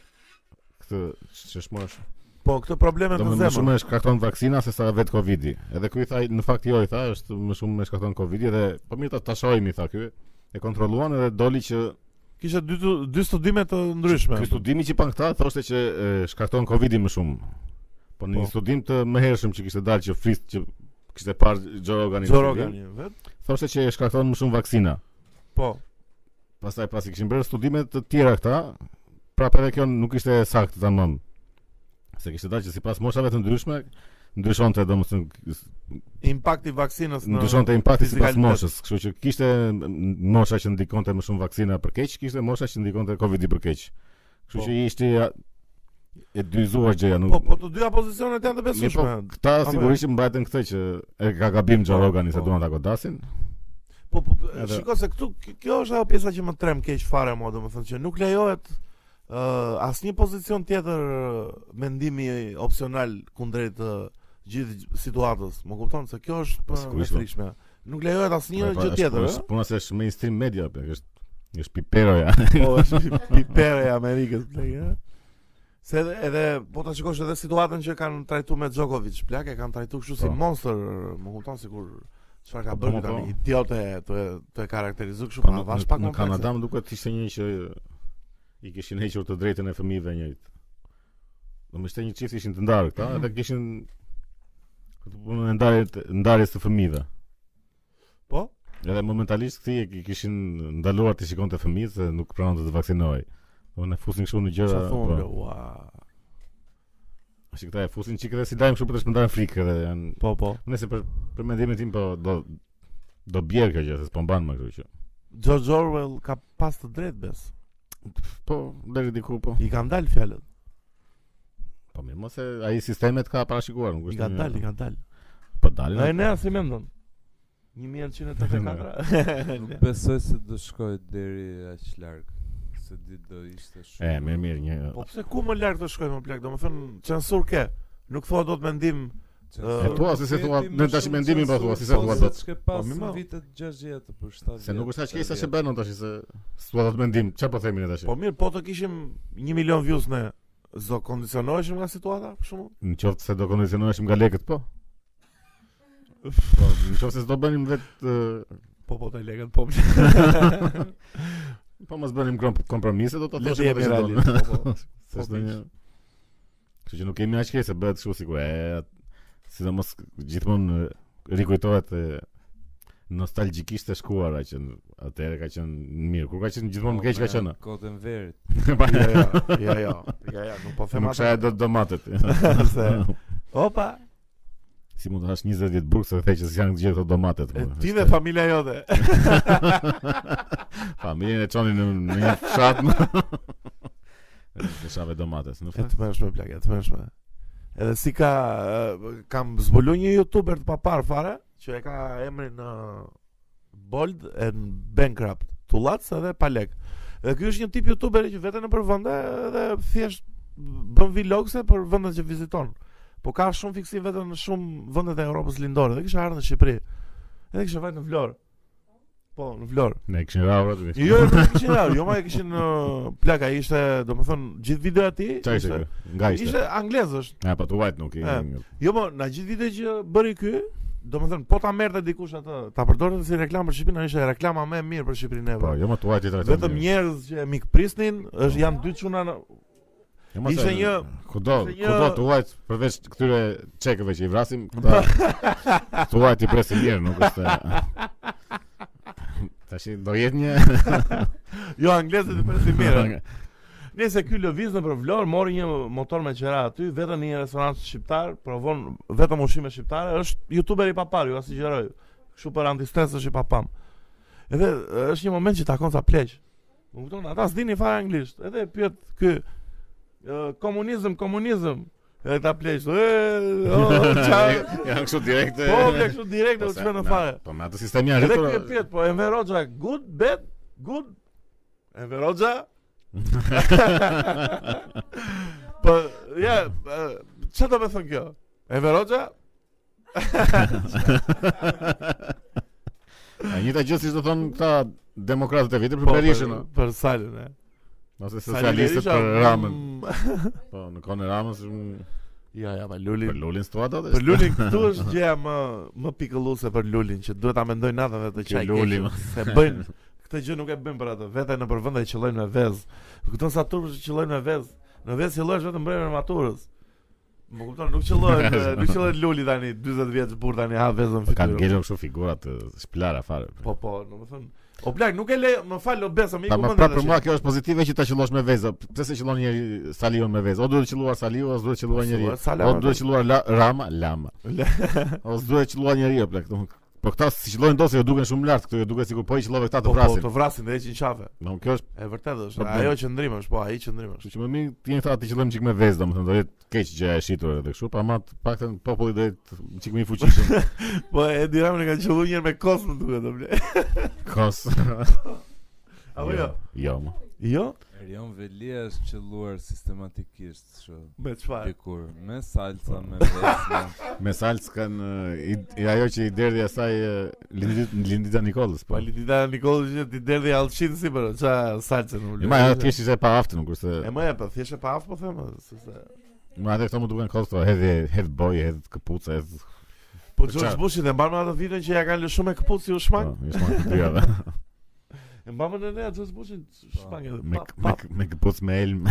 [SPEAKER 1] këtë që shmosh.
[SPEAKER 2] Po, këtë probleme
[SPEAKER 1] Do
[SPEAKER 2] në
[SPEAKER 1] më më
[SPEAKER 2] zemër.
[SPEAKER 1] shumë e shkakton vaksina se sa vetë Covidi. Edhe ky i tha në fakt jo i tha është më shumë e shkakton Covidi dhe po mirë ta tashohemi tha ky. E kontrolluan edhe doli që
[SPEAKER 2] Kishte dy tu- dy studime të ndryshme.
[SPEAKER 1] Ky studimi që pan këta thoshte që e, shkakton Covidi më shumë. Po në një
[SPEAKER 2] Po.
[SPEAKER 1] studim të mëhershëm që kishte dalë që frist që kishte parë Joe Rogan.
[SPEAKER 2] Joe Rogani vet.
[SPEAKER 1] Thoshte që e shkakton më shumë vaksina.
[SPEAKER 2] Po.
[SPEAKER 1] Pastaj pasi kishin bërë studime të tjera këta, prapë edhe kjo nuk ishte saktë tamam. Se kishte dalë që sipas moshave të ndryshme ndryshonte domethënë
[SPEAKER 2] Impakti i vaksinës në
[SPEAKER 1] ndryshonte impakti sipas
[SPEAKER 2] fizikalitet.
[SPEAKER 1] moshës, kështu që kishte m- mosha që ndikonte më shumë vaksina për keq, kishte mosha që ndikonte Covidi për keq. Kështu
[SPEAKER 2] Po.
[SPEAKER 1] që ishte ja- e dyzuar gjëja, nuk
[SPEAKER 2] Po, po të dyja pozicionet
[SPEAKER 1] Mirë,
[SPEAKER 2] janë të
[SPEAKER 1] po,
[SPEAKER 2] besueshme.
[SPEAKER 1] këta
[SPEAKER 2] Ame.
[SPEAKER 1] sigurisht që mbajtën këtë që e ka gabim Joe
[SPEAKER 2] Po,
[SPEAKER 1] Rogani se
[SPEAKER 2] po.
[SPEAKER 1] duan ta godasin.
[SPEAKER 2] Po, po, po,
[SPEAKER 1] Edhe-
[SPEAKER 2] shiko se këtu k- kjo është ajo pjesa që më trem keq fare mua, domethënë që nuk lejohet ë asnjë pozicion tjetër ë, mendimi opsional kundrejt ë, gjithë gj- situatës. Më kupton se kjo është
[SPEAKER 1] Po,
[SPEAKER 2] për
[SPEAKER 1] sigurisht, po.
[SPEAKER 2] frikshme. Nuk lejohet
[SPEAKER 1] Po,
[SPEAKER 2] asnjë
[SPEAKER 1] po,
[SPEAKER 2] gjë
[SPEAKER 1] është-
[SPEAKER 2] tjetër,
[SPEAKER 1] është
[SPEAKER 2] ë?
[SPEAKER 1] Puna se është mainstream media, pe, është është pipero ja.
[SPEAKER 2] Po, është pi- pipere e Amerikës, plak, ë? Se edhe, edhe po ta shikosh edhe situatën që kanë trajtuar me Djokovic, plak e kanë trajtuar kështu si
[SPEAKER 1] Po.
[SPEAKER 2] monster, më kupton sikur çfarë ka
[SPEAKER 1] Po,
[SPEAKER 2] bërë
[SPEAKER 1] po,
[SPEAKER 2] tani,
[SPEAKER 1] po.
[SPEAKER 2] idiotë të të karakterizuar
[SPEAKER 1] Po,
[SPEAKER 2] kështu pa
[SPEAKER 1] në-
[SPEAKER 2] vash
[SPEAKER 1] në-
[SPEAKER 2] pak
[SPEAKER 1] në
[SPEAKER 2] komplekse.
[SPEAKER 1] Kanada më duket ishte një që i kishin hequr të drejtën e fëmijëve njëjt. Do më ishte një çift ishin të ndarë këta, edhe kishin këtë punën e ndarjes ndarjes të fëmijëve.
[SPEAKER 2] Po?
[SPEAKER 1] Edhe momentalisht këti e ki- kishin ndaluar të shikonte fëmijët se nuk pranonte të vaksinohej. Do ne fusin kështu në gjëra.
[SPEAKER 2] Çfarë
[SPEAKER 1] po.
[SPEAKER 2] thonë? bro? Ua.
[SPEAKER 1] Shi këta e fusin çik edhe si lajm kështu për të shpërndarë frikë edhe janë
[SPEAKER 2] Po, po.
[SPEAKER 1] Nëse për për mendimin tim po do do bjerë kjo gjë, se s'po mban më kështu që.
[SPEAKER 2] George Orwell ka pas të drejtë bes.
[SPEAKER 1] Po, deri diku po.
[SPEAKER 2] I kanë dalë fjalët.
[SPEAKER 1] Po mirë, mos e ai sistemet ka parashikuar, nuk
[SPEAKER 2] I
[SPEAKER 1] është.
[SPEAKER 2] kanë
[SPEAKER 1] një-
[SPEAKER 2] dalë, i kanë dalë.
[SPEAKER 1] Po dalin.
[SPEAKER 2] Ai
[SPEAKER 1] atë.
[SPEAKER 2] ne si mendon? 1984.
[SPEAKER 3] Besoj se do shkoj deri aq larg, se di do ishte shumë.
[SPEAKER 1] E, mirë, mirë, një.
[SPEAKER 2] po pse ku më lart të shkojmë më plak? Domethënë censur ke. Nuk thua dot mendim.
[SPEAKER 3] Qensur
[SPEAKER 2] E
[SPEAKER 1] thua, se se
[SPEAKER 3] keti,
[SPEAKER 1] thua,
[SPEAKER 3] më
[SPEAKER 1] ne tash
[SPEAKER 3] shumë
[SPEAKER 1] mendimin po
[SPEAKER 3] qensur,
[SPEAKER 1] thua, si se thua
[SPEAKER 3] Po
[SPEAKER 1] dot.
[SPEAKER 3] se çke pas
[SPEAKER 2] Po, mi ma.
[SPEAKER 3] vitet 60 apo 70.
[SPEAKER 1] Se nuk është aq keq sa që bënon tash se s'ua do të mendim, çfarë po themi ne tash?
[SPEAKER 2] Po mirë, po të kishim 1 milion views ne. Zdo kondicionoheshim nga situata, për shembull?
[SPEAKER 1] Në qoftë se do kondicionoheshim nga lekët, po. Po, në qoftë se s'do bënim vetë
[SPEAKER 2] Po po të legët po.
[SPEAKER 1] po mos bënim krom- kompromise, do ta
[SPEAKER 2] Le të
[SPEAKER 1] thoshim
[SPEAKER 2] jemi
[SPEAKER 1] atë që
[SPEAKER 2] realist.
[SPEAKER 1] donë.
[SPEAKER 2] Po po.
[SPEAKER 1] Se
[SPEAKER 2] Po,
[SPEAKER 1] është
[SPEAKER 2] miq.
[SPEAKER 1] një. Kështu që nuk kemi aq keq se bëhet kështu sikur e sidomos gjithmonë e, rikujtohet e nostalgjikisht e shkuara që në- atëherë ka qenë mirë. Kur ka qenë gjithmonë më keq ka qenë.
[SPEAKER 3] Kodën verit.
[SPEAKER 2] Jo, jo, jo, jo, jo, jo, nuk po
[SPEAKER 1] Se
[SPEAKER 2] them
[SPEAKER 1] nuk shaja do të domatet.
[SPEAKER 2] Se- Opa,
[SPEAKER 1] si mund të hash 20 ditë burg se the që s'janë gjithë ato domatet. po.
[SPEAKER 2] e
[SPEAKER 1] mo.
[SPEAKER 2] ti dhe familja jote.
[SPEAKER 1] Familjen e çonin në në një fshat. Në shave domates, në
[SPEAKER 2] E
[SPEAKER 1] fakt.
[SPEAKER 2] të mërshme, plak, e të mërshme. Edhe si ka, e, kam zbulu një youtuber të papar fare, që e ka emrin uh, Bold and Bankrupt, Tullac edhe Palek. Dhe ky është një tip youtuberi që veten nëpër vende dhe thjesht bën vlogse për vendet që viziton. Po ka shumë fiksim vetëm në shumë vendet e Europës lindore. Dhe kisha ardhur në Shqipëri. Edhe kisha vajt në Vlorë. Po, në Vlorë.
[SPEAKER 1] Ne kishin rravë aty.
[SPEAKER 2] Jo, jo, nuk kishin rarë, jo ma e kishin uh, plaka, ishte, do më thënë, gjithë video ati,
[SPEAKER 1] Çfarë ishte?
[SPEAKER 2] ishte,
[SPEAKER 1] kjo? Nga ishte.
[SPEAKER 2] ishte anglezësh.
[SPEAKER 1] Ja, pa tu vajt nuk i.
[SPEAKER 2] E. Jo, mo, në gjithë video që bëri ky, do më thënë, po ta merrte dikush atë, ta përdorte si reklamë për Shqipërinë, ishte reklama më e mirë për Shqipërinë
[SPEAKER 1] Po,
[SPEAKER 2] e
[SPEAKER 1] jo më tu vajt tjetër.
[SPEAKER 2] Vetëm njerëz që e mikprisnin, është janë dy çuna në...
[SPEAKER 1] Jo,
[SPEAKER 2] ishte një-
[SPEAKER 1] kudo,
[SPEAKER 2] ishte një-
[SPEAKER 1] kudo tu vajt përveç këtyre çekeve që i vrasim, këta tu vajt i presin mirë, nuk është. Tash do jetë një
[SPEAKER 2] Jo, anglezët e përsi mirë. Nëse ky lëviz nëpër Vlorë mori një motor me qera aty, vetëm në një restorant shqiptar, provon vetëm ushqime shqiptare, është youtuber i papar, ju asugjeroj. Kështu për antistres është i papam. Edhe e, është një moment që takon sa pleq. Më kupton, ata s'dinin fare anglisht. Edhe e pyet ky e, komunizëm, komunizëm. Edhe ta pleq. E, o, çfarë?
[SPEAKER 1] Ja, kështu direkte.
[SPEAKER 2] Po, ble kështu direkt u
[SPEAKER 1] Po, se-
[SPEAKER 2] çmën në
[SPEAKER 1] na-
[SPEAKER 2] fare.
[SPEAKER 1] Po, me atë sistem janë
[SPEAKER 2] Edhe
[SPEAKER 1] rritur.
[SPEAKER 2] ky e pyet, po Enver Hoxha, good, bad, good. Enver Hoxha. po, ja, çfarë do të thon kjo? Enver Hoxha?
[SPEAKER 1] E njëta gjë siç do thonë këta demokratët e vjetër për
[SPEAKER 2] Po,
[SPEAKER 1] Berishën, a?
[SPEAKER 2] për Salin, e.
[SPEAKER 1] ose
[SPEAKER 2] Sali
[SPEAKER 1] socialistët
[SPEAKER 2] Berisha,
[SPEAKER 1] për Ramën.
[SPEAKER 2] mm,
[SPEAKER 1] Po, në kohën e Ramës mm,
[SPEAKER 2] Ja, ja, pa
[SPEAKER 1] për
[SPEAKER 2] Lulin.
[SPEAKER 1] Lulin situata
[SPEAKER 2] Për Lulin këtu është gjëja më më pikëlluese për Lulin që duhet ta mendoj natën dhe të
[SPEAKER 1] Ke
[SPEAKER 2] çaj.
[SPEAKER 1] Luli,
[SPEAKER 2] keqe,
[SPEAKER 1] ma.
[SPEAKER 2] se bëjnë këtë gjë nuk e bëjnë për atë. Vetë në përvende qellojnë me vez. Kupton sa turp qellojnë me vez. Në vez qellohesh vetëm brenda maturës. Më kupton, nuk qellohet, eh, nuk qellohet Luli tani 40 vjeç burr tani ha vezën
[SPEAKER 1] Po kanë
[SPEAKER 2] fytyrë.
[SPEAKER 1] ngelur kështu figura të shplara fare.
[SPEAKER 2] Po po, do të thon. O plak, nuk e le, më fal, o besa, më i
[SPEAKER 1] Ta më
[SPEAKER 2] kupton.
[SPEAKER 1] prapë për mua kjo është pozitive që ta qellosh me vezë. Pse se qellon njëri Saliun me vezë? O duhet qelluar Saliu, o duhet qelluar njëri.
[SPEAKER 2] Qelluar Sala,
[SPEAKER 1] O
[SPEAKER 2] me
[SPEAKER 1] duhet
[SPEAKER 2] vezë.
[SPEAKER 1] qelluar La- Rama, Lama. O duhet qelluar njëri o plak. domthon, Po këta si qellojnë dosë, jo duken shumë lart këtu, jo duket sikur po i qellove këta të
[SPEAKER 2] Po po,
[SPEAKER 1] vrasin.
[SPEAKER 2] të vrasin dhe heqin qafe.
[SPEAKER 1] Domthon kjo është,
[SPEAKER 2] E vërtetë është,
[SPEAKER 1] Problem.
[SPEAKER 2] ajo qëndrim është, po ai qëndrim është.
[SPEAKER 1] kështu që më mirë ti jeni këta të qellojmë çik me vezë, domethënë do jetë keq që e shitur edhe kështu, pa mat paktën populli do jetë çik më i fuqishëm.
[SPEAKER 2] Po e Dinamën e kanë qelluar një herë me kos, më duket, o plak.
[SPEAKER 1] Kos.
[SPEAKER 2] Apo jo?
[SPEAKER 1] Jo, ma.
[SPEAKER 2] Jo?
[SPEAKER 3] Erion Velia është qelluar sistematikisht kështu
[SPEAKER 2] Me çfarë?
[SPEAKER 3] dikur me salca, me po. vesme.
[SPEAKER 1] Me salcë kanë eh, i- i- ajo që i derdhi asaj eh, Lindit Lindita Nikolës, po.
[SPEAKER 2] Validita Nikolaj që ti derdhi allçin si për ça salcën ulë.
[SPEAKER 1] E ma ajo thjesht ishte pa aftën, kurse
[SPEAKER 2] E më e po thjesht e pa af po them, se se.
[SPEAKER 1] ma atë këto më duken kosto, hedh hedh boj, hedh kapuca, hedh.
[SPEAKER 2] Po
[SPEAKER 1] Po
[SPEAKER 2] George
[SPEAKER 1] qa?
[SPEAKER 2] Bushi dhe mbanë atë videon që ja kanë lëshu me këpucë si u shmang.
[SPEAKER 1] Po, ishte më dyra. dhe.
[SPEAKER 2] E mbanë në ne George Bushin shmang edhe
[SPEAKER 1] Me
[SPEAKER 2] pap,
[SPEAKER 1] me
[SPEAKER 2] pap.
[SPEAKER 1] me kapuc me elm.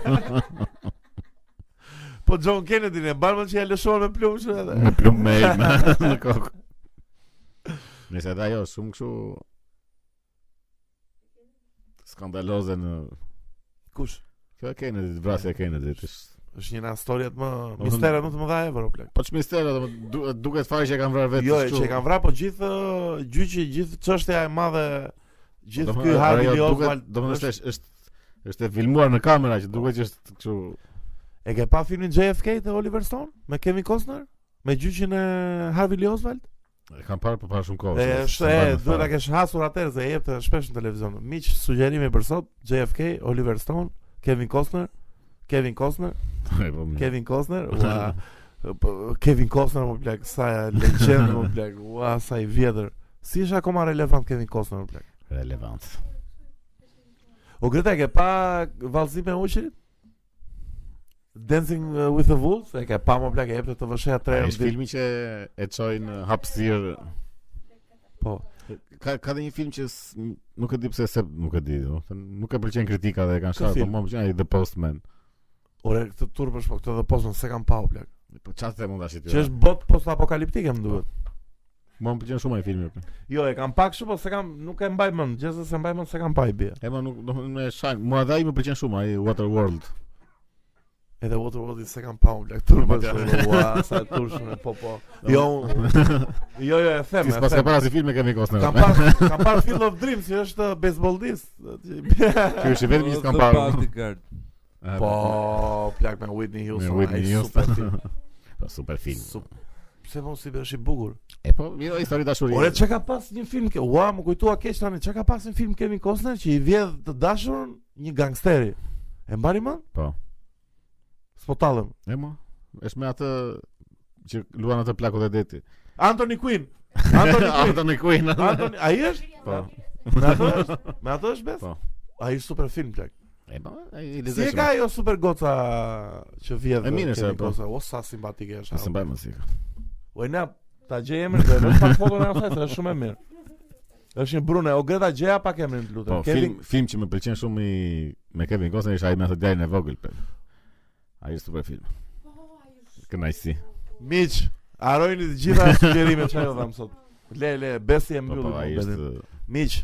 [SPEAKER 2] Po John Kennedy ne mbanë që ja lëshuan me plumshën edhe.
[SPEAKER 1] Me plumb me elm në kokë. Nëse edhe ajo është shumë kështu skandaloze në
[SPEAKER 2] Kush?
[SPEAKER 1] Kjo e kene ditë, vrasja e kene ditë ishtë-
[SPEAKER 2] Është një nga historiat më
[SPEAKER 1] thënë-
[SPEAKER 2] misteret më të mëdha e vëro plak.
[SPEAKER 1] Po që mistera, do më du- duket fare që e kanë vrarë vetë
[SPEAKER 2] Jo, e
[SPEAKER 1] kështu.
[SPEAKER 2] që e kanë vrarë, po gjithë ë, gjyqi, gjithë çështja e madhe gjithë
[SPEAKER 1] Domethënë,
[SPEAKER 2] ky Harvey
[SPEAKER 1] Po, ajo
[SPEAKER 2] Lee
[SPEAKER 1] duket-
[SPEAKER 2] Oswald.
[SPEAKER 1] domethënë
[SPEAKER 2] është-
[SPEAKER 1] është është është e filmuar në kamera që duket që është kështu
[SPEAKER 2] E ke pa filmin JFK të Oliver Stone me Kevin Costner? Me gjyqin e Harvey Lee Oswald?
[SPEAKER 1] e kam parë për para Po, shumë kohë.
[SPEAKER 2] Dhe
[SPEAKER 1] se-
[SPEAKER 2] është
[SPEAKER 1] se
[SPEAKER 2] e,
[SPEAKER 1] mbajnë
[SPEAKER 2] duhet ta
[SPEAKER 1] fare.
[SPEAKER 2] kesh hasur atëherë se e jep të shpesh në televizion. Miq, sugjerimi për sot, JFK, Oliver Stone, Kevin Costner, Kevin Costner,
[SPEAKER 1] E, po, mirë.
[SPEAKER 2] Kevin Costner, ua, po, Kevin Costner më plak, sa legjendë më plak, ua, sa i vjetër. Si është akoma relevant Kevin Costner më plak?
[SPEAKER 1] relevant.
[SPEAKER 2] O Greta, e ke pa vallëzim me uqërit? Dancing uh, with the Wolves, e ke pa më plak, e jep të të vëshëja tre
[SPEAKER 1] Ai
[SPEAKER 2] herë në
[SPEAKER 1] është
[SPEAKER 2] ditë.
[SPEAKER 1] filmi që e çojnë në hapësirë.
[SPEAKER 2] Po.
[SPEAKER 1] Ka ka dhe një film që s- nuk e di pse se nuk e di, domethënë nuk e pëlqen kritika dhe e kanë
[SPEAKER 2] Kë
[SPEAKER 1] shkruar, po
[SPEAKER 2] film?
[SPEAKER 1] më pëlqen ai The Postman.
[SPEAKER 2] Ore, këtë turp është po këtë dhe posën se kam pa o plak.
[SPEAKER 1] Po çfarë them unë tash ti?
[SPEAKER 2] Që është bot post apokaliptike më duhet.
[SPEAKER 1] Më pëlqen shumë ai filmi. po.
[SPEAKER 2] Jo, e kam pak kështu, po se kam nuk e mbaj mend, gjithsesi se mbaj mend se kam pa i bie.
[SPEAKER 1] E ma nuk domethënë me shaj, mua dhe ai më pëlqen shumë ai Waterworld.
[SPEAKER 2] Edhe Waterworld se kam pa o plak turp
[SPEAKER 1] Ma
[SPEAKER 2] është.
[SPEAKER 1] tja.
[SPEAKER 2] edhe, Ua, sa turshme, po po. Jo, unë- jo, jo, e them,
[SPEAKER 1] Ti
[SPEAKER 2] e
[SPEAKER 1] s'pas ka
[SPEAKER 2] them.
[SPEAKER 1] parë si filmi kemi Costner.
[SPEAKER 2] Kam par, kam par Field of Dreams, që është uh, baseballist.
[SPEAKER 1] Ky është vetëm që s'kam
[SPEAKER 3] The
[SPEAKER 1] parë.
[SPEAKER 3] Po, Bodyguard.
[SPEAKER 1] E,
[SPEAKER 2] Po, plak me Whitney Houston,
[SPEAKER 1] Me Whitney
[SPEAKER 2] ai
[SPEAKER 1] Houston.
[SPEAKER 2] super film.
[SPEAKER 1] Po super film.
[SPEAKER 2] Sup- Pse mos i bësh i bukur?
[SPEAKER 1] E po, mirë histori dashurie.
[SPEAKER 2] Ore çka ka pas një film ke? Ua, më kujtua keq tani, çka ka pas një film Kevin Costner që i vjedh të dashurën një gangsteri. E mbani mend?
[SPEAKER 1] Po.
[SPEAKER 2] S'po tallem.
[SPEAKER 1] E mo. Është me atë që luan atë plakut e deti.
[SPEAKER 2] Anthony Quinn.
[SPEAKER 1] Po,
[SPEAKER 2] Anthony Quinn.
[SPEAKER 1] Anthony Quinn.
[SPEAKER 2] Anthony, ai është?
[SPEAKER 1] Po.
[SPEAKER 2] Me atë është? Me atë është bes?
[SPEAKER 1] Po.
[SPEAKER 2] Ai është super film plak.
[SPEAKER 1] E po, ai i
[SPEAKER 2] Si e
[SPEAKER 1] lezetshëm.
[SPEAKER 2] ka ajo super goca që vjedh?
[SPEAKER 1] E mirë është
[SPEAKER 2] Kemi
[SPEAKER 1] ajo, po.
[SPEAKER 2] goca, O sa simpatike është.
[SPEAKER 1] S'e
[SPEAKER 2] ajo.
[SPEAKER 1] mbaj më si.
[SPEAKER 2] O na ta gjej emrin dhe vetëm pak foton e asaj, se është shumë e mirë. Është një brune, o Greta gjeja pak emrin të lutem.
[SPEAKER 1] Po, film film që më pëlqen shumë i me Kevin Costner është ai me atë djalin e vogël. pe. Ai është super film. Kënaqësi.
[SPEAKER 2] Miq, harojini të gjitha sugjerimet që ajo dham sot. Le, le, besi e
[SPEAKER 1] Po
[SPEAKER 2] mbylli.
[SPEAKER 1] po, ai
[SPEAKER 2] muhabbetin.
[SPEAKER 1] është
[SPEAKER 2] Miq,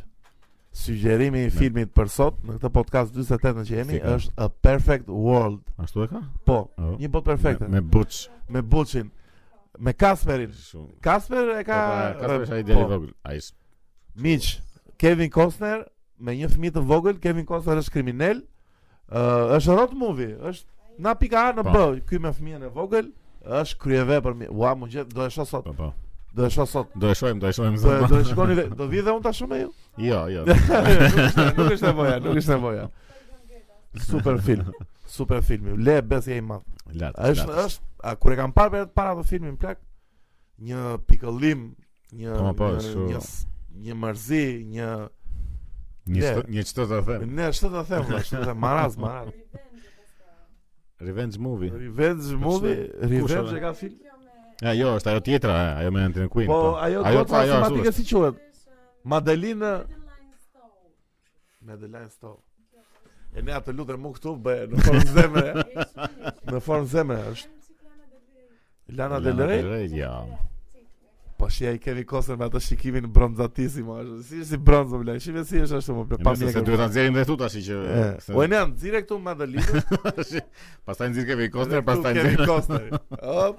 [SPEAKER 2] sugjerimi i filmit për sot në këtë podcast 48-ën që jemi
[SPEAKER 1] Si ka?
[SPEAKER 2] është A Perfect World.
[SPEAKER 1] ashtu e ka?
[SPEAKER 2] Po,
[SPEAKER 1] Oh.
[SPEAKER 2] një botë perfekte
[SPEAKER 1] Me, me Butch.
[SPEAKER 2] me Buçin, me Kasperin.
[SPEAKER 1] Shumë.
[SPEAKER 2] Kasper e
[SPEAKER 1] Ka
[SPEAKER 2] ka
[SPEAKER 1] ka është ai
[SPEAKER 2] po,
[SPEAKER 1] djalë i vogël. Ai është
[SPEAKER 2] Miq, Kevin Costner me një fëmijë të vogël, Kevin Costner është kriminal. Ë është road movie, është na pika A në
[SPEAKER 1] Po.
[SPEAKER 2] B, ky me fëmijën e vogël është kryeve për mi. Ua, më gjet, do e shoh sot.
[SPEAKER 1] po po.
[SPEAKER 2] Do e shoh sot.
[SPEAKER 1] Do e shohim, do e shohim.
[SPEAKER 2] Do
[SPEAKER 1] zonë.
[SPEAKER 2] Po, do e shikoni dhe do vi dhe unë ta shoh me ju.
[SPEAKER 1] Jo, jo.
[SPEAKER 2] nuk është nevoja, nuk është nevoja. Super film. Super film. Le besi e i madh.
[SPEAKER 1] Lat.
[SPEAKER 2] Është është a, kur e kam parë për para të filmin plak një pikëllim, një
[SPEAKER 1] Po, po,
[SPEAKER 2] një,
[SPEAKER 1] është-
[SPEAKER 2] një s- një mërzi, një
[SPEAKER 1] Një
[SPEAKER 2] Le.
[SPEAKER 1] çto- një çto të them.
[SPEAKER 2] ne ç'të të them, valla, ç'të të them, maraz, maraz.
[SPEAKER 1] Revenge movie.
[SPEAKER 2] Revenge movie,
[SPEAKER 1] Kush
[SPEAKER 2] Revenge
[SPEAKER 1] e
[SPEAKER 2] e ka film.
[SPEAKER 1] Ja, jo, është ajo tjetra, e, ajo me Anthony Quinn.
[SPEAKER 2] Po, ajo goca simpatike si quhet? Madeleine Madeline Stowe. E ne atë lutem mu këtu bëj në formë zemre. në formë zemre është. Lana Del Rey.
[SPEAKER 1] Ja.
[SPEAKER 2] Po shi ai Kevin Costner me atë shikimin bronzatisi më është. Si si bronzo vëlla. Shive si është ashtu më plot.
[SPEAKER 1] Pa
[SPEAKER 2] Pa
[SPEAKER 1] se
[SPEAKER 2] mjekër.
[SPEAKER 1] duhet ta nxjerrim dhe tu tash që.
[SPEAKER 2] E, O e ne janë zire këtu Madeline.
[SPEAKER 1] se- Pastaj nxjerr Kevin Costner,
[SPEAKER 2] këtu
[SPEAKER 1] pastaj nxjerr.
[SPEAKER 2] Kevin Costner. Hop.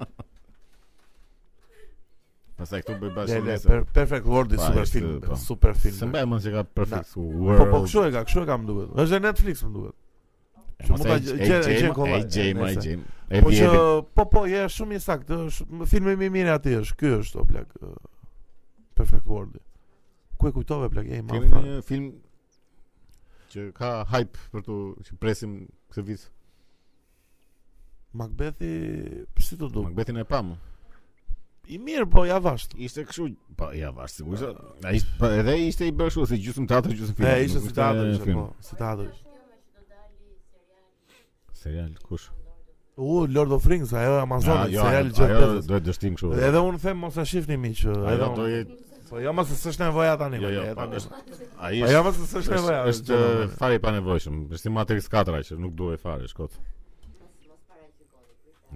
[SPEAKER 1] Pastaj këtu bëj
[SPEAKER 2] Le,
[SPEAKER 1] bashkë.
[SPEAKER 2] le,
[SPEAKER 1] nesër.
[SPEAKER 2] per, Perfect World i
[SPEAKER 1] Pa,
[SPEAKER 2] super
[SPEAKER 1] është,
[SPEAKER 2] film.
[SPEAKER 1] po.
[SPEAKER 2] Super
[SPEAKER 1] Se
[SPEAKER 2] film.
[SPEAKER 1] mbaj mend se ka perfect world.
[SPEAKER 2] Po po kshu e ka, kshu e ka më duhet. Është dhe Netflix më duhet. që mund ta gje- gjen- gjen kollaj.
[SPEAKER 1] Ai Jame, ai
[SPEAKER 2] Nëse.
[SPEAKER 1] Jame. E
[SPEAKER 2] Po që
[SPEAKER 1] vjen.
[SPEAKER 2] po po je shumë i saktë, është filmi më i mirë aty është. Ky është o plak. ë, Perfect World. Ku e kujtove plak? Ej,
[SPEAKER 1] Kemi
[SPEAKER 2] ma.
[SPEAKER 1] një film që ka hype për tu që presim këtë vit.
[SPEAKER 2] Macbethi, si të du?
[SPEAKER 1] Macbethin e pam.
[SPEAKER 2] I mirë, po ja vasht.
[SPEAKER 1] Ishte kështu, po ja vash sigurisht. Ai pa- edhe ishte i bërë kështu si gjysmë teatri, gjysmë film.
[SPEAKER 2] E, ishte
[SPEAKER 1] Nuk
[SPEAKER 2] si teatr, ishte,
[SPEAKER 1] film.
[SPEAKER 2] po, si teatr. ishte.
[SPEAKER 1] Serial kush?
[SPEAKER 2] U, Lord of Rings, ajo e Amazonit,
[SPEAKER 1] jo,
[SPEAKER 2] serial
[SPEAKER 1] ajo-
[SPEAKER 2] gjithë
[SPEAKER 1] ajo
[SPEAKER 2] pesës.
[SPEAKER 1] Duhet dështim kështu.
[SPEAKER 2] Edhe unë them mos e shifni miq, edhe
[SPEAKER 1] Ajo do
[SPEAKER 2] unë.
[SPEAKER 1] jetë
[SPEAKER 2] Po jo mos s'është nevoja tani.
[SPEAKER 1] Jo,
[SPEAKER 2] po,
[SPEAKER 1] jo, po,
[SPEAKER 2] e tani.
[SPEAKER 1] është- ai
[SPEAKER 2] Po jo
[SPEAKER 1] është
[SPEAKER 2] mos s'është
[SPEAKER 1] është,
[SPEAKER 2] nevoja.
[SPEAKER 1] është
[SPEAKER 2] gjë,
[SPEAKER 1] fare i panevojshëm. Është si Matrix 4 ai që nuk duhet fare shkot.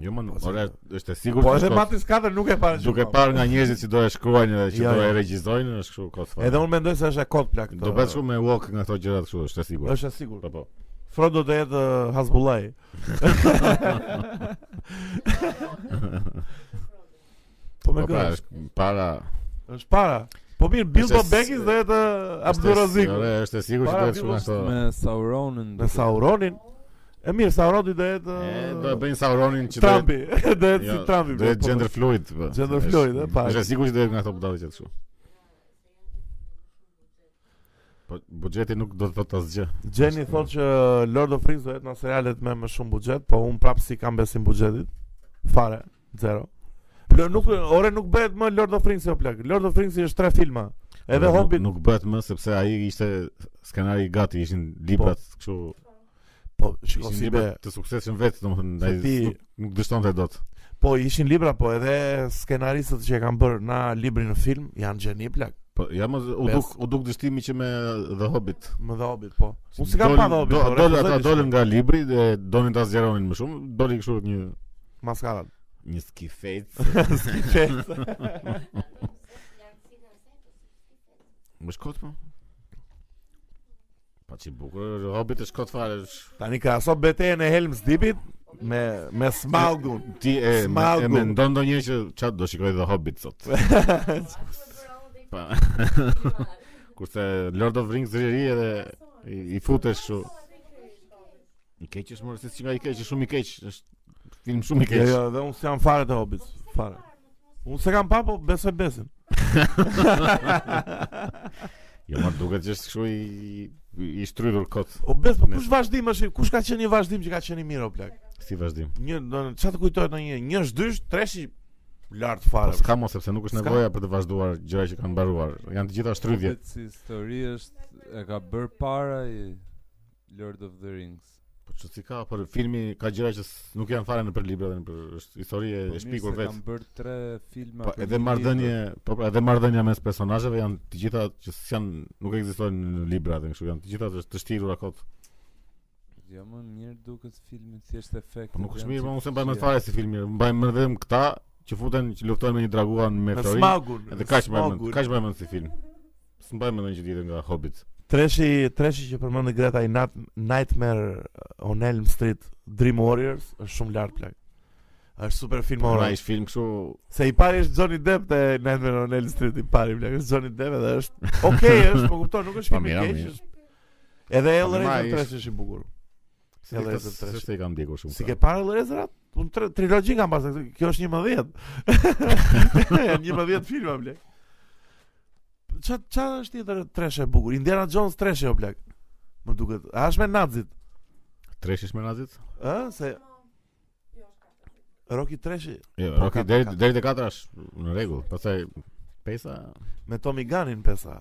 [SPEAKER 1] Jo, më nuk,
[SPEAKER 2] Po,
[SPEAKER 1] ora është e sigurt.
[SPEAKER 2] Po
[SPEAKER 1] që
[SPEAKER 2] edhe
[SPEAKER 1] shkot.
[SPEAKER 2] Matis 4 nuk e parë. që
[SPEAKER 1] duke
[SPEAKER 2] kam.
[SPEAKER 1] parë nga njerëzit që do e shkruajnë dhe që
[SPEAKER 2] po. Jo,
[SPEAKER 1] do e
[SPEAKER 2] jo.
[SPEAKER 1] regjizojnë, është kështu kot fare.
[SPEAKER 2] Po. Edhe unë mendoj se është e kot plak.
[SPEAKER 1] do bëhet shumë me walk nga ato gjëra kështu, është e sigurt.
[SPEAKER 2] Është e sigurt.
[SPEAKER 1] Po po.
[SPEAKER 2] Frodo do të jetë uh, Hasbullaj. po
[SPEAKER 1] Po
[SPEAKER 2] më
[SPEAKER 1] pra,
[SPEAKER 2] gjash.
[SPEAKER 1] është para
[SPEAKER 2] Është para. Po mirë, Bilbo
[SPEAKER 1] Është s-
[SPEAKER 2] Baggins do jetë uh,
[SPEAKER 1] është e-
[SPEAKER 2] Abduraziku.
[SPEAKER 1] ore, Është e sigurt që
[SPEAKER 2] Para
[SPEAKER 1] do të shkruajnë
[SPEAKER 2] villës
[SPEAKER 1] ato.
[SPEAKER 3] me Sauronin
[SPEAKER 2] Me
[SPEAKER 3] duket.
[SPEAKER 2] Sauronin. E mirë, Sauroni do jetë
[SPEAKER 1] E,
[SPEAKER 2] uh,
[SPEAKER 1] Do e bëjnë Sauronin që do jetë-
[SPEAKER 2] Trumpi. do jetë si
[SPEAKER 1] Jo,
[SPEAKER 2] Trumpi.
[SPEAKER 1] Do
[SPEAKER 2] po,
[SPEAKER 1] jetë
[SPEAKER 2] po,
[SPEAKER 1] gender fluid. po.
[SPEAKER 2] Gender
[SPEAKER 1] Është-
[SPEAKER 2] fluid, e, pak.
[SPEAKER 1] Është e sigurt që do jetë nga ato budalla që kështu. Po buxheti nuk do të thotë asgjë.
[SPEAKER 2] Jenny thotë që uh, Lord of Rings do jetë në serialet me më shumë buxhet, po un prap si kam besim buxhetit. Fare, zero. Lo, nuk ore nuk bëhet më Lord of Rings o plak. Lord of Rings është tre filma. Edhe
[SPEAKER 1] Nuk-
[SPEAKER 2] Hobbit.
[SPEAKER 1] nuk bëhet më sepse ai ishte skenari i gati, ishin librat kështu,
[SPEAKER 2] Po, shiko
[SPEAKER 1] ishin
[SPEAKER 2] si be.
[SPEAKER 1] libra të suksesshëm vetë, domethënë
[SPEAKER 2] Se
[SPEAKER 1] ai
[SPEAKER 2] ti-
[SPEAKER 1] nuk- nuk dështonte dot.
[SPEAKER 2] Po ishin libra, po edhe skenaristët që e kanë bërë na librin në film janë gjeni plak.
[SPEAKER 1] Po ja më z- u
[SPEAKER 2] Pes.
[SPEAKER 1] duk u duk dështimi që me The Hobbit.
[SPEAKER 2] Më dhe Hobbit, po. Unë si kam
[SPEAKER 1] Dolin-
[SPEAKER 2] pa dhe Hobbit.
[SPEAKER 1] do-
[SPEAKER 2] po,
[SPEAKER 1] Dolën
[SPEAKER 2] refuzoj
[SPEAKER 1] ata
[SPEAKER 2] të
[SPEAKER 1] dolën
[SPEAKER 2] shkoj.
[SPEAKER 1] nga libri dhe donin ta zgjeronin më shumë, doli kështu një
[SPEAKER 2] maskarat.
[SPEAKER 1] një skifec. Më shkot po? Pa që bukur, Hobbit është kot fare, është
[SPEAKER 2] Tani ka aso betejën e Helm's Deepit me me Smaug.
[SPEAKER 1] Ti e, me, e
[SPEAKER 2] Smagu.
[SPEAKER 1] mendon ndonjëherë që çat do shikoj The Hobbit sot. pa. Kurse Lord of Rings riri edhe i, i futesh kështu. I keq është mërë, si që nga i keq, është shumë i keq, është film shumë i
[SPEAKER 2] Jo,
[SPEAKER 1] keq.
[SPEAKER 2] jo, dhe unë s'jam fare të Hobbit, fare. Unë se kam pa, po besoj besin.
[SPEAKER 1] Jo, më duket që është kështu i i- i shtrytur kot.
[SPEAKER 2] O bes, po kush vazhdim është, kush ka qenë një vazhdim që ka qenë i mirë o plak?
[SPEAKER 1] si vazhdim.
[SPEAKER 2] Një do në- çfarë të kujtohet ndonjë, një është dysh, treshi lart
[SPEAKER 1] Po
[SPEAKER 2] fare.
[SPEAKER 1] s'ka mos sepse nuk është
[SPEAKER 2] S'ka.
[SPEAKER 1] nevoja për të vazhduar gjëra që kanë mbaruar. Janë të gjitha shtrydhje.
[SPEAKER 3] Duket Si histori është e ka bër para i Lord of the Rings.
[SPEAKER 1] Po çu si ka, por filmi ka gjëra që s- nuk janë fare në për libra dhe në për është histori e
[SPEAKER 3] Po
[SPEAKER 1] e
[SPEAKER 3] mirë
[SPEAKER 1] shpikur
[SPEAKER 3] se
[SPEAKER 1] vetë.
[SPEAKER 3] Kanë bër 3 filma.
[SPEAKER 1] Po
[SPEAKER 3] për
[SPEAKER 1] edhe
[SPEAKER 3] një
[SPEAKER 1] marrëdhënie,
[SPEAKER 3] libër.
[SPEAKER 1] po pra, edhe marrëdhënia mes personazheve janë të gjitha që s'janë nuk ekzistojnë në libra dhe kështu janë të gjitha të- të shtirura kot.
[SPEAKER 3] Jo më mirë duket filmi, thjesht efekt.
[SPEAKER 1] Po nuk është mirë, po unë se mbaj më fare si filmi. Mbaj më vetëm këta që futen që luftojnë me një draguan me
[SPEAKER 2] Me
[SPEAKER 1] Florin.
[SPEAKER 2] smagun.
[SPEAKER 1] Edhe
[SPEAKER 2] me
[SPEAKER 1] kaq më
[SPEAKER 2] smagun.
[SPEAKER 1] kaq më mend si film. S'mbaj më ndonjë gjë tjetër nga Hobbit.
[SPEAKER 2] Treshi, treshi që përmendë Greta i Nat Nightmare on Elm Street Dream Warriors është shumë lart plak. Është super film
[SPEAKER 1] Ora
[SPEAKER 2] ora.
[SPEAKER 1] Pra, ish film kështu
[SPEAKER 2] Se i pari është Johnny Depp te Nightmare on Elm Street i pari plak. Është Johnny Depp edhe është okay, është, po kupton, nuk është
[SPEAKER 1] Pa,
[SPEAKER 2] film i
[SPEAKER 1] mira,
[SPEAKER 2] keq.
[SPEAKER 1] mira.
[SPEAKER 2] është- Edhe
[SPEAKER 1] Pa,
[SPEAKER 2] Hellraiser
[SPEAKER 1] Po mirë,
[SPEAKER 2] treshi është i bukur.
[SPEAKER 1] si
[SPEAKER 2] Edhe
[SPEAKER 1] këtë
[SPEAKER 2] të
[SPEAKER 1] s-
[SPEAKER 2] tresh.
[SPEAKER 1] s'është e kam ndjekur shumë. pra.
[SPEAKER 2] Si
[SPEAKER 1] këtë.
[SPEAKER 2] ke parë Hellraiser? Un trilogji kam pas. Kjo është 11. Janë 11 filma plak. Ça ça është tjetër treshe e bukur? Indiana Jones treshe o plak. Më duket. A është me nazit?
[SPEAKER 1] Treshish me Nazit?
[SPEAKER 2] Ë, se Rocky Treshi
[SPEAKER 1] Jo,
[SPEAKER 2] Po,
[SPEAKER 1] Rocky
[SPEAKER 2] katër,
[SPEAKER 1] deri
[SPEAKER 2] katër.
[SPEAKER 1] deri te 4 është në rregull. Pastaj pesa
[SPEAKER 2] me Tommy Gunnin pesa.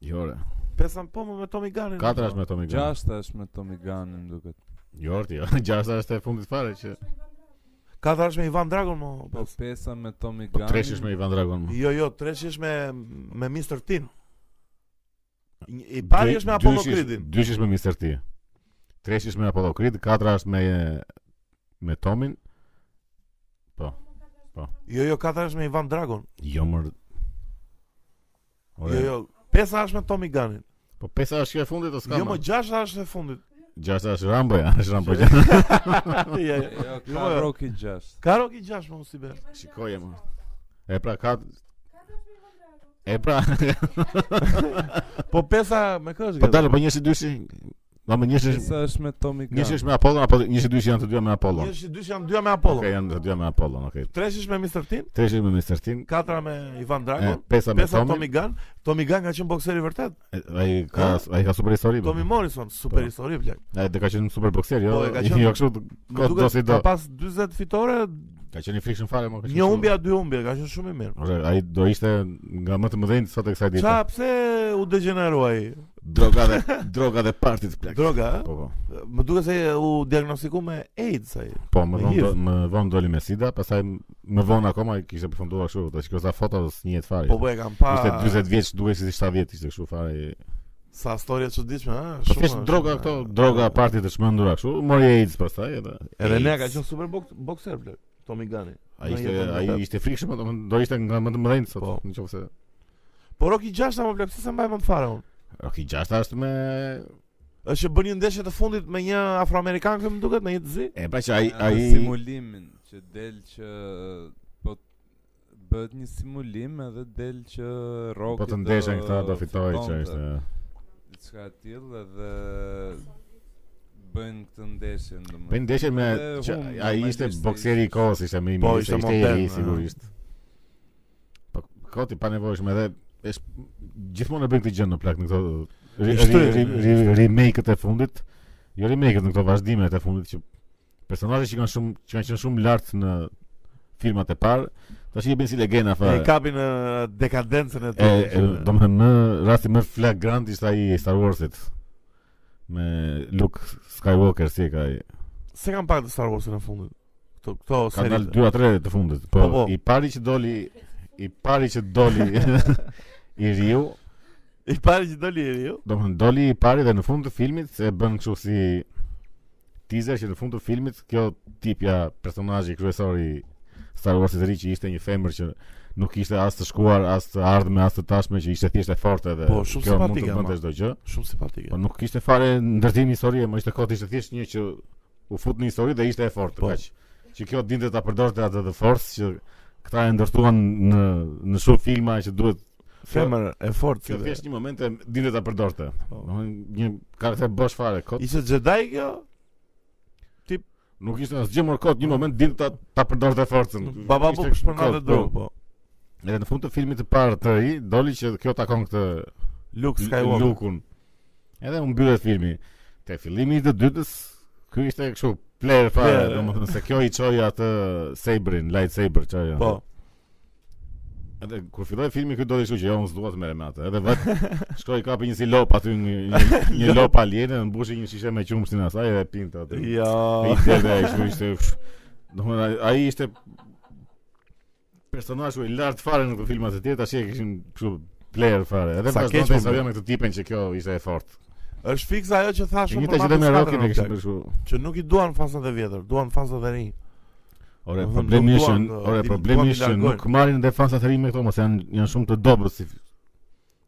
[SPEAKER 1] jo re.
[SPEAKER 2] Pesa po më me Tommy Gunnin.
[SPEAKER 1] 4 është me Tommy Gunn.
[SPEAKER 3] Gjashta është me Tommy Gunn, më duket.
[SPEAKER 1] Jo, orti, jo. 6 është e fundit fare që
[SPEAKER 2] Katër është me Ivan Dragon më.
[SPEAKER 3] Po pesa me Tommy
[SPEAKER 1] po
[SPEAKER 3] Gunn.
[SPEAKER 1] tresh është me Ivan Dragon.
[SPEAKER 2] Jo, jo, Treshi është me me Mr. Tin. Një- I pari është me
[SPEAKER 1] Dy- dyshi
[SPEAKER 2] Apollo
[SPEAKER 1] është-
[SPEAKER 2] Creedin.
[SPEAKER 1] Dyshi është me Mr. T. Treshi është me Apollo Creed, 4 është me me Tomin.
[SPEAKER 2] Jo, jo, katër është me Ivan Dragon.
[SPEAKER 1] Jo më Ore,
[SPEAKER 2] Jo, jo, pesa është me Tommy Gunnin.
[SPEAKER 1] Po pesa është kjo e fundit ose ka?
[SPEAKER 2] Jo, më gjashta është e fundit.
[SPEAKER 1] gjashta është Rambo, ja, është Rambo.
[SPEAKER 2] Jo. ja, ja.
[SPEAKER 3] Jo,
[SPEAKER 2] Jo,
[SPEAKER 3] ka
[SPEAKER 2] jo.
[SPEAKER 3] Rocky 6.
[SPEAKER 2] Ka Rocky 6 më si be.
[SPEAKER 1] Shikoje më. E pra ka E pra,
[SPEAKER 2] Po pesa me kë është?
[SPEAKER 1] po
[SPEAKER 2] gjeta?
[SPEAKER 1] dalë po njëshi dyshi. Do më njëshi
[SPEAKER 3] Pesa është me Tommy Gunn.
[SPEAKER 1] njëshi është me Apollon apo njëshi dyshi janë të dyja me Apollon.
[SPEAKER 2] Një është Jo, dy janë dyja me
[SPEAKER 1] Okej,
[SPEAKER 2] Apollo.
[SPEAKER 1] janë të dyja me Apollon, okej.
[SPEAKER 2] Treshi është me Mr. Tin,
[SPEAKER 1] Treshi me Mr. Tin,
[SPEAKER 2] katra me Ivan
[SPEAKER 1] e,
[SPEAKER 2] Dragon.
[SPEAKER 1] pesa me
[SPEAKER 2] Pesa Tommy
[SPEAKER 1] Tommy.
[SPEAKER 2] Gunn, Tommy Gunn ka qenë bokseri vërtet.
[SPEAKER 1] e, Ai ka ai ka super histori.
[SPEAKER 2] Tommy Morrison, super
[SPEAKER 1] Po.
[SPEAKER 2] histori plak.
[SPEAKER 1] Ai do ka qenë super bokser, jo.
[SPEAKER 2] Po, e ka qenë.
[SPEAKER 1] Jo kështu
[SPEAKER 2] Më
[SPEAKER 1] kot do si
[SPEAKER 2] duket
[SPEAKER 1] do.
[SPEAKER 2] ka pas 40 fitore,
[SPEAKER 1] Ka qenë i frikshëm fare më ka qenë Po
[SPEAKER 2] një
[SPEAKER 1] shumë-
[SPEAKER 2] humbje a dy humbje, ka qenë shumë i mirë.
[SPEAKER 1] Ore, ai do ishte nga më të mëdhenjtë sot e kësaj dite.
[SPEAKER 2] Qa pse u degeneruaj?
[SPEAKER 1] Droga dhe droga dhe partit plak.
[SPEAKER 2] Droga,
[SPEAKER 1] Po po.
[SPEAKER 2] ë? Më duket se u diagnostiku me AIDS ai.
[SPEAKER 1] Po, më
[SPEAKER 2] Me
[SPEAKER 1] vonë
[SPEAKER 2] HIV.
[SPEAKER 1] do- më vonë doli me sida, pastaj më vonë akoma i kishte përfunduar kështu. Tash kjo sa foto do s'njihet fare.
[SPEAKER 2] Po po e kam pa.
[SPEAKER 1] jo. Ishte 40 vjeç, duhej si 70 vjeç ishte kështu fare.
[SPEAKER 2] Sa histori e çuditshme, ëh,
[SPEAKER 1] Po
[SPEAKER 2] shumë.
[SPEAKER 1] thjesht
[SPEAKER 2] është,
[SPEAKER 1] droga
[SPEAKER 2] ë.
[SPEAKER 1] këto, droga e partit të shmendura kështu, mori AIDS pastaj edhe.
[SPEAKER 2] Edhe ne ka qenë super boks- bokser plot. Tommy Gunn.
[SPEAKER 1] Ai ishte
[SPEAKER 2] Në jetën
[SPEAKER 1] ai
[SPEAKER 2] vërtet.
[SPEAKER 1] ishte frikshëm, domethënë do ishte nga më të mëdhenjtë sot,
[SPEAKER 2] Po.
[SPEAKER 1] nëse
[SPEAKER 2] Po Rocky 6 apo plot, pse sa mbaj më të fare unë.
[SPEAKER 1] Rocky 6 është me
[SPEAKER 2] Është që bën një ndeshje të fundit me një afroamerikan këtu më duket në një të zi.
[SPEAKER 1] e pra që ai
[SPEAKER 3] Atë
[SPEAKER 1] ai
[SPEAKER 3] simulimin që del që po t- bëhet një simulim edhe del që Rocky
[SPEAKER 1] po të ndeshën këta do fitoj që
[SPEAKER 3] fitonte.
[SPEAKER 1] ishte.
[SPEAKER 3] diçka e tillë edhe bëjnë këtë ndeshje
[SPEAKER 1] Po i
[SPEAKER 3] domethënë.
[SPEAKER 1] ndeshje me
[SPEAKER 3] Edhe
[SPEAKER 1] që
[SPEAKER 3] hum,
[SPEAKER 1] ai
[SPEAKER 3] normalisht
[SPEAKER 1] ishte
[SPEAKER 3] ishte-
[SPEAKER 1] bokseri i kohës, ishte më i
[SPEAKER 2] Po,
[SPEAKER 1] mirë, ishte
[SPEAKER 2] ishte
[SPEAKER 1] ishte i ri
[SPEAKER 2] modern,
[SPEAKER 1] sigurisht. Po koti pa nevojshme edhe është gjithmonë e bën këtë gjë në plak në këto ri-
[SPEAKER 2] I shtrydh.
[SPEAKER 1] ri- ri- ri- remake-et e fundit. Jo remake-et në këto vazhdimet e fundit që personazhet që kanë shumë që kanë qenë shumë lart në filmat e parë, tash i bën si legjenda
[SPEAKER 2] E
[SPEAKER 1] fare.
[SPEAKER 2] kapin ë, dekadencën e
[SPEAKER 1] Po. E,
[SPEAKER 2] tij.
[SPEAKER 1] e do më në rasti më flagrant ishte ai i Star Wars-it me Luke Skywalker si e ka ai.
[SPEAKER 2] Se kam pak të Star Wars në fundit. Këto këto
[SPEAKER 1] Ka
[SPEAKER 2] seri.
[SPEAKER 1] dalë 2 a 3 të fundit. Po,
[SPEAKER 2] Po, po.
[SPEAKER 1] i pari që doli i pari që doli i riu,
[SPEAKER 2] I pari që doli eri, jo.
[SPEAKER 1] domethënë doli i pari dhe në fund të filmit se e bën kështu si teaser që në fund të filmit kjo tipja personazhi kryesor i Star Wars të ri që ishte një femër që nuk ishte as të shkuar, as të ardhme, as të tashme që ishte thjesht e fortë dhe
[SPEAKER 2] Po, shumë
[SPEAKER 1] kjo mund
[SPEAKER 2] simpatike,
[SPEAKER 1] të
[SPEAKER 2] ama.
[SPEAKER 1] bënte çdo gjë.
[SPEAKER 2] Shumë simpatike.
[SPEAKER 1] Po nuk kishte fare ndërtim historie, më ishte kot ishte thjesht një që u fut në histori dhe ishte e fortë,
[SPEAKER 2] Po.
[SPEAKER 1] kaq. Që kjo dinte ta përdorte atë të forcë që këta e ndërtuan në në shumë filma që duhet
[SPEAKER 2] Femër e fortë.
[SPEAKER 1] kjo
[SPEAKER 2] si
[SPEAKER 1] thjesht një moment e dinte ta përdorte.
[SPEAKER 2] Po.
[SPEAKER 1] Domethënë një karakter bosh fare kot.
[SPEAKER 2] Ishte Jedi kjo?
[SPEAKER 1] Nuk ishte asgjë më kot, një moment dinte ta ta përdorte forcën.
[SPEAKER 2] Baba
[SPEAKER 1] Ishte
[SPEAKER 2] Buk shpërndan
[SPEAKER 1] kot,
[SPEAKER 2] dhe dru, po.
[SPEAKER 1] po. Edhe në fund të filmit të parë të ri, doli që kjo takon këtë
[SPEAKER 2] Luke
[SPEAKER 1] L-
[SPEAKER 2] Skywalker.
[SPEAKER 1] Lukun. Edhe u mbyllet filmi. Te fillimi i të dytës Ky ishte kështu player fare,
[SPEAKER 2] Player.
[SPEAKER 1] domethënë se kjo i çoi atë sabrin, lightsaber çoi. atë.
[SPEAKER 2] Po.
[SPEAKER 1] Edhe kur filloi filmi ky doli kështu që jo unë s'dua të merrem me atë. Edhe vet shkoi kapi një si lop aty një, një, një lop aliene, mbushi një shishe me qumshtin e saj dhe pinte atë.
[SPEAKER 2] Jo.
[SPEAKER 1] Me I tërë ai kështu ishte. Domethënë ai- ai ishte personazhu i lartë fare në këto filmat e tjerë, tash e kishin kështu player fare. Edhe
[SPEAKER 2] Sa keq
[SPEAKER 1] vazhdon të
[SPEAKER 2] po
[SPEAKER 1] historia me këtë tipin që kjo ishte e fortë.
[SPEAKER 2] Është fikse ajo që thashë
[SPEAKER 1] Një të që dhe me Rocky ne kishim bërë kështu.
[SPEAKER 2] që nuk i duan fasat e vjetër, duan fasat e ri.
[SPEAKER 1] Ore,
[SPEAKER 2] Domethënë,
[SPEAKER 1] problemi
[SPEAKER 2] nuk
[SPEAKER 1] është
[SPEAKER 2] duan,
[SPEAKER 1] që-
[SPEAKER 2] uh,
[SPEAKER 1] ore
[SPEAKER 2] ti-
[SPEAKER 1] problemi
[SPEAKER 2] duan
[SPEAKER 1] është
[SPEAKER 2] t'i
[SPEAKER 1] që
[SPEAKER 2] largojnë.
[SPEAKER 1] nuk marrin dhe fansa të rinj me këto, mos janë janë shumë të dobët si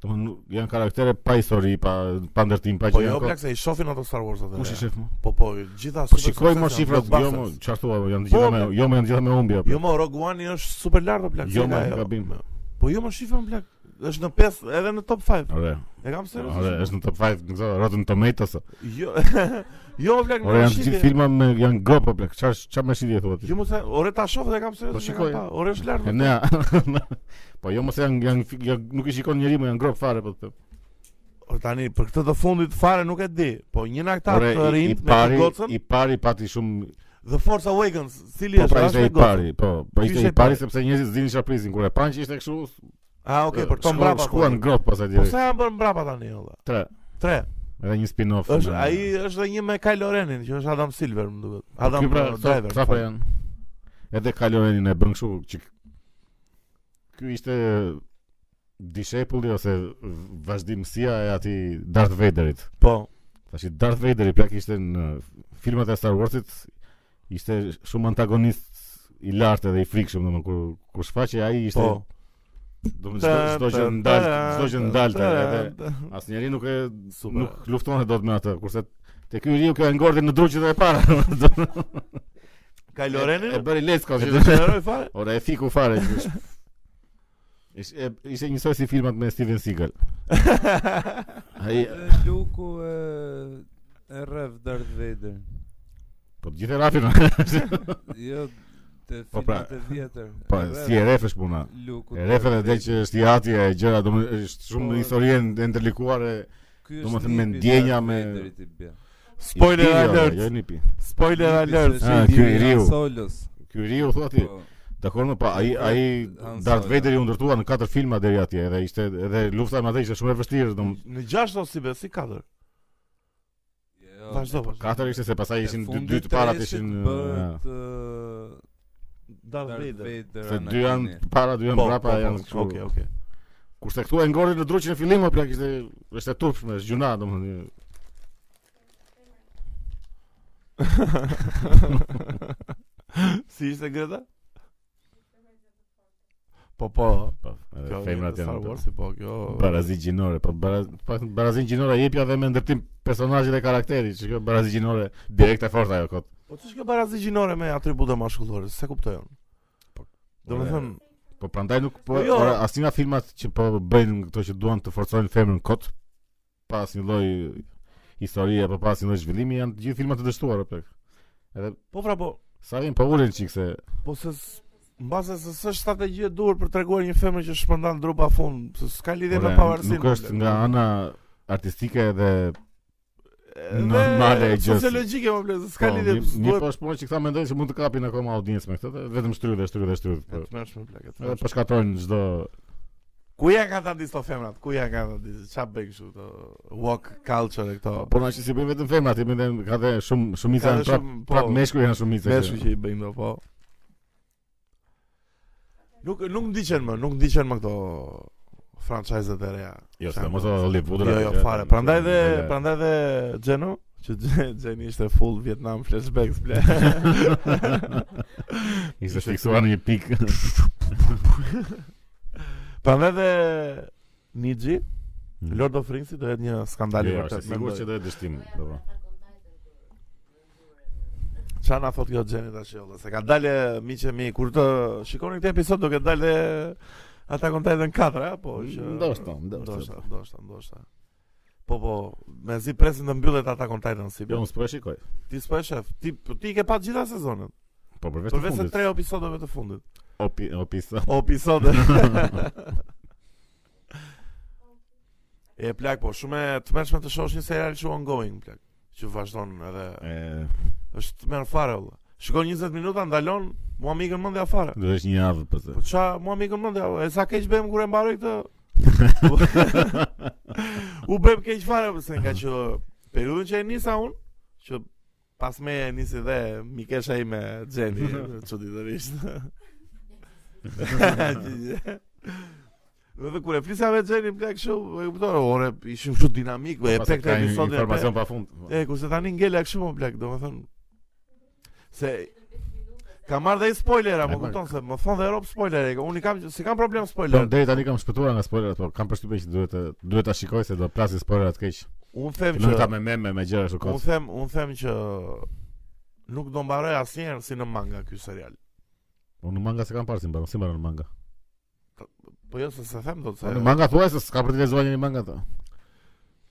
[SPEAKER 1] Domthonë nuk- janë karaktere pa histori, pa pa ndërtim, pa
[SPEAKER 2] Po
[SPEAKER 1] gjë.
[SPEAKER 2] jo,
[SPEAKER 1] janë ko-
[SPEAKER 2] plak se i shohin ato Star Wars atë.
[SPEAKER 1] Kush i shef? mo?
[SPEAKER 2] Po po, gjitha
[SPEAKER 1] Po
[SPEAKER 2] super
[SPEAKER 1] shikoj
[SPEAKER 2] succese
[SPEAKER 1] më
[SPEAKER 2] janë
[SPEAKER 1] shifrat, jo më,
[SPEAKER 2] blockbusters.
[SPEAKER 1] çfarë thua, mo, janë të
[SPEAKER 2] Po,
[SPEAKER 1] gjitha me
[SPEAKER 2] plak.
[SPEAKER 1] jo më janë të gjitha me humbje.
[SPEAKER 2] Jo më Rogue One është super lart o plak.
[SPEAKER 1] Jo,
[SPEAKER 2] se
[SPEAKER 1] mo,
[SPEAKER 2] ka ajo.
[SPEAKER 1] gabim.
[SPEAKER 2] Po jo më shifën plak. Është në 5 edhe në top 5.
[SPEAKER 1] Ore,
[SPEAKER 2] E kam serioz.
[SPEAKER 1] ore, është në top 5 në këto Rotten Tomatoes. o.
[SPEAKER 2] Jo. Jo o, plak.
[SPEAKER 1] Ore,
[SPEAKER 2] nuk
[SPEAKER 1] janë të
[SPEAKER 2] shifje.
[SPEAKER 1] gjithë filma me janë gopa plak. Çfarë çfarë më shitje thua ti?
[SPEAKER 2] Jo mos e, ore ta shoh dhe e kam serioz.
[SPEAKER 1] Po
[SPEAKER 2] nuk e kam
[SPEAKER 1] shikoj.
[SPEAKER 2] pa. Ore është lart.
[SPEAKER 1] E, Ne. Po jo mos janë janë janë- nuk i shikon njeriu, mo, janë grop fare po. të them.
[SPEAKER 2] Por tani për këtë të fundit fare nuk e di, po një aktar
[SPEAKER 1] Ore,
[SPEAKER 2] të
[SPEAKER 1] i- i
[SPEAKER 2] rinë me
[SPEAKER 1] pari,
[SPEAKER 2] të gocën,
[SPEAKER 1] i pari pati shumë
[SPEAKER 2] The Force Awakens, cili
[SPEAKER 1] Po
[SPEAKER 2] është
[SPEAKER 1] pra
[SPEAKER 2] as
[SPEAKER 1] ishte
[SPEAKER 2] me
[SPEAKER 1] i
[SPEAKER 2] gocën.
[SPEAKER 1] pari, po, po
[SPEAKER 2] Ishte
[SPEAKER 1] ishte
[SPEAKER 2] i
[SPEAKER 1] i pari
[SPEAKER 2] pari.
[SPEAKER 1] sepse njerëzit zinin shaprisin kur e pan që ishte kështu.
[SPEAKER 2] Ah, okay, për
[SPEAKER 1] shko-
[SPEAKER 2] Tom Brapa.
[SPEAKER 1] Shkuan në grot pasaj
[SPEAKER 2] Po
[SPEAKER 1] direkt.
[SPEAKER 2] sa janë bërë mbrapa tani olla?
[SPEAKER 1] Tre.
[SPEAKER 2] 3.
[SPEAKER 1] Edhe një spin-off.
[SPEAKER 2] Është
[SPEAKER 1] me-
[SPEAKER 2] ai është dhe një me Kylo Renin, që është Adam Silver, më duket.
[SPEAKER 1] Po,
[SPEAKER 2] Adam
[SPEAKER 1] ky pra,
[SPEAKER 2] uh,
[SPEAKER 1] sa-
[SPEAKER 2] Driver.
[SPEAKER 1] Sa po janë? Edhe Kalorenin e bën kështu që ky ishte dishepulli ose vazhdimësia e atij Darth Vaderit.
[SPEAKER 2] Po.
[SPEAKER 1] Tash i Darth Vaderi plak ishte në filmat e Star Warsit ishte shumë antagonist i lartë edhe i frikshëm domethënë kur kur shfaqej ai ishte
[SPEAKER 2] Po.
[SPEAKER 1] Do të thotë çdo gjë ndal, çdo gjë ndalte edhe asnjëri nuk e
[SPEAKER 2] Super.
[SPEAKER 1] nuk luftonte dot me atë, kurse te ky riu kjo e ngordi në druqjet e para.
[SPEAKER 2] Kylo Renin
[SPEAKER 1] e bëri Lesko.
[SPEAKER 2] e
[SPEAKER 1] që-
[SPEAKER 2] dëshiroi fare.
[SPEAKER 1] Ora e fiku fare. që ish- Ish e ishte njësoj si filmat me Steven Seagal. Ai
[SPEAKER 3] Dhe Luku e e rref Darth Vader.
[SPEAKER 1] po të gjithë e rafin.
[SPEAKER 3] Jo te
[SPEAKER 1] Po pra,
[SPEAKER 3] filmat e vjetër.
[SPEAKER 1] Po
[SPEAKER 3] E rref
[SPEAKER 1] si e ref është puna.
[SPEAKER 3] Luku.
[SPEAKER 1] E ref edhe
[SPEAKER 3] Darth
[SPEAKER 1] dhe
[SPEAKER 3] Vader.
[SPEAKER 1] që është i ati e gjëra, do është shumë
[SPEAKER 3] Po,
[SPEAKER 1] historie e ndërlikuar e
[SPEAKER 3] Ky
[SPEAKER 1] do
[SPEAKER 3] është
[SPEAKER 1] më thënë, me
[SPEAKER 3] nipi i
[SPEAKER 1] ndjenja,
[SPEAKER 3] Darth
[SPEAKER 1] me-
[SPEAKER 3] Vaderit i bie.
[SPEAKER 2] Spoiler
[SPEAKER 1] i pi, jo,
[SPEAKER 2] alert.
[SPEAKER 1] Jo nipi.
[SPEAKER 2] Spoiler
[SPEAKER 3] Nipi
[SPEAKER 2] alert.
[SPEAKER 3] se
[SPEAKER 1] Ah,
[SPEAKER 3] është
[SPEAKER 1] ky
[SPEAKER 3] i
[SPEAKER 1] i riu.
[SPEAKER 3] Han Solos.
[SPEAKER 1] Ky riu thua ti.
[SPEAKER 3] Po.
[SPEAKER 1] Dakor, më pa ai ai
[SPEAKER 3] Han
[SPEAKER 1] Darth
[SPEAKER 3] Solo.
[SPEAKER 1] Vader i u ndërtua në katër filma deri atje, edhe ishte edhe lufta me atë ishte shumë e vështirë, dom
[SPEAKER 2] Në 6 ose si be, si 4.
[SPEAKER 3] Jo,
[SPEAKER 2] Vazhdo. vazhdo.
[SPEAKER 1] katër ishte se pastaj
[SPEAKER 3] e
[SPEAKER 1] ishin dy,
[SPEAKER 3] fundit
[SPEAKER 1] dy të parat
[SPEAKER 3] reshit
[SPEAKER 1] ishin ja.
[SPEAKER 3] bëhet ë,
[SPEAKER 2] Darth
[SPEAKER 3] Darth
[SPEAKER 2] Vader.
[SPEAKER 3] Vader.
[SPEAKER 1] se dy
[SPEAKER 3] Anakini.
[SPEAKER 1] janë të para, dy janë
[SPEAKER 2] Po,
[SPEAKER 1] mbrapa,
[SPEAKER 2] po, po,
[SPEAKER 1] janë kështu.
[SPEAKER 2] Okej, okej.
[SPEAKER 1] Kurse këtu e ngorën në druqin e fillimit, apo plak ishte është e turpshme, është gjuna domethënë.
[SPEAKER 2] si ishte Greta? Po po.
[SPEAKER 1] Po, edhe
[SPEAKER 2] Kjo
[SPEAKER 1] femrat
[SPEAKER 2] Star
[SPEAKER 1] janë.
[SPEAKER 2] Wars, po kjo.
[SPEAKER 1] Barazi gjinore, po bara- po, barazi gjinore jep ja dhe me ndërtim personazhit dhe karakterit, që kjo barazi gjinore direkt e fortë ajo kot.
[SPEAKER 2] Po ç'është kjo barazi gjinore me atribute maskullore? Se kuptoj unë.
[SPEAKER 1] Po,
[SPEAKER 2] Do të
[SPEAKER 1] ore,
[SPEAKER 2] them,
[SPEAKER 1] Po prandaj nuk po
[SPEAKER 2] Po, jo.
[SPEAKER 1] ora asnjë nga filmat që po bëjnë këto që duan të forcojnë femrën kot pa asnjë lloj historie apo pa asnjë lloj zhvillimi janë të gjithë filma të dështuara plak.
[SPEAKER 2] po pra po,
[SPEAKER 1] Sa vjen po ulën çik se
[SPEAKER 2] po se s- mbase se s'është strategji e duhur për treguar një femër që shpërndan drupa fund, se s'ka lidhje me
[SPEAKER 1] ore,
[SPEAKER 2] pavarësinë.
[SPEAKER 1] nuk është nga ana artistike dhe
[SPEAKER 2] Edhe
[SPEAKER 1] normale e gjës.
[SPEAKER 2] Sociologjike më vlen, se s'ka
[SPEAKER 1] po,
[SPEAKER 2] lidhje.
[SPEAKER 1] mi- mi po është punë që këta mendojnë se mund të kapin akoma audiencë me këtë, dhe vetëm shtrydhe, shtrydhe, shtrydhe. Po,
[SPEAKER 2] Atmeshme plak, e
[SPEAKER 1] edhe
[SPEAKER 2] tmerrshme.
[SPEAKER 1] po shkatrojnë çdo
[SPEAKER 2] Ku janë kanë ta disto po femrat? Ku janë kanë ta disto? Qa bëj kështu të walk culture e këto?
[SPEAKER 1] Po na që si bëjmë vetëm femrat, i bëjmë ka dhe shumë shumica
[SPEAKER 2] Ka
[SPEAKER 1] janë
[SPEAKER 2] dhe
[SPEAKER 1] prap
[SPEAKER 2] shumë- po.
[SPEAKER 1] prap meshkuj janë shumica. që-
[SPEAKER 2] Meshku që i bëjmë do, po. Nuk nuk ndiqen më, nuk ndiqen më këto franchise-et e reja.
[SPEAKER 1] Jo, s'ka mos Hollywood.
[SPEAKER 2] Jo, jo, fare. Prandaj dhe prandaj dhe Xeno, që Gje- Xeni ishte full Vietnam flashbacks ble.
[SPEAKER 1] Ishte fiksuar në një pikë.
[SPEAKER 2] prandaj dhe Niji,
[SPEAKER 1] Mm.
[SPEAKER 2] Lord of Rings do jetë një skandal i
[SPEAKER 1] Jo, jo, është
[SPEAKER 2] vërtet.
[SPEAKER 1] sigurt
[SPEAKER 2] mendoj.
[SPEAKER 1] që do të dështim, do po.
[SPEAKER 2] Qa na thot kjo Gjeni tash jolla, se ka dalë miq e mi kur të shikoni këtë episod do të dalë ata on Titan 4, a? po që
[SPEAKER 1] Ndoshta, ndoshta.
[SPEAKER 2] ndoshta, ndoshta, ndoshta. Po po, me zi presin të mbyllet ata on Titan si.
[SPEAKER 1] Jo,
[SPEAKER 2] bë.
[SPEAKER 1] unë s'po e shikoj.
[SPEAKER 2] Ti s'po e shef, ti po ti i ke pat gjitha sezonet.
[SPEAKER 1] Po përveç të
[SPEAKER 2] Përveç se
[SPEAKER 1] fundit.
[SPEAKER 2] tre episodeve të fundit.
[SPEAKER 1] Opi, opi sa.
[SPEAKER 2] O episode. e plak po, shumë e tmerrshme të shohësh një serial që ongoing plak. që vazhdon edhe
[SPEAKER 1] E,
[SPEAKER 2] është merr fare valla. Shikon 20 minuta ndalon, mua mikën mendja fare.
[SPEAKER 1] do është një javë përse.
[SPEAKER 2] Po ça, mua mikën mendja, e sa keq bëjmë kur e mbaroj këtë. u bëjmë keq fare pse nga që periudhën që e nisa unë, që pas me e nisi dhe mikesha ime Xheni, çuditërisht. Dhe kur e flisja me Xhenin plak kështu, e kuptoj, ore, ishim kështu dinamik, e
[SPEAKER 1] Pastaj
[SPEAKER 2] tek
[SPEAKER 1] Po, ka
[SPEAKER 2] të
[SPEAKER 1] një
[SPEAKER 2] episodin e tek.
[SPEAKER 1] Informacion pa fund.
[SPEAKER 2] E, kurse tani ngele kështu më plak, do më thënë Se Ka marrë dhe i spoilera,
[SPEAKER 1] E,
[SPEAKER 2] më
[SPEAKER 1] marr.
[SPEAKER 2] kupton se më thonë dhe Rob spoiler, e, unë i kam, si kam problem
[SPEAKER 1] Po
[SPEAKER 2] spoiler.
[SPEAKER 1] deri tani kam shpëtuar nga spoilerat, po kam përshtypjen që duhet të duhet ta shikoj se do plasi spoilerat keq.
[SPEAKER 2] Unë them
[SPEAKER 1] Nuk ta
[SPEAKER 2] që
[SPEAKER 1] me meme me gjëra kështu
[SPEAKER 2] unë
[SPEAKER 1] kot.
[SPEAKER 2] them, unë them që nuk do mbaroj asnjëherë si në manga ky serial.
[SPEAKER 1] Unë në manga se kam parë si mbaron, si mbaron në manga.
[SPEAKER 2] Po jo se se them do të
[SPEAKER 1] Unë Në
[SPEAKER 2] se.
[SPEAKER 1] manga thuaj se s'ka për të lexuar një manga ta.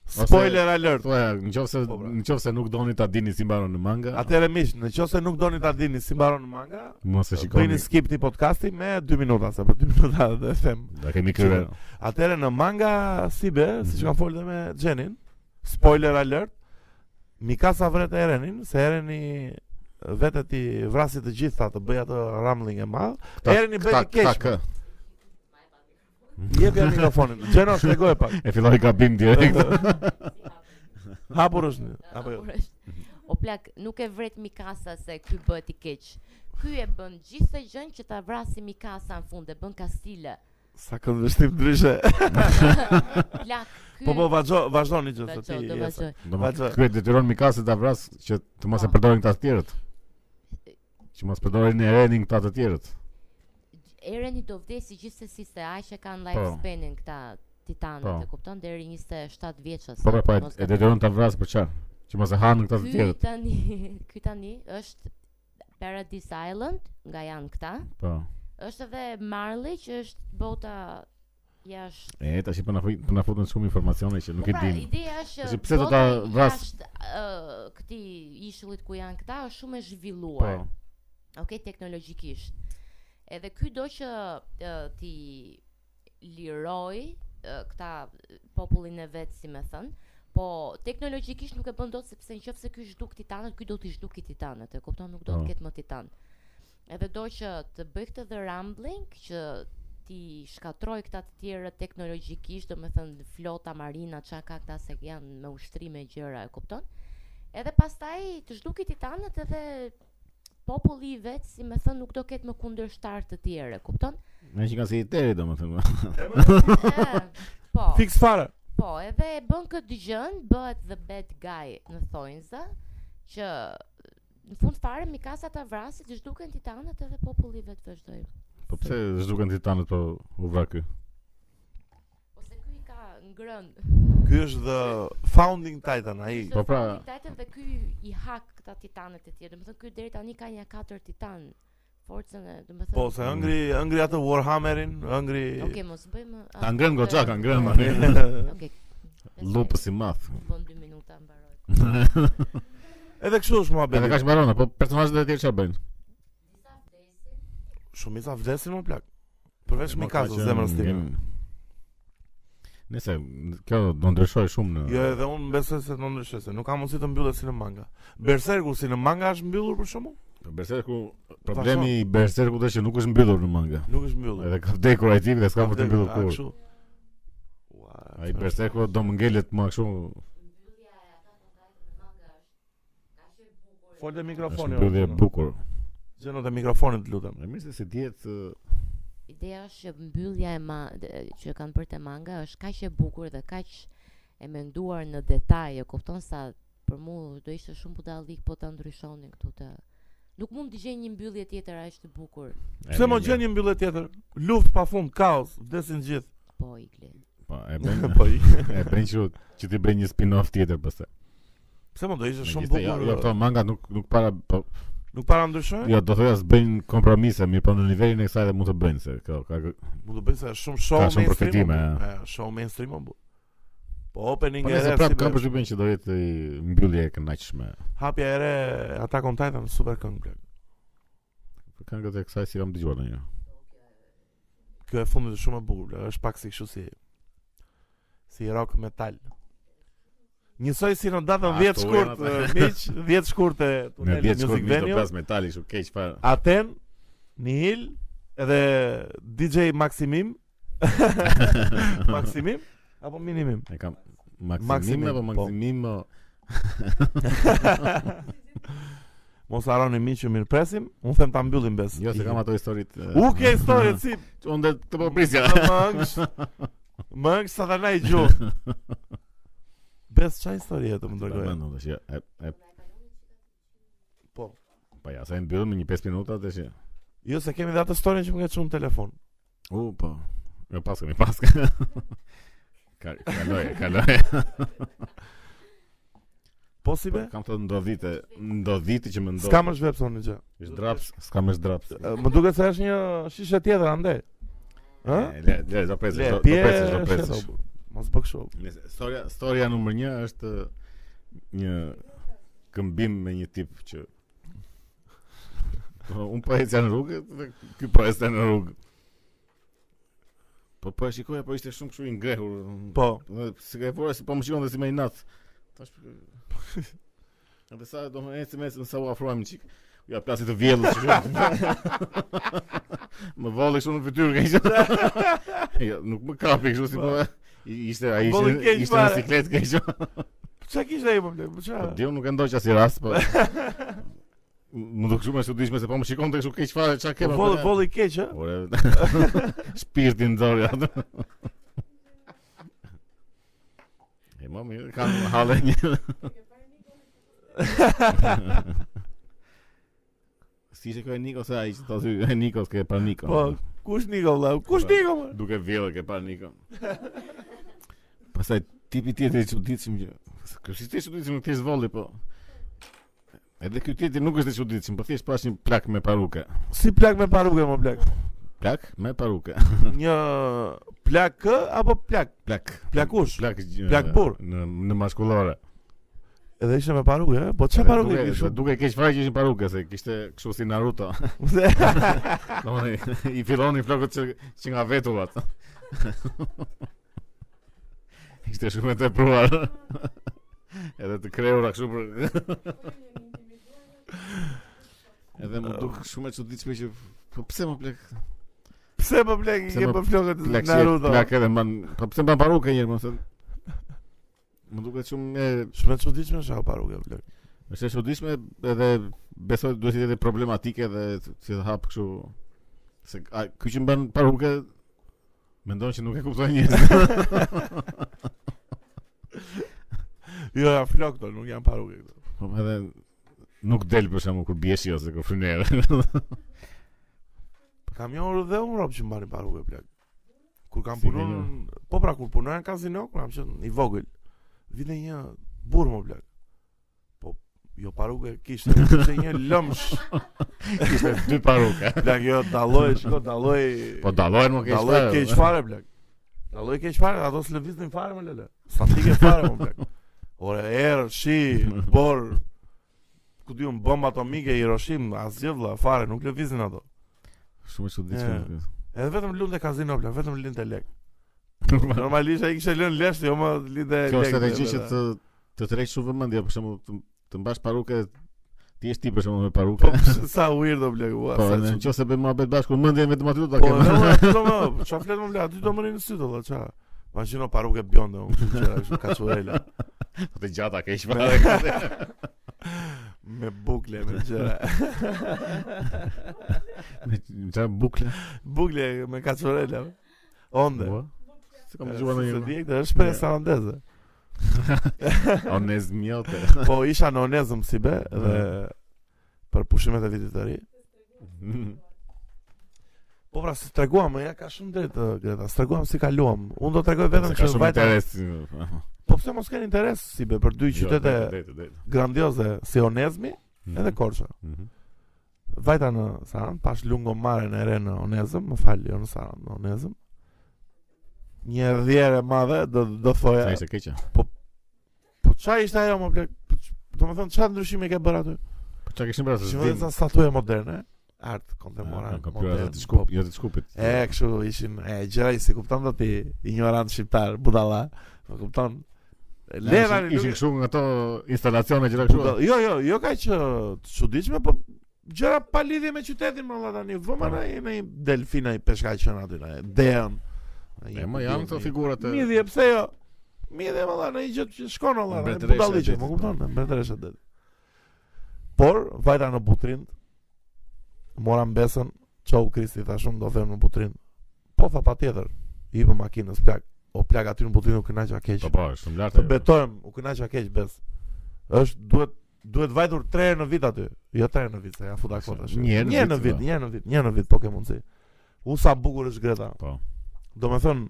[SPEAKER 1] ose-
[SPEAKER 2] Spoiler alert.
[SPEAKER 1] Thuaj, nëse
[SPEAKER 2] Po, pra.
[SPEAKER 1] nëse nuk doni ta dini si mbaron në manga,
[SPEAKER 2] Atëherë miq, në qoftë se nuk doni ta dini si mbaron në manga,
[SPEAKER 1] mos e
[SPEAKER 2] bëni
[SPEAKER 1] shikoni.
[SPEAKER 2] skip ti podcasti me 2 minuta, se për 2 minuta dhe them.
[SPEAKER 1] Da kemi kryer.
[SPEAKER 2] Atëherë në manga si be, siç kam folur dhe me Xhenin, spoiler alert, Mikasa vret Erenin, se Ereni vetë ti vrasi të gjitha të bëj atë rambling e madh.
[SPEAKER 1] Kta-
[SPEAKER 2] Ereni bëri
[SPEAKER 1] kta- kta
[SPEAKER 2] keq.
[SPEAKER 1] kë.
[SPEAKER 2] Jep ja mikrofonin. Xheno shpjegoj pak.
[SPEAKER 1] E filloi gabim direkt.
[SPEAKER 2] Hapur është. një- Apo
[SPEAKER 4] po.
[SPEAKER 2] jo.
[SPEAKER 4] O plak, nuk e vret Mikasa se ky bëhet i keq. Ky e bën gjithë të gjën që ta vrasi Mikasa në fund, e bën kastile.
[SPEAKER 2] Sa këndvështim ndryshe.
[SPEAKER 4] Plak, ky
[SPEAKER 2] Po po vazhdo, vazhdoni që se
[SPEAKER 4] vazhdo,
[SPEAKER 2] ti.
[SPEAKER 4] do
[SPEAKER 2] je sa-
[SPEAKER 4] vazhdoj.
[SPEAKER 2] Vazhdo.
[SPEAKER 1] Domethënë, ky e detyron Mikasa ta vras që të mos e
[SPEAKER 4] Po.
[SPEAKER 1] përdorin këta të tjerët. Që mos përdorin e Renin këta të tjerët.
[SPEAKER 4] Ereni do vdesi gjithsesi se aq e kanë
[SPEAKER 1] Po.
[SPEAKER 4] lifespanin këta
[SPEAKER 1] Po.
[SPEAKER 4] titanët, e kupton deri 27 vjeçës.
[SPEAKER 1] Po pra, po, e-
[SPEAKER 4] mos
[SPEAKER 1] e
[SPEAKER 4] gaboj.
[SPEAKER 1] detyron ta vras për çfarë? Që mos e hanë këta të
[SPEAKER 4] Ky
[SPEAKER 1] tjerët.
[SPEAKER 4] tani, ky tani është Paradise Island, nga janë këta.
[SPEAKER 1] Po.
[SPEAKER 4] Është edhe Marley që është bota jashtë.
[SPEAKER 1] E tash po na fut- po na futën shumë informacione që nuk
[SPEAKER 4] Po
[SPEAKER 1] e
[SPEAKER 4] pra,
[SPEAKER 1] dim.
[SPEAKER 4] Ideja është
[SPEAKER 1] Tash pse do ta
[SPEAKER 4] bota
[SPEAKER 1] vras-
[SPEAKER 4] jashtë uh, këtij ishullit ku janë këta është shumë e
[SPEAKER 1] Po.
[SPEAKER 4] zhvilluar. Okej, teknologjikisht. Edhe ky do që uh, ti liroj uh, këta popullin e vet, si më thën, po teknologjikisht nuk e bën dot sepse nëse ky zhduk titanët, ky do t'i zhduki titanët, e kupton, nuk do
[SPEAKER 1] Po.
[SPEAKER 4] të ketë më titan. Edhe do që të bëj këtë the rambling që ti shkatroj këta të tjerë teknologjikisht, do me thënë flota marina, qa ka këta se janë me ushtrime gjëra, e kupton? Edhe pastaj të zhduki titanët edhe populli i vet, si me thënë, nuk do ketë më kundërshtar të tjerë, e kupton?
[SPEAKER 1] Ne që kanë si i teri domethënë.
[SPEAKER 4] E, po.
[SPEAKER 2] Fiks fare.
[SPEAKER 4] Po, edhe e bën këtë gjën, bëhet the bad guy në thonjza, që në fund fare Mikasa ta vrasi, të zhduken titanët edhe populli i vet vazhdoi.
[SPEAKER 1] Po pse zhduken titanët po u vra ky?
[SPEAKER 4] Ose ky i ka ngrën.
[SPEAKER 2] Ky është the founding titan ai.
[SPEAKER 1] Po pra-
[SPEAKER 4] Titanët dhe ky i hak këta titanët e tjerë. Domethënë ky deri tani ka një katër titan. Forcën e, domethënë.
[SPEAKER 2] Po se ëngri ëngri atë Warhammerin, ëngri
[SPEAKER 4] Okej, mos bëjmë. a-
[SPEAKER 1] Ka ngrën goxha, ka ngrën
[SPEAKER 4] Okej.
[SPEAKER 1] tani.
[SPEAKER 4] Okej.
[SPEAKER 1] Lupës i madh.
[SPEAKER 4] Më Bën 2 minuta mbaroj.
[SPEAKER 2] Edhe kështu është
[SPEAKER 1] Edhe
[SPEAKER 2] muhabeti.
[SPEAKER 1] kaq mbarona, po personazhet e tjerë çfarë bëjnë?
[SPEAKER 2] Shumica vdesin më plak. Përveç
[SPEAKER 1] Ma
[SPEAKER 2] Mikazës
[SPEAKER 1] ka qenë-
[SPEAKER 2] zemrës time.
[SPEAKER 1] Nëse kjo do ndryshoj shumë në
[SPEAKER 2] Jo, edhe unë besoj se nuk ndryshoj se nuk ka mundësi të mbyllet si në manga. Berserku si në manga është mbyllur për shkakun?
[SPEAKER 1] Berserku, problemi i Berserkut është që nuk është mbyllur në manga.
[SPEAKER 2] Nuk është mbyllur.
[SPEAKER 1] Edhe ka vdekur ai tipi dhe s'ka për të mbyllur
[SPEAKER 2] A,
[SPEAKER 1] kur.
[SPEAKER 2] kështu? Ua,
[SPEAKER 1] Ai
[SPEAKER 2] çfarë?
[SPEAKER 1] Berserku do më ngelet më kështu,
[SPEAKER 2] Fol te
[SPEAKER 1] është
[SPEAKER 2] mikrofoni.
[SPEAKER 1] mbyllje e bukur.
[SPEAKER 2] Gjëno te mikrofonit lutem.
[SPEAKER 1] E mirë se si dihet ë,
[SPEAKER 4] Ideja është që mbyllja e ma d- që kanë bërë te manga është kaq e bukur dhe kaq e menduar në detaj, e kupton sa për mua do ishte shumë budallik po ta ndryshonin këtu të Nuk mund të gjej një mbyllje tjetër aq të bukur.
[SPEAKER 1] e
[SPEAKER 2] Pse më
[SPEAKER 1] mirë.
[SPEAKER 2] gjeni mbyllje tjetër? Luftë pafund, kaos, vdesin gjithë.
[SPEAKER 4] Po, Igli.
[SPEAKER 1] Po, e bën
[SPEAKER 2] Po. i-
[SPEAKER 1] e bën kështu që ti bën një spin-off tjetër pastaj.
[SPEAKER 2] Pse më do ishte shumë
[SPEAKER 1] Megjithëse, jo, Jo, këto
[SPEAKER 2] bukur. po.
[SPEAKER 1] manga nuk nuk para po,
[SPEAKER 2] Nuk para ndryshoj?
[SPEAKER 1] jo, do thoya s'bëjnë kompromise, mirë po në nivelin e kësaj dhe mund të bëjnë se kjo ka
[SPEAKER 2] Mund të bëj se është shumë show
[SPEAKER 1] Ka shumë
[SPEAKER 2] mainstream.
[SPEAKER 1] përfitime,
[SPEAKER 2] më bu. E, Show mainstream. më bu. Po opening
[SPEAKER 1] Po
[SPEAKER 2] e
[SPEAKER 1] nëse
[SPEAKER 2] re
[SPEAKER 1] prap
[SPEAKER 2] si
[SPEAKER 1] ka
[SPEAKER 2] be-
[SPEAKER 1] përshtypjen që do jetë i mbyllje e kënaqshme.
[SPEAKER 2] hapja e re Attack on Titan super këngë. plak.
[SPEAKER 1] Për këngët Po e kësaj si kam dëgjuar ndonjë.
[SPEAKER 2] Kjo e fundit është shumë e bukur, plak. është pak si kështu si si rock metal. Njësoj si në datën
[SPEAKER 1] A,
[SPEAKER 2] 10
[SPEAKER 1] Ah, të
[SPEAKER 2] shkurt,
[SPEAKER 1] ujena,
[SPEAKER 2] eh, miq, 10 shkurt e
[SPEAKER 1] Në
[SPEAKER 2] tunelit
[SPEAKER 1] 10 shkurt
[SPEAKER 2] Po Music
[SPEAKER 1] vjen do
[SPEAKER 2] Venue,
[SPEAKER 1] plas metali kështu keq fare.
[SPEAKER 2] Aten, Nihil edhe DJ Maximim. Maximim apo Minimim?
[SPEAKER 1] E kam Maksimim apo
[SPEAKER 2] Maksimim, po.
[SPEAKER 1] Maksimim o-
[SPEAKER 2] Mos harroni miq që mirë presim, unë them ta mbyllim bes.
[SPEAKER 1] Jo, se kam ato historit. e,
[SPEAKER 2] U ke historinë si
[SPEAKER 1] Unë dhe të po prisja.
[SPEAKER 2] mëngsh. Mëngsh sa tani gju. Bes çfarë historie të më
[SPEAKER 1] Po,
[SPEAKER 2] dërgoj?
[SPEAKER 1] Mendon tash. e- jo, e-
[SPEAKER 2] Po.
[SPEAKER 1] Po ja, sa e mbyllëm në një 5 minuta tash. e.
[SPEAKER 2] Jo se kemi dhe atë historinë që më ka çuar në telefon.
[SPEAKER 1] U, po. Jo, paska, mi paska. Ka, kaloj, kaloj.
[SPEAKER 2] Po si be?
[SPEAKER 1] Kam thënë ndodhite, ndodhite që më ndodh.
[SPEAKER 2] S'kam është vepson gjë.
[SPEAKER 1] është draps, s'kam është draps.
[SPEAKER 2] E, Më duket se është një shishe tjetër ande. Ë?
[SPEAKER 1] E, Le, le, do presësh,
[SPEAKER 2] Le,
[SPEAKER 1] do do
[SPEAKER 2] pje,
[SPEAKER 1] presësh, do presësh.
[SPEAKER 2] shetobu. Mos bë kështu.
[SPEAKER 1] Nëse historia, historia numër 1 është një këmbim me një tip që Po, Unë po ecja në rrugë, dhe ky po ecte në rrugë. Po po e shikoja, po ishte shumë kështu i ngrehur.
[SPEAKER 2] Po,
[SPEAKER 1] Dhe si ka e fora, si po më shikon dhe si me i natë. Tash për... Edhe sa do më ecë mesë, sa u afruam një qikë. Ja, plasit të vjellës që Më vallë kështu në fytyrë ka ishë. ja, nuk më kapi kështu si po... i- Ishte, a
[SPEAKER 2] Vallë
[SPEAKER 1] ishte,
[SPEAKER 2] keq
[SPEAKER 1] ishte në
[SPEAKER 2] fare.
[SPEAKER 1] siklet ka ishë.
[SPEAKER 2] çka kishte ai problem? Po
[SPEAKER 1] Po
[SPEAKER 2] çfarë?
[SPEAKER 1] di unë nuk e ndoj që asë rast, po... Më do kështu me studishme se po më shikon të kështu keq fare çka ke.
[SPEAKER 2] Po
[SPEAKER 1] po,
[SPEAKER 2] voli
[SPEAKER 1] ja.
[SPEAKER 2] voli keq, ë?
[SPEAKER 1] Ore. Shpirti nxori atë. E më mirë kam hallë një. Si ishte kjo e Nikos ai që thotë e Nikos ke pa Nikon.
[SPEAKER 2] Po, kush Niko vëlla? Kush
[SPEAKER 1] Po.
[SPEAKER 2] Niko? mo?
[SPEAKER 1] Duke vjedhë ke pa Nikon. Pastaj tipi tjetër i çuditshëm që ky si ti çuditshëm nuk thjesht volli po. Edhe ky tjetër nuk është i çuditshëm, po thjesht pashin plak me paruke.
[SPEAKER 2] Si plak me parukë më plak?
[SPEAKER 1] Plak me paruke.
[SPEAKER 2] Një plak kë apo plak?
[SPEAKER 1] Plak.
[SPEAKER 2] Plakush.
[SPEAKER 1] Plak
[SPEAKER 2] Plak burr.
[SPEAKER 1] Në në maskullore.
[SPEAKER 2] Edhe ishte me parukë, ë? Po çfarë parukë
[SPEAKER 1] Duke-
[SPEAKER 2] kishte?
[SPEAKER 1] Duke keq fare që ishin paruke se kishte kështu si Naruto. Domethënë i fillonin flokët që, që nga vetullat. Ishte shumë e tepruar. Edhe të kreura kështu për Edhe më duk shumë e çuditshme që po pse më plak
[SPEAKER 2] Pse po plak i
[SPEAKER 1] Pse
[SPEAKER 2] ke
[SPEAKER 1] më
[SPEAKER 2] po flokët
[SPEAKER 1] plak si
[SPEAKER 2] Naruto?
[SPEAKER 1] plak edhe mban po pse mban paruke njëherë më thënë. Më duket shumë e
[SPEAKER 2] Shumë e çuditshme është ajo parukë plak.
[SPEAKER 1] Është e çuditshme edhe besoj duhet të jetë problematike dhe t- si të hap kështu se a, ky që mban paruke mendon që nuk e kupton njerëzit.
[SPEAKER 2] Jo, janë flok këto, nuk janë parukë këto.
[SPEAKER 1] Po edhe nuk del për shembull kur bieshi ose kur fryner.
[SPEAKER 2] Kam njohur dhe unë rob që mbani parukë plak. Kur kam
[SPEAKER 1] Si ke
[SPEAKER 2] punuar,
[SPEAKER 1] njohur?
[SPEAKER 2] në- po pra kur punoja në kazino, kur jam qenë i vogël, vinte një burr më plak. Po jo parukë kishte, kishte një lëmsh.
[SPEAKER 1] Kishte dy paruke.
[SPEAKER 2] Plak jo dalloj, shiko dalloj.
[SPEAKER 1] Po dallohen më keq.
[SPEAKER 2] dalloj
[SPEAKER 1] fare. po.
[SPEAKER 2] keq fare plak. Dalloj keq fare, ato s'lëviznin fare më lele. Sa tike fare më plak. Ore erë, shi, bor. Ku diun bomba atomike Hiroshima, asgjë vëlla, fare nuk lëvizin ato.
[SPEAKER 1] Shumë e po. çuditshme.
[SPEAKER 2] E. Edhe vetëm lundë kazino plak, vetëm lindte lek.
[SPEAKER 1] Normal.
[SPEAKER 2] Normalisht ai kishte lënë lesh, jo më lindë lek.
[SPEAKER 1] Kjo është strategji që
[SPEAKER 2] dhe-
[SPEAKER 1] të të tërheq shumë vëmendje për shembull të, të mbash paruke ti je ti për shembull me
[SPEAKER 2] Po
[SPEAKER 1] paruke.
[SPEAKER 2] pse, sa weirdo blek, ua.
[SPEAKER 1] Po,
[SPEAKER 2] sa
[SPEAKER 1] në
[SPEAKER 2] çu-
[SPEAKER 1] qoftë se bëjmë muhabet bashkë, mendjen vetëm aty do ta
[SPEAKER 2] Po,
[SPEAKER 1] kemë.
[SPEAKER 2] edhe unë aty do më, ç'a flet më bla, aty do më rinë në sy do valla, ç'a. Imagjino parukë bjonde, unë kështu që kështu kaçuela.
[SPEAKER 1] Po të gjata keq fare.
[SPEAKER 2] me, me bukle me gjëra.
[SPEAKER 1] Me çfarë bukle?
[SPEAKER 2] bukle me kacorela. Onde.
[SPEAKER 1] Ua? Se kam dëgjuar
[SPEAKER 2] Se
[SPEAKER 1] ndonjë.
[SPEAKER 2] Direkt është për Sanandeze.
[SPEAKER 1] Onez mjote.
[SPEAKER 2] Po isha në Onezëm si be dhe për pushimet e vitit të ri. Po pra, se treguam, ja ka shumë drejt uh, Greta, se treguam si kaluam. Unë do tregoj vetëm
[SPEAKER 1] Se ka
[SPEAKER 2] që
[SPEAKER 1] shumë
[SPEAKER 2] vajta.
[SPEAKER 1] interes. Jo,
[SPEAKER 2] Po pse mos kanë interes si be për dy qytete
[SPEAKER 1] Drejtë, drejtë.
[SPEAKER 2] grandioze si Onezmi edhe Korça.
[SPEAKER 1] Mhm.
[SPEAKER 2] Vajta në Saran, pash lungomaren e re në Onezëm, më fal, jo në Saran, në Onezëm. Një rrjedhje e madhe do do thoja.
[SPEAKER 1] Sa ishte keqe.
[SPEAKER 2] Po çfarë ishte ajo më plak? Po ç- Do të thonë çfarë ndryshimi ke bërë aty?
[SPEAKER 1] Po çka kishin bërë?
[SPEAKER 2] Shikoj sa statue moderne, art
[SPEAKER 1] Ah,
[SPEAKER 2] kontemporan,
[SPEAKER 1] Kompjuter
[SPEAKER 2] modern.
[SPEAKER 1] të
[SPEAKER 2] po-
[SPEAKER 1] shkup, jo të shkupit.
[SPEAKER 2] E, kështu ishin, e, gjëra i si kupton do ti ignorant shqiptar, budalla, po kupton,
[SPEAKER 1] Ne
[SPEAKER 2] Leva
[SPEAKER 1] Ah, ishin-
[SPEAKER 2] nuk-
[SPEAKER 1] Ishin kështu nga ato instalacione gjëra kështu.
[SPEAKER 2] Po, Jo, jo, jo ka që të çuditshme, po gjëra pa lidhje me qytetin më valla tani. Vëmë
[SPEAKER 1] Po.
[SPEAKER 2] na jemi delfina i peshkaqën aty na. Dean.
[SPEAKER 1] E më janë këto figurat e
[SPEAKER 2] Midhi e pse jo? Midhi valla në një gjë që shkon valla. në
[SPEAKER 1] Mbretëresha e
[SPEAKER 2] budalliqe,
[SPEAKER 1] detit,
[SPEAKER 2] më kupton? Mbretëresha e detit. Por vajta në Butrind mora mbesën, çau Kristi thashun do them në Butrind. Po tha patjetër, i hipë makinës plak. O plak aty në Butrind u kënaqja keq.
[SPEAKER 1] Po po, është shumë lart.
[SPEAKER 2] Të
[SPEAKER 1] ajo.
[SPEAKER 2] betojmë, u kënaqa keq bes. Është duhet duhet vajtur 3 herë në vit aty. Jo 3 herë në vit, se ja futa kota.
[SPEAKER 1] Një herë në
[SPEAKER 2] Një herë në
[SPEAKER 1] vit,
[SPEAKER 2] vit, një herë në vit, një herë në vit, po ke mundsi. U sa bukur është Greta.
[SPEAKER 1] Po.
[SPEAKER 2] Do me thënë,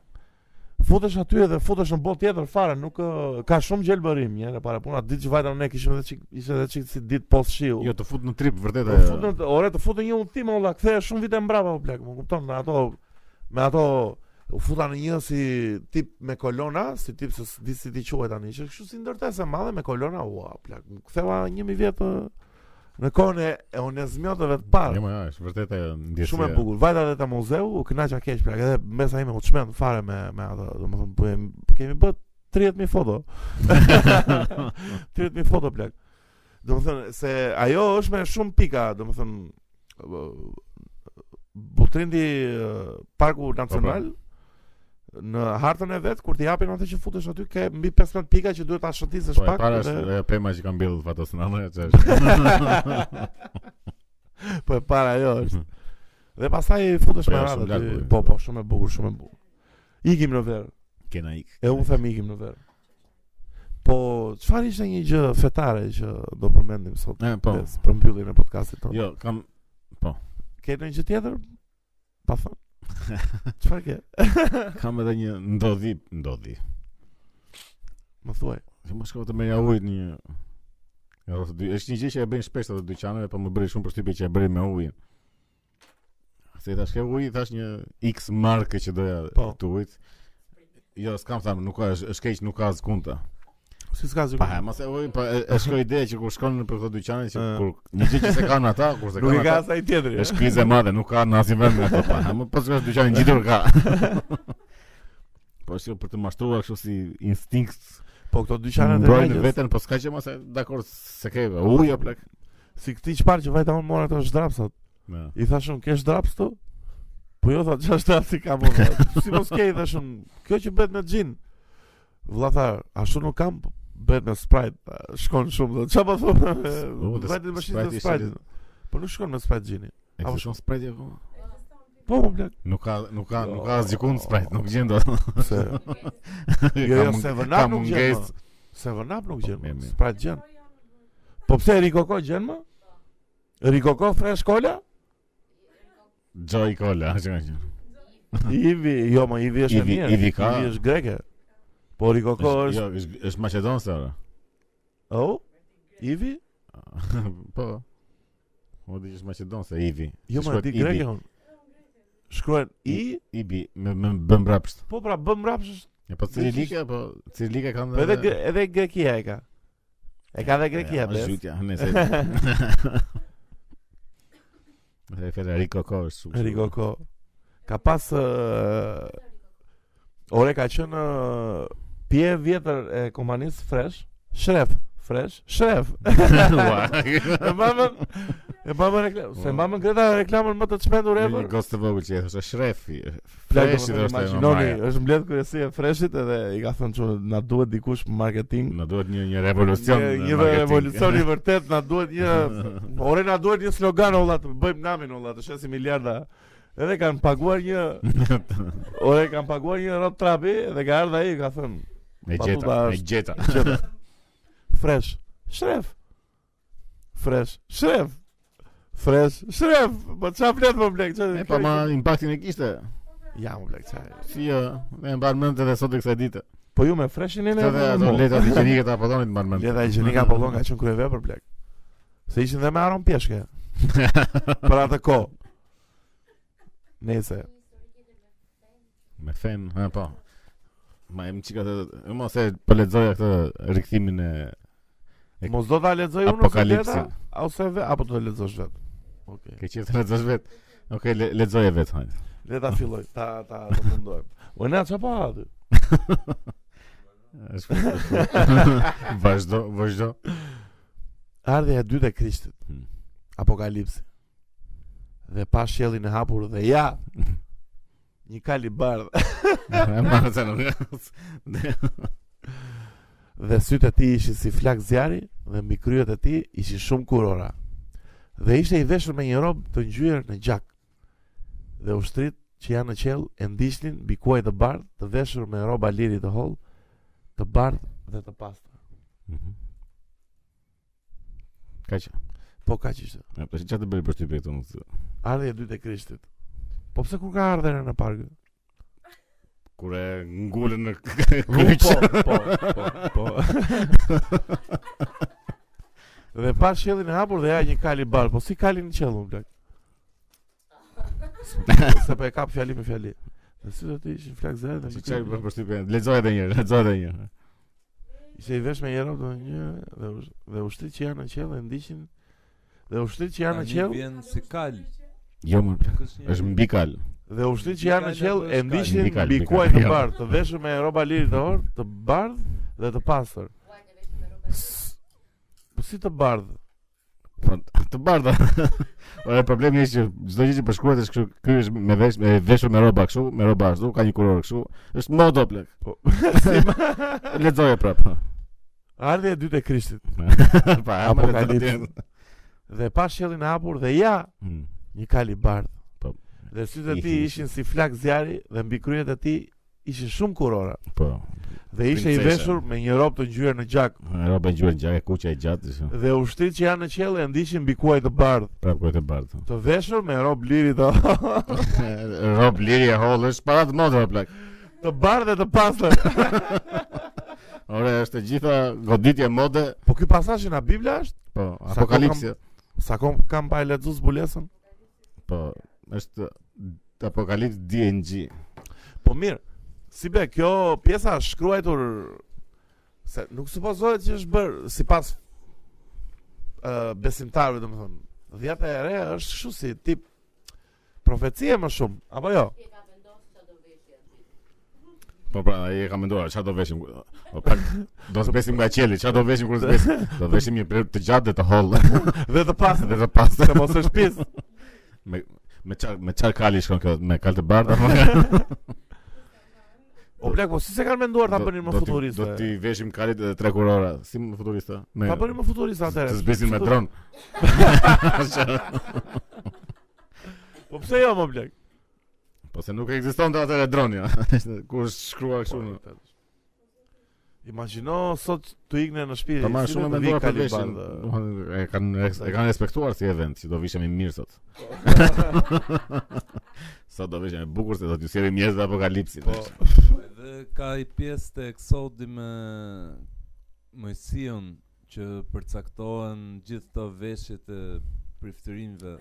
[SPEAKER 2] futesh aty edhe futesh në botë tjetër fare, nuk ë, ka shumë gjelbërim, një herë para puna, ditë që vajtëm ne kishim edhe çik ishte edhe çik si ditë post shiu.
[SPEAKER 1] Jo, të fut në trip vërtet
[SPEAKER 2] Po
[SPEAKER 1] ajo.
[SPEAKER 2] futën, ore, të futën një udhtim olla, kthehej shumë vite mbrapa po plak, më kupton, me ato me ato u futa në një si tip me kolona, si tip se s'di si ti quhet tani, që kështu si ndërtesë e madhe me kolona, ua, plak, më ktheva 1000 vjet ë, në kohën e e onezmjotëve të
[SPEAKER 1] Jo,
[SPEAKER 2] parë.
[SPEAKER 1] më është vërtet Po, ajo ndjesia.
[SPEAKER 2] Shumë e bukur. Vajta edhe te muzeu, u kënaqa keq plak, edhe mesa ime u çmend fare me me ato, domethënë bëhem- kemi bë 30000 foto. 30000 foto plak. Domethënë se ajo është me shumë pika, domethënë ë, Butrindi ë,
[SPEAKER 1] Po,
[SPEAKER 2] Parku Nacional në hartën e vet kur ti japin atë që futesh aty ke mbi 15 pika që duhet ta shëtisësh
[SPEAKER 1] Po, e
[SPEAKER 2] pak.
[SPEAKER 1] para
[SPEAKER 2] dhe-
[SPEAKER 1] është ajo pema që ka mbjellë fatos në anë, që është.
[SPEAKER 2] po e para ajo është. Dhe pastaj futesh
[SPEAKER 1] Po
[SPEAKER 2] me
[SPEAKER 1] jo,
[SPEAKER 2] radhë.
[SPEAKER 1] shumë larg
[SPEAKER 2] aty.
[SPEAKER 1] bukur.
[SPEAKER 2] Po po, shumë e bukur, shumë e bukur. Ikim në verë.
[SPEAKER 1] Kena ik.
[SPEAKER 2] E unë them ikim në verë. Po, çfarë ishte një gjë fetare që do përmendim sot?
[SPEAKER 1] E, po.
[SPEAKER 2] Des, për mbylljen e podcastit tonë.
[SPEAKER 1] Jo, kam
[SPEAKER 2] Ke ndonjë gjë tjetër? Pa thënë. Çfarë ke?
[SPEAKER 1] kam edhe një ndodhi, ndodhi.
[SPEAKER 2] Më thuaj.
[SPEAKER 1] Si mos shkova të merja ujë në një Ja, rreth dy- është një gjë që e bëjnë shpesh ato dyqaneve, po më bëri shumë përshtypje që e bërin me ujin. Se i thash ke ujë, i thash një X markë që doja
[SPEAKER 2] Po.
[SPEAKER 1] të ujit. Jo, s'kam thamë, nuk ka, është është keq, nuk ka askunta.
[SPEAKER 2] Si s'ka zgjuar.
[SPEAKER 1] Pa, ha, mos e ujë, po e, e shkoi ideja që kur shkon në për këto dyqane që
[SPEAKER 2] Ë.
[SPEAKER 1] kur një gjë që se kanë ata, kur se
[SPEAKER 2] Nuk
[SPEAKER 1] kanë
[SPEAKER 2] e ka
[SPEAKER 1] ata,
[SPEAKER 2] asaj tjetri.
[SPEAKER 1] është krizë e madhe, nuk ka në asnjë vend nga ato pa. ha, Më pas vesh dyqanin gjitur ka. Po është jo për të mashtruar kështu si instinkt
[SPEAKER 2] Po këto dyqanet e
[SPEAKER 1] Ndrojnë
[SPEAKER 2] vegjës.
[SPEAKER 1] veten, po s'ka që mos e dakord se ke ujë apo plak.
[SPEAKER 2] Si këti çfarë që vajta unë mora ato zhdrapsat.
[SPEAKER 1] Na.
[SPEAKER 2] I thashun, "Ke zhdraps tu?" Po jo tha, "Çfarë zhdrapsi ka më?" tha. Si mos ke i thashun, "Kjo që bëhet me xhin." Vlla tha, "Ashtu nuk kam, po bëhet me Sprite." tha. Shkon shumë. tha. Çfarë po
[SPEAKER 1] U,
[SPEAKER 2] thon?
[SPEAKER 1] dhe
[SPEAKER 2] Vajti më
[SPEAKER 1] Sprite
[SPEAKER 2] shit
[SPEAKER 1] ishte
[SPEAKER 2] Sprite.
[SPEAKER 1] le-
[SPEAKER 2] Po nuk shkon me Sprite xhini.
[SPEAKER 1] Ekziston sprite apo?
[SPEAKER 2] Po po blek.
[SPEAKER 1] Nuk ka nuk ka nuk
[SPEAKER 2] Jo.
[SPEAKER 1] ka asgjë sprite, nuk gjen dot.
[SPEAKER 2] Se jo
[SPEAKER 1] Ka
[SPEAKER 2] jo
[SPEAKER 1] mung-
[SPEAKER 2] se
[SPEAKER 1] ka
[SPEAKER 2] vënap nuk gjen.
[SPEAKER 1] mungesë.
[SPEAKER 2] mo. Se vënap nuk
[SPEAKER 1] Po,
[SPEAKER 2] gjen.
[SPEAKER 1] mirë,
[SPEAKER 2] mo.
[SPEAKER 1] mirë.
[SPEAKER 2] Sprite gjen. Po pse Rikoko gjen më? Rikoko fresh cola?
[SPEAKER 1] Joy Cola, që ka qenë.
[SPEAKER 2] Ivi, jo më Ivi është e
[SPEAKER 1] Ivi-
[SPEAKER 2] mirë.
[SPEAKER 1] Ivi ka-
[SPEAKER 2] Ivi është greke. Po Rikoko
[SPEAKER 1] Është-
[SPEAKER 2] është
[SPEAKER 1] Jo, është është maqedonse ora.
[SPEAKER 2] Oh? Ivi?
[SPEAKER 1] Po. Po di që është maqedonse Ivi.
[SPEAKER 2] Jo,
[SPEAKER 1] Se
[SPEAKER 2] ma
[SPEAKER 1] shkruhet
[SPEAKER 2] di
[SPEAKER 1] Ibi.
[SPEAKER 2] greke unë. Shkruan I,
[SPEAKER 1] Ibi me me bën mbrapsht.
[SPEAKER 2] po pra bëm rapsh është-
[SPEAKER 1] Ja, po Cirilika, po Cirilika kanë.
[SPEAKER 2] Po edhe gre- edhe grekia e ka. E
[SPEAKER 1] Ε,
[SPEAKER 2] ka edhe grekia
[SPEAKER 1] bes.
[SPEAKER 2] bes.
[SPEAKER 1] Zhytja, nëse. Edhe Federico Kors.
[SPEAKER 2] Enrico Ko. Ka pas ë, Ore ka qenë ë, pje vjetër e komanis fresh, shref, fresh, shref. E mamën, e mamën reklam, se mamën Greta reklamën më të çmendur
[SPEAKER 1] Një
[SPEAKER 2] ever.
[SPEAKER 1] gostë të vogël që e thoshe shrefi.
[SPEAKER 2] Plagë
[SPEAKER 1] Freshi do është e
[SPEAKER 2] imagjinoni,
[SPEAKER 1] mamaja.
[SPEAKER 2] është mbledh kuriosia e freshit edhe i ka thënë çu na duhet dikush marketing
[SPEAKER 1] Në duhet një, një revolucion
[SPEAKER 2] Një-
[SPEAKER 1] në
[SPEAKER 2] Një
[SPEAKER 1] marketing.
[SPEAKER 2] revolucion i vërtet na duhet një ore na duhet një slogan olla të bëjmë namin olla të shesim miliarda. Edhe kanë paguar një ore kanë paguar një road trapi dhe ka ardha ai ka thënë
[SPEAKER 1] E gjeta,
[SPEAKER 2] Batuta
[SPEAKER 1] e
[SPEAKER 2] është-
[SPEAKER 1] gjeta.
[SPEAKER 2] "Qëta, fresh, shref. Fresh, shref. Fresh, shref. Po çfarë flet më blek?
[SPEAKER 1] E
[SPEAKER 2] Çfarë?
[SPEAKER 1] pa ma impaktin e kishte.
[SPEAKER 2] Ja më blek çfarë.
[SPEAKER 1] Si jo, e mban mend edhe sot e kësaj dite.
[SPEAKER 2] Po ju me freshin e ne.
[SPEAKER 1] Këto dhe ato letra higjinike të Apollonit mban mend.
[SPEAKER 2] Leta higjinika po ka qenë kryeve për blek. Se ishin dhe me aron pjeshke. për atë kohë. Nese.
[SPEAKER 1] Me fen, ha po. Ma em çika të, e mos e po lexoja këtë rikthimin e E-
[SPEAKER 2] Mos do ta lexoj unë ose
[SPEAKER 1] Apokalipsi.
[SPEAKER 2] leta ose ve, apo do të lexosh vetë. Okej.
[SPEAKER 1] ke qenë të lexosh vet. Okej, le- lexoje vet hajde.
[SPEAKER 2] Le ta filloj. Ta ta të mundohem. O na çfarë pa aty?
[SPEAKER 1] Është vazhdo, vazhdo.
[SPEAKER 2] Ardhja e dytë e Krishtit.
[SPEAKER 1] Hmm.
[SPEAKER 2] Apokalipsi. Dhe pa shjellin e hapur dhe ja një kalibardh
[SPEAKER 1] E marrë se nuk. Mhm.
[SPEAKER 2] dhe sytë e tij ishin si flak zjarri dhe mbi kryet e tij ishin shumë kurora. Dhe ishte i veshur me një robë të ngjyrë në gjak. Dhe ushtrit që janë në qell e ndiqnin mbi kuaj të bardh, të veshur me rroba liri të holl, të bardh dhe të pastër.
[SPEAKER 1] Kaq.
[SPEAKER 2] Po kaq ishte.
[SPEAKER 1] Ja, tash çfarë të bëri për shtypje këtu? nuk-
[SPEAKER 2] Ardhja e dytë e Krishtit. Po pse kur ka ardhur në park?
[SPEAKER 1] Kur e ngulën në
[SPEAKER 2] Po,
[SPEAKER 1] kryq.
[SPEAKER 2] po, po, po. dhe pa shjellin e hapur dhe ja një kali bar, po si kalin në qellun blaq. Se po e kap fjali me fjali. Dhe si do të ishin flak zero dhe
[SPEAKER 1] Si
[SPEAKER 2] mbi
[SPEAKER 1] çfarë
[SPEAKER 2] kryq.
[SPEAKER 1] bën për shtypje? Lexoj edhe një herë, lexoj edhe një herë.
[SPEAKER 2] Ishte i vesh me jero do një dhe ush- dhe ushtrit që janë në qell e ndiqin dhe ushtrit që janë në
[SPEAKER 3] Tani
[SPEAKER 2] qell
[SPEAKER 3] Vjen si kal.
[SPEAKER 1] Jo, më
[SPEAKER 3] Nuk është një.
[SPEAKER 1] është mbi kal.
[SPEAKER 2] Dhe ushtit që janë në
[SPEAKER 3] Bikala
[SPEAKER 2] qell
[SPEAKER 3] apo
[SPEAKER 2] e
[SPEAKER 3] është
[SPEAKER 2] ndiqnin
[SPEAKER 1] kalë? Bikal,
[SPEAKER 2] mbi
[SPEAKER 1] bikal,
[SPEAKER 2] kuaj të
[SPEAKER 1] jo.
[SPEAKER 2] bardh, të veshur me roba liri të or, të bardh dhe të pastër. S- Po si të bardh?
[SPEAKER 1] Po të bardha. Ora problemi është që çdo gjë që përshkruhet është kështu, ky është me vesh me veshur me roba kështu, me roba ashtu, ka një kurorë kështu. Është modo plak.
[SPEAKER 2] Po.
[SPEAKER 1] Lexoje prap.
[SPEAKER 2] Ardhja e dytë e Krishtit.
[SPEAKER 1] Pa, ama
[SPEAKER 2] Apokalips. Dhe pa shjellin e hapur dhe ja
[SPEAKER 1] Hmm,
[SPEAKER 2] një kali bardh.
[SPEAKER 1] Po.
[SPEAKER 2] Dhe sytë e
[SPEAKER 1] Ihin-
[SPEAKER 2] tij ishin si flak zjarri dhe mbi kryet e tij ishin shumë kurora.
[SPEAKER 1] Po.
[SPEAKER 2] Dhe ishte i
[SPEAKER 1] Princesha.
[SPEAKER 2] veshur me një robë të ngjyrë në gjak.
[SPEAKER 1] Roba e ngjyrën gjatë, e kuqe e gjatë, kështu.
[SPEAKER 2] Dhe ushtrit që janë në qell e ndiqin mbi kuaj të bardh,
[SPEAKER 1] prap kur e të bardh.
[SPEAKER 2] të veshur me robë liri të
[SPEAKER 1] Rob liri e hollësh para të modo plak.
[SPEAKER 2] të bardh dhe të pastër.
[SPEAKER 1] Ora është e gjitha goditje mode,
[SPEAKER 2] Po ky pasazh në Bibla është
[SPEAKER 1] po
[SPEAKER 2] Sa
[SPEAKER 1] apokalipsi,
[SPEAKER 2] Sa kom kam pa e lexuar zbulesën?
[SPEAKER 1] po është apokalips DNG.
[SPEAKER 2] Po mirë. Si be, kjo pjesa është shkruajtur se nuk supozohet që është bër sipas ë besimtarëve domethënë. Dhjata e re është kështu si tip profecie më shumë, apo jo?
[SPEAKER 1] Po pra, ai e ka menduar, çfarë do veshim? O pak do të besim nga qeli, çfarë do veshim kur të besim? Do veshim një blerë të gjatë dhe të hollë
[SPEAKER 2] Dhe të pastë,
[SPEAKER 1] dhe të pastë.
[SPEAKER 2] se mos është pjesë.
[SPEAKER 1] Me me çar me çar kali shkon kjo, me kal të bardha. apo nga-
[SPEAKER 2] O plak, po si se kanë menduar ta
[SPEAKER 1] Do-
[SPEAKER 2] bënin më
[SPEAKER 1] do t'i- Do
[SPEAKER 2] futuriste?
[SPEAKER 1] ti veshim kalit edhe tre kurora, si më futurista. Me
[SPEAKER 2] Ta bënin më futuriste atëherë.
[SPEAKER 1] të zbesin me dron.
[SPEAKER 2] Po pse jo më plak?
[SPEAKER 1] Po se nuk ekziston të atëre droni, ku është shkruar Po, kështu. në-
[SPEAKER 2] Imagjino sot të ikne në shtëpi.
[SPEAKER 1] Po marr
[SPEAKER 2] si do
[SPEAKER 1] shumë
[SPEAKER 2] të
[SPEAKER 1] me
[SPEAKER 2] vi
[SPEAKER 1] ndora për
[SPEAKER 2] Kaliban
[SPEAKER 1] veshin.
[SPEAKER 2] dhe-
[SPEAKER 1] domethënë, E kanë e kanë respektuar si event, që do vishemi mirë sot. Sa do vishemi bukur se do t'ju sjellim njerëz dhe apokalipsi.
[SPEAKER 2] Po.
[SPEAKER 3] Edhe ka i pjesë të eksodi me Mojsiun që përcaktohen gjithë të veshjet e priftyrinve.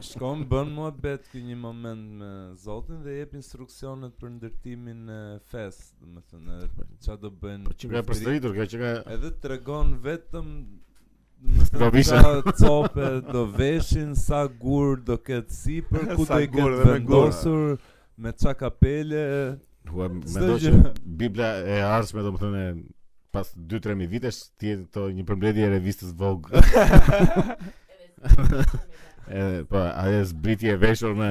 [SPEAKER 3] Shkon bën muhabet ky një moment me Zotin dhe jep instruksionet për ndërtimin e fesë, domethënë edhe ç'a do bëjnë.
[SPEAKER 1] Po që ka e
[SPEAKER 3] priftyrinjtë.
[SPEAKER 1] përsëritur kjo që ka
[SPEAKER 3] Edhe të regon vetëm më thënë,
[SPEAKER 1] Do vishe.
[SPEAKER 3] sa cope do veshin, sa gur do ketë sipër, ku
[SPEAKER 2] Sa
[SPEAKER 3] do i
[SPEAKER 2] gur
[SPEAKER 3] ketë
[SPEAKER 2] dhe me
[SPEAKER 3] vendosur, me qa kapele,
[SPEAKER 1] Ua,
[SPEAKER 3] Çdo
[SPEAKER 1] mendoj që
[SPEAKER 3] gjë.
[SPEAKER 1] Bibla e arshme domethënë pas 2-3000 vitesh ti je to një përmbledhje e revistës Vogue. e, po, ajo zbritje e veshur me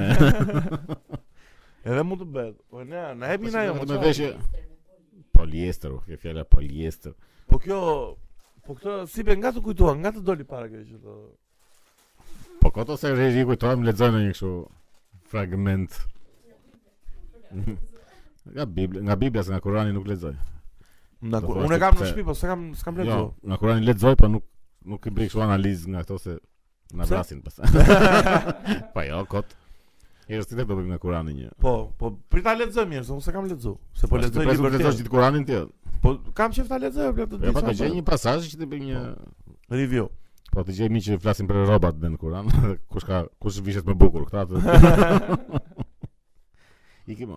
[SPEAKER 2] Edhe mund të bëhet. Po ne, na jep një ajo.
[SPEAKER 1] me
[SPEAKER 2] mo
[SPEAKER 1] veshje poliester, u, kjo fjala poliester.
[SPEAKER 2] qa. Po kjo Po këtë si be nga të kujtuan, nga të doli para kjo që të
[SPEAKER 1] Po koto se re i kujtohem lexoj në një kështu fragment. nga Bibla, nga Bibla se nga Kurani nuk lexoj.
[SPEAKER 2] Na
[SPEAKER 1] Do
[SPEAKER 2] ku-
[SPEAKER 1] thoshte
[SPEAKER 2] unë e kam në
[SPEAKER 1] pse-
[SPEAKER 2] shtëpi, po s'kam s'kam
[SPEAKER 1] Jo,
[SPEAKER 2] lexuar.
[SPEAKER 1] nga Kurani lexoj, po nuk nuk i bëj kështu analizë nga ato se na
[SPEAKER 2] Pse?
[SPEAKER 1] vrasin pastaj. pa jo, kot. Herë si do bëjmë nga Kurani një.
[SPEAKER 2] Po, po prit ta lexoj mirë, se unë s'kam lexuar. Se po lexoj
[SPEAKER 1] libër. Po lexosh
[SPEAKER 2] libertet.
[SPEAKER 1] gjithë Kuranin ti.
[SPEAKER 2] Po kam qef ta lexoj apo të
[SPEAKER 1] Ja
[SPEAKER 2] di.
[SPEAKER 1] pa të
[SPEAKER 2] çfarë
[SPEAKER 1] gjej
[SPEAKER 2] bëhet.
[SPEAKER 1] një pasazh që të bëj një
[SPEAKER 2] review.
[SPEAKER 1] Po të gjej mi që flasin për rrobat në Kuran, kush ka kush vishet më bukur, këta të po, Iki më.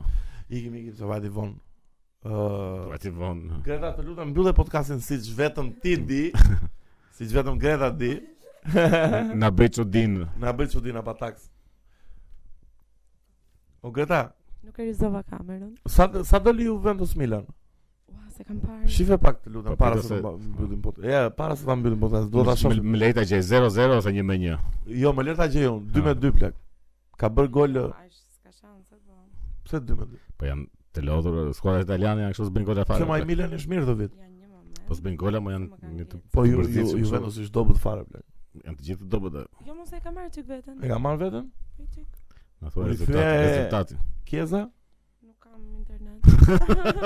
[SPEAKER 2] Ikim ikim se vajti vonë.
[SPEAKER 1] Po
[SPEAKER 2] Ë
[SPEAKER 1] ti vonë.
[SPEAKER 2] Greta, të lutem mbyllë podcastin siç vetëm ti di, siç vetëm Greta di.
[SPEAKER 1] Na bëj çudin.
[SPEAKER 2] Na bëj çudina pa taks. O Greta,
[SPEAKER 5] Nuk e rizova kamerën.
[SPEAKER 2] Sa sa doli Juventus Milan?
[SPEAKER 5] Ua, se kam parë.
[SPEAKER 2] Shife pak të lutem
[SPEAKER 1] Po,
[SPEAKER 2] para
[SPEAKER 1] pita
[SPEAKER 2] se ta
[SPEAKER 1] se-
[SPEAKER 2] mba- mbyllim pot. Ja, para se ta mbyllim pot, do ta shoh.
[SPEAKER 1] Me lejta gjej 0-0 ose 1-1.
[SPEAKER 2] Jo, më lërta gjej unë, 2
[SPEAKER 1] Ah.
[SPEAKER 2] me 2 plak. Ka bër gol,
[SPEAKER 5] Aq s'ka shanse po.
[SPEAKER 2] pse 2 me 2?
[SPEAKER 1] Po janë të lodhur, skuadra italiane janë kështu s'bën gola
[SPEAKER 2] Pse
[SPEAKER 1] fare.
[SPEAKER 2] më
[SPEAKER 1] plak.
[SPEAKER 2] Milan është mirë do vit.
[SPEAKER 5] Janë një moment.
[SPEAKER 1] Po s'bën gola, mo janë
[SPEAKER 5] Më kanë
[SPEAKER 1] një të-
[SPEAKER 5] vjetë.
[SPEAKER 2] Po ju
[SPEAKER 1] Të
[SPEAKER 2] ju
[SPEAKER 1] përzitshëm,
[SPEAKER 2] Juventus është dobët fare plak.
[SPEAKER 1] janë të gjithë të dobët. e.
[SPEAKER 5] Jo mos e kam marrë tyk veten.
[SPEAKER 2] E ka marrë veten?
[SPEAKER 5] Po i tyk.
[SPEAKER 1] Na thua
[SPEAKER 2] Unë i
[SPEAKER 1] rezultati,
[SPEAKER 2] thye-
[SPEAKER 1] rezultati.
[SPEAKER 2] Kjeza?
[SPEAKER 5] Nuk kam internet.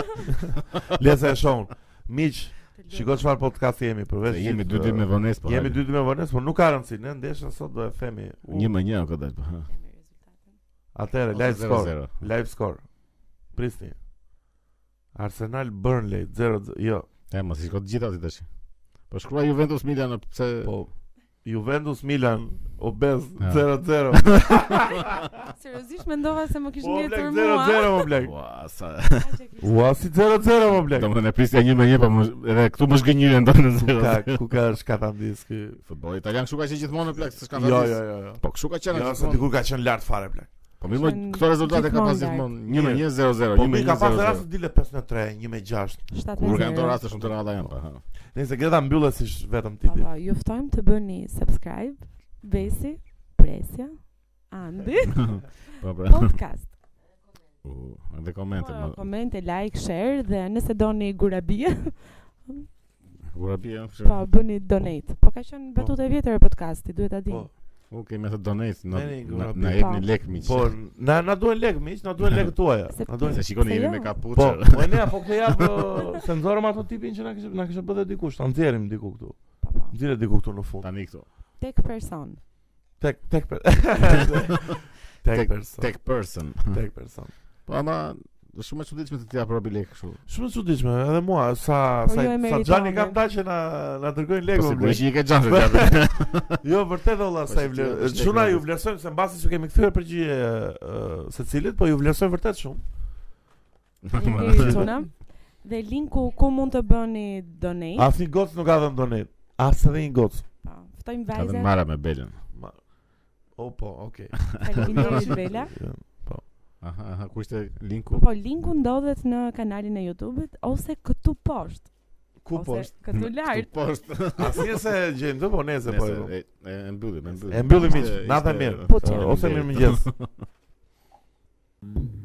[SPEAKER 2] Le se e shohun. Miq,
[SPEAKER 5] Të lutem.
[SPEAKER 2] shikoj çfarë po- podcast jemi përveç.
[SPEAKER 1] Se jemi
[SPEAKER 2] gjithë,
[SPEAKER 1] 2-2 me vonesë po.
[SPEAKER 2] Jemi
[SPEAKER 1] Jemi
[SPEAKER 2] 2-2 me vonesë, por nuk ka rëndësi, ne ndeshën sot do e themi.
[SPEAKER 1] 1-1 ka dalë. po, ha.
[SPEAKER 5] Kemi rezultatin.
[SPEAKER 2] Atëherë
[SPEAKER 1] Ose
[SPEAKER 2] live score.
[SPEAKER 1] 0-0.
[SPEAKER 2] Live score. Prisni. Arsenal Burnley 0-0. Jo,
[SPEAKER 1] E mos i shkot gjithë aty tash. Po shkruaj Juventus Milan pse
[SPEAKER 2] po Juventus Milan obez
[SPEAKER 1] Ja.
[SPEAKER 2] 0-0.
[SPEAKER 5] Seriozisht mendova se më kish
[SPEAKER 2] Po blek
[SPEAKER 5] ngjetur mua.
[SPEAKER 2] 0-0 më blek.
[SPEAKER 1] Ua, sa.
[SPEAKER 5] Aq e kish.
[SPEAKER 2] Ua si 0-0 më blek.
[SPEAKER 1] Domethënë e prisja 1-1, po më- edhe këtu më zgënjyren ndonë
[SPEAKER 2] Ku ka
[SPEAKER 1] 0-0.
[SPEAKER 2] ku ka shkatandis ky?
[SPEAKER 1] Futbolli italian kështu ka qenë gjithmonë plak, s'ka
[SPEAKER 2] Jo, jo, jo, jo.
[SPEAKER 1] Po kështu ka qenë.
[SPEAKER 2] Jo, se
[SPEAKER 1] gjithmonë.
[SPEAKER 2] dikur ka qenë lart fare blek.
[SPEAKER 1] Po mirë, mo,
[SPEAKER 5] Qenë
[SPEAKER 1] këto rezultate ka
[SPEAKER 5] gjithmonë
[SPEAKER 1] pas
[SPEAKER 5] larg.
[SPEAKER 1] gjithmonë 1-1, 0-0,
[SPEAKER 2] Po mi ka pas
[SPEAKER 1] 1-1.
[SPEAKER 2] rast dile 5-3, 1-6.
[SPEAKER 5] 7-0.
[SPEAKER 1] Kur kanë dorë raste shumë të rralla janë. pa, ha.
[SPEAKER 2] Nëse Greta mbyllet si sh- vetëm ti
[SPEAKER 5] Po,
[SPEAKER 2] di.
[SPEAKER 5] po, ju ftojmë të bëni subscribe, Besi, Presja, Andi,
[SPEAKER 1] Po pra.
[SPEAKER 5] podcast.
[SPEAKER 1] U, Edhe komente.
[SPEAKER 5] Po,
[SPEAKER 1] mo.
[SPEAKER 5] Komente, like, share dhe nëse doni gurabie,
[SPEAKER 1] Ura bie. kështu.
[SPEAKER 5] po bëni donate. Po ka qenë batutë e vjetër e podcastit, duhet ta dini.
[SPEAKER 2] Po.
[SPEAKER 1] U kemi të donate, na
[SPEAKER 2] Merri,
[SPEAKER 1] na-
[SPEAKER 2] ura bie.
[SPEAKER 1] na jepni lek miq.
[SPEAKER 2] Po, na na duhen lek miq, na duhen lek tuaja.
[SPEAKER 5] Se-
[SPEAKER 2] Na duhen
[SPEAKER 1] Se shikoni
[SPEAKER 5] Se
[SPEAKER 1] jemi
[SPEAKER 5] jo.
[SPEAKER 1] me
[SPEAKER 2] Po,
[SPEAKER 1] kapuçë.
[SPEAKER 2] po e nea, po këtë jap ë, se nxorëm ato tipin që na kishte na kishte bërë dikush, ta nxjerrim diku këtu.
[SPEAKER 5] Po, po.
[SPEAKER 2] Nxjerrë diku këtu në fund.
[SPEAKER 1] Tani këtu.
[SPEAKER 5] Tek person.
[SPEAKER 2] Tek tek per...
[SPEAKER 1] Tek-
[SPEAKER 2] tek person.
[SPEAKER 1] Tek person.
[SPEAKER 2] Tek person.
[SPEAKER 1] Po ama është shumë e çuditshme të t'ja propi lek kështu.
[SPEAKER 2] Shumë e çuditshme, edhe mua sa
[SPEAKER 5] Po
[SPEAKER 2] sa
[SPEAKER 5] ju e
[SPEAKER 2] sa
[SPEAKER 5] meritoni.
[SPEAKER 2] Xhani kam ta që na na dërgojnë
[SPEAKER 1] Po
[SPEAKER 2] lekun.
[SPEAKER 1] sigurisht që i ke xhansë
[SPEAKER 2] Po,
[SPEAKER 1] t'ja bëj.
[SPEAKER 2] Jo, vërtet valla
[SPEAKER 1] Po,
[SPEAKER 2] sa i
[SPEAKER 1] si
[SPEAKER 2] vlerë.
[SPEAKER 1] ti-
[SPEAKER 2] Shumë na ju vlerësojmë se mbasi ju kemi kthyer përgjigje ë, secilit, po ju vlerësojmë vërtet shumë.
[SPEAKER 5] Linku tona. Dhe linku ku mund të bëni donate.
[SPEAKER 2] Asnjë gocë nuk ka dhënë donet. As edhe një gocë.
[SPEAKER 5] Po, ftojmë
[SPEAKER 1] Ka dhe
[SPEAKER 5] vajzat.
[SPEAKER 1] mara me belën.
[SPEAKER 2] Ma... O po, okay.
[SPEAKER 5] Faleminderit Bela.
[SPEAKER 2] Jo.
[SPEAKER 1] Aha, aha, ku ishte linku?
[SPEAKER 5] Po, linku ndodhet në kanalin e YouTube-it ose këtu poshtë.
[SPEAKER 2] Ku po?
[SPEAKER 5] ose Këtu lart.
[SPEAKER 1] Këtu poshtë.
[SPEAKER 2] Asnjë se gjejmë, do po nese po. e
[SPEAKER 1] Nëse,
[SPEAKER 2] vëmë.
[SPEAKER 1] e- e- e
[SPEAKER 2] É
[SPEAKER 1] mbyllim, e mbyllim.
[SPEAKER 2] E mbyllim miq,
[SPEAKER 1] Ishte-
[SPEAKER 2] natë e
[SPEAKER 1] ishte-
[SPEAKER 2] mirë.
[SPEAKER 5] Po, qenë.
[SPEAKER 2] Ose mirë mëngjes.
[SPEAKER 3] Mm.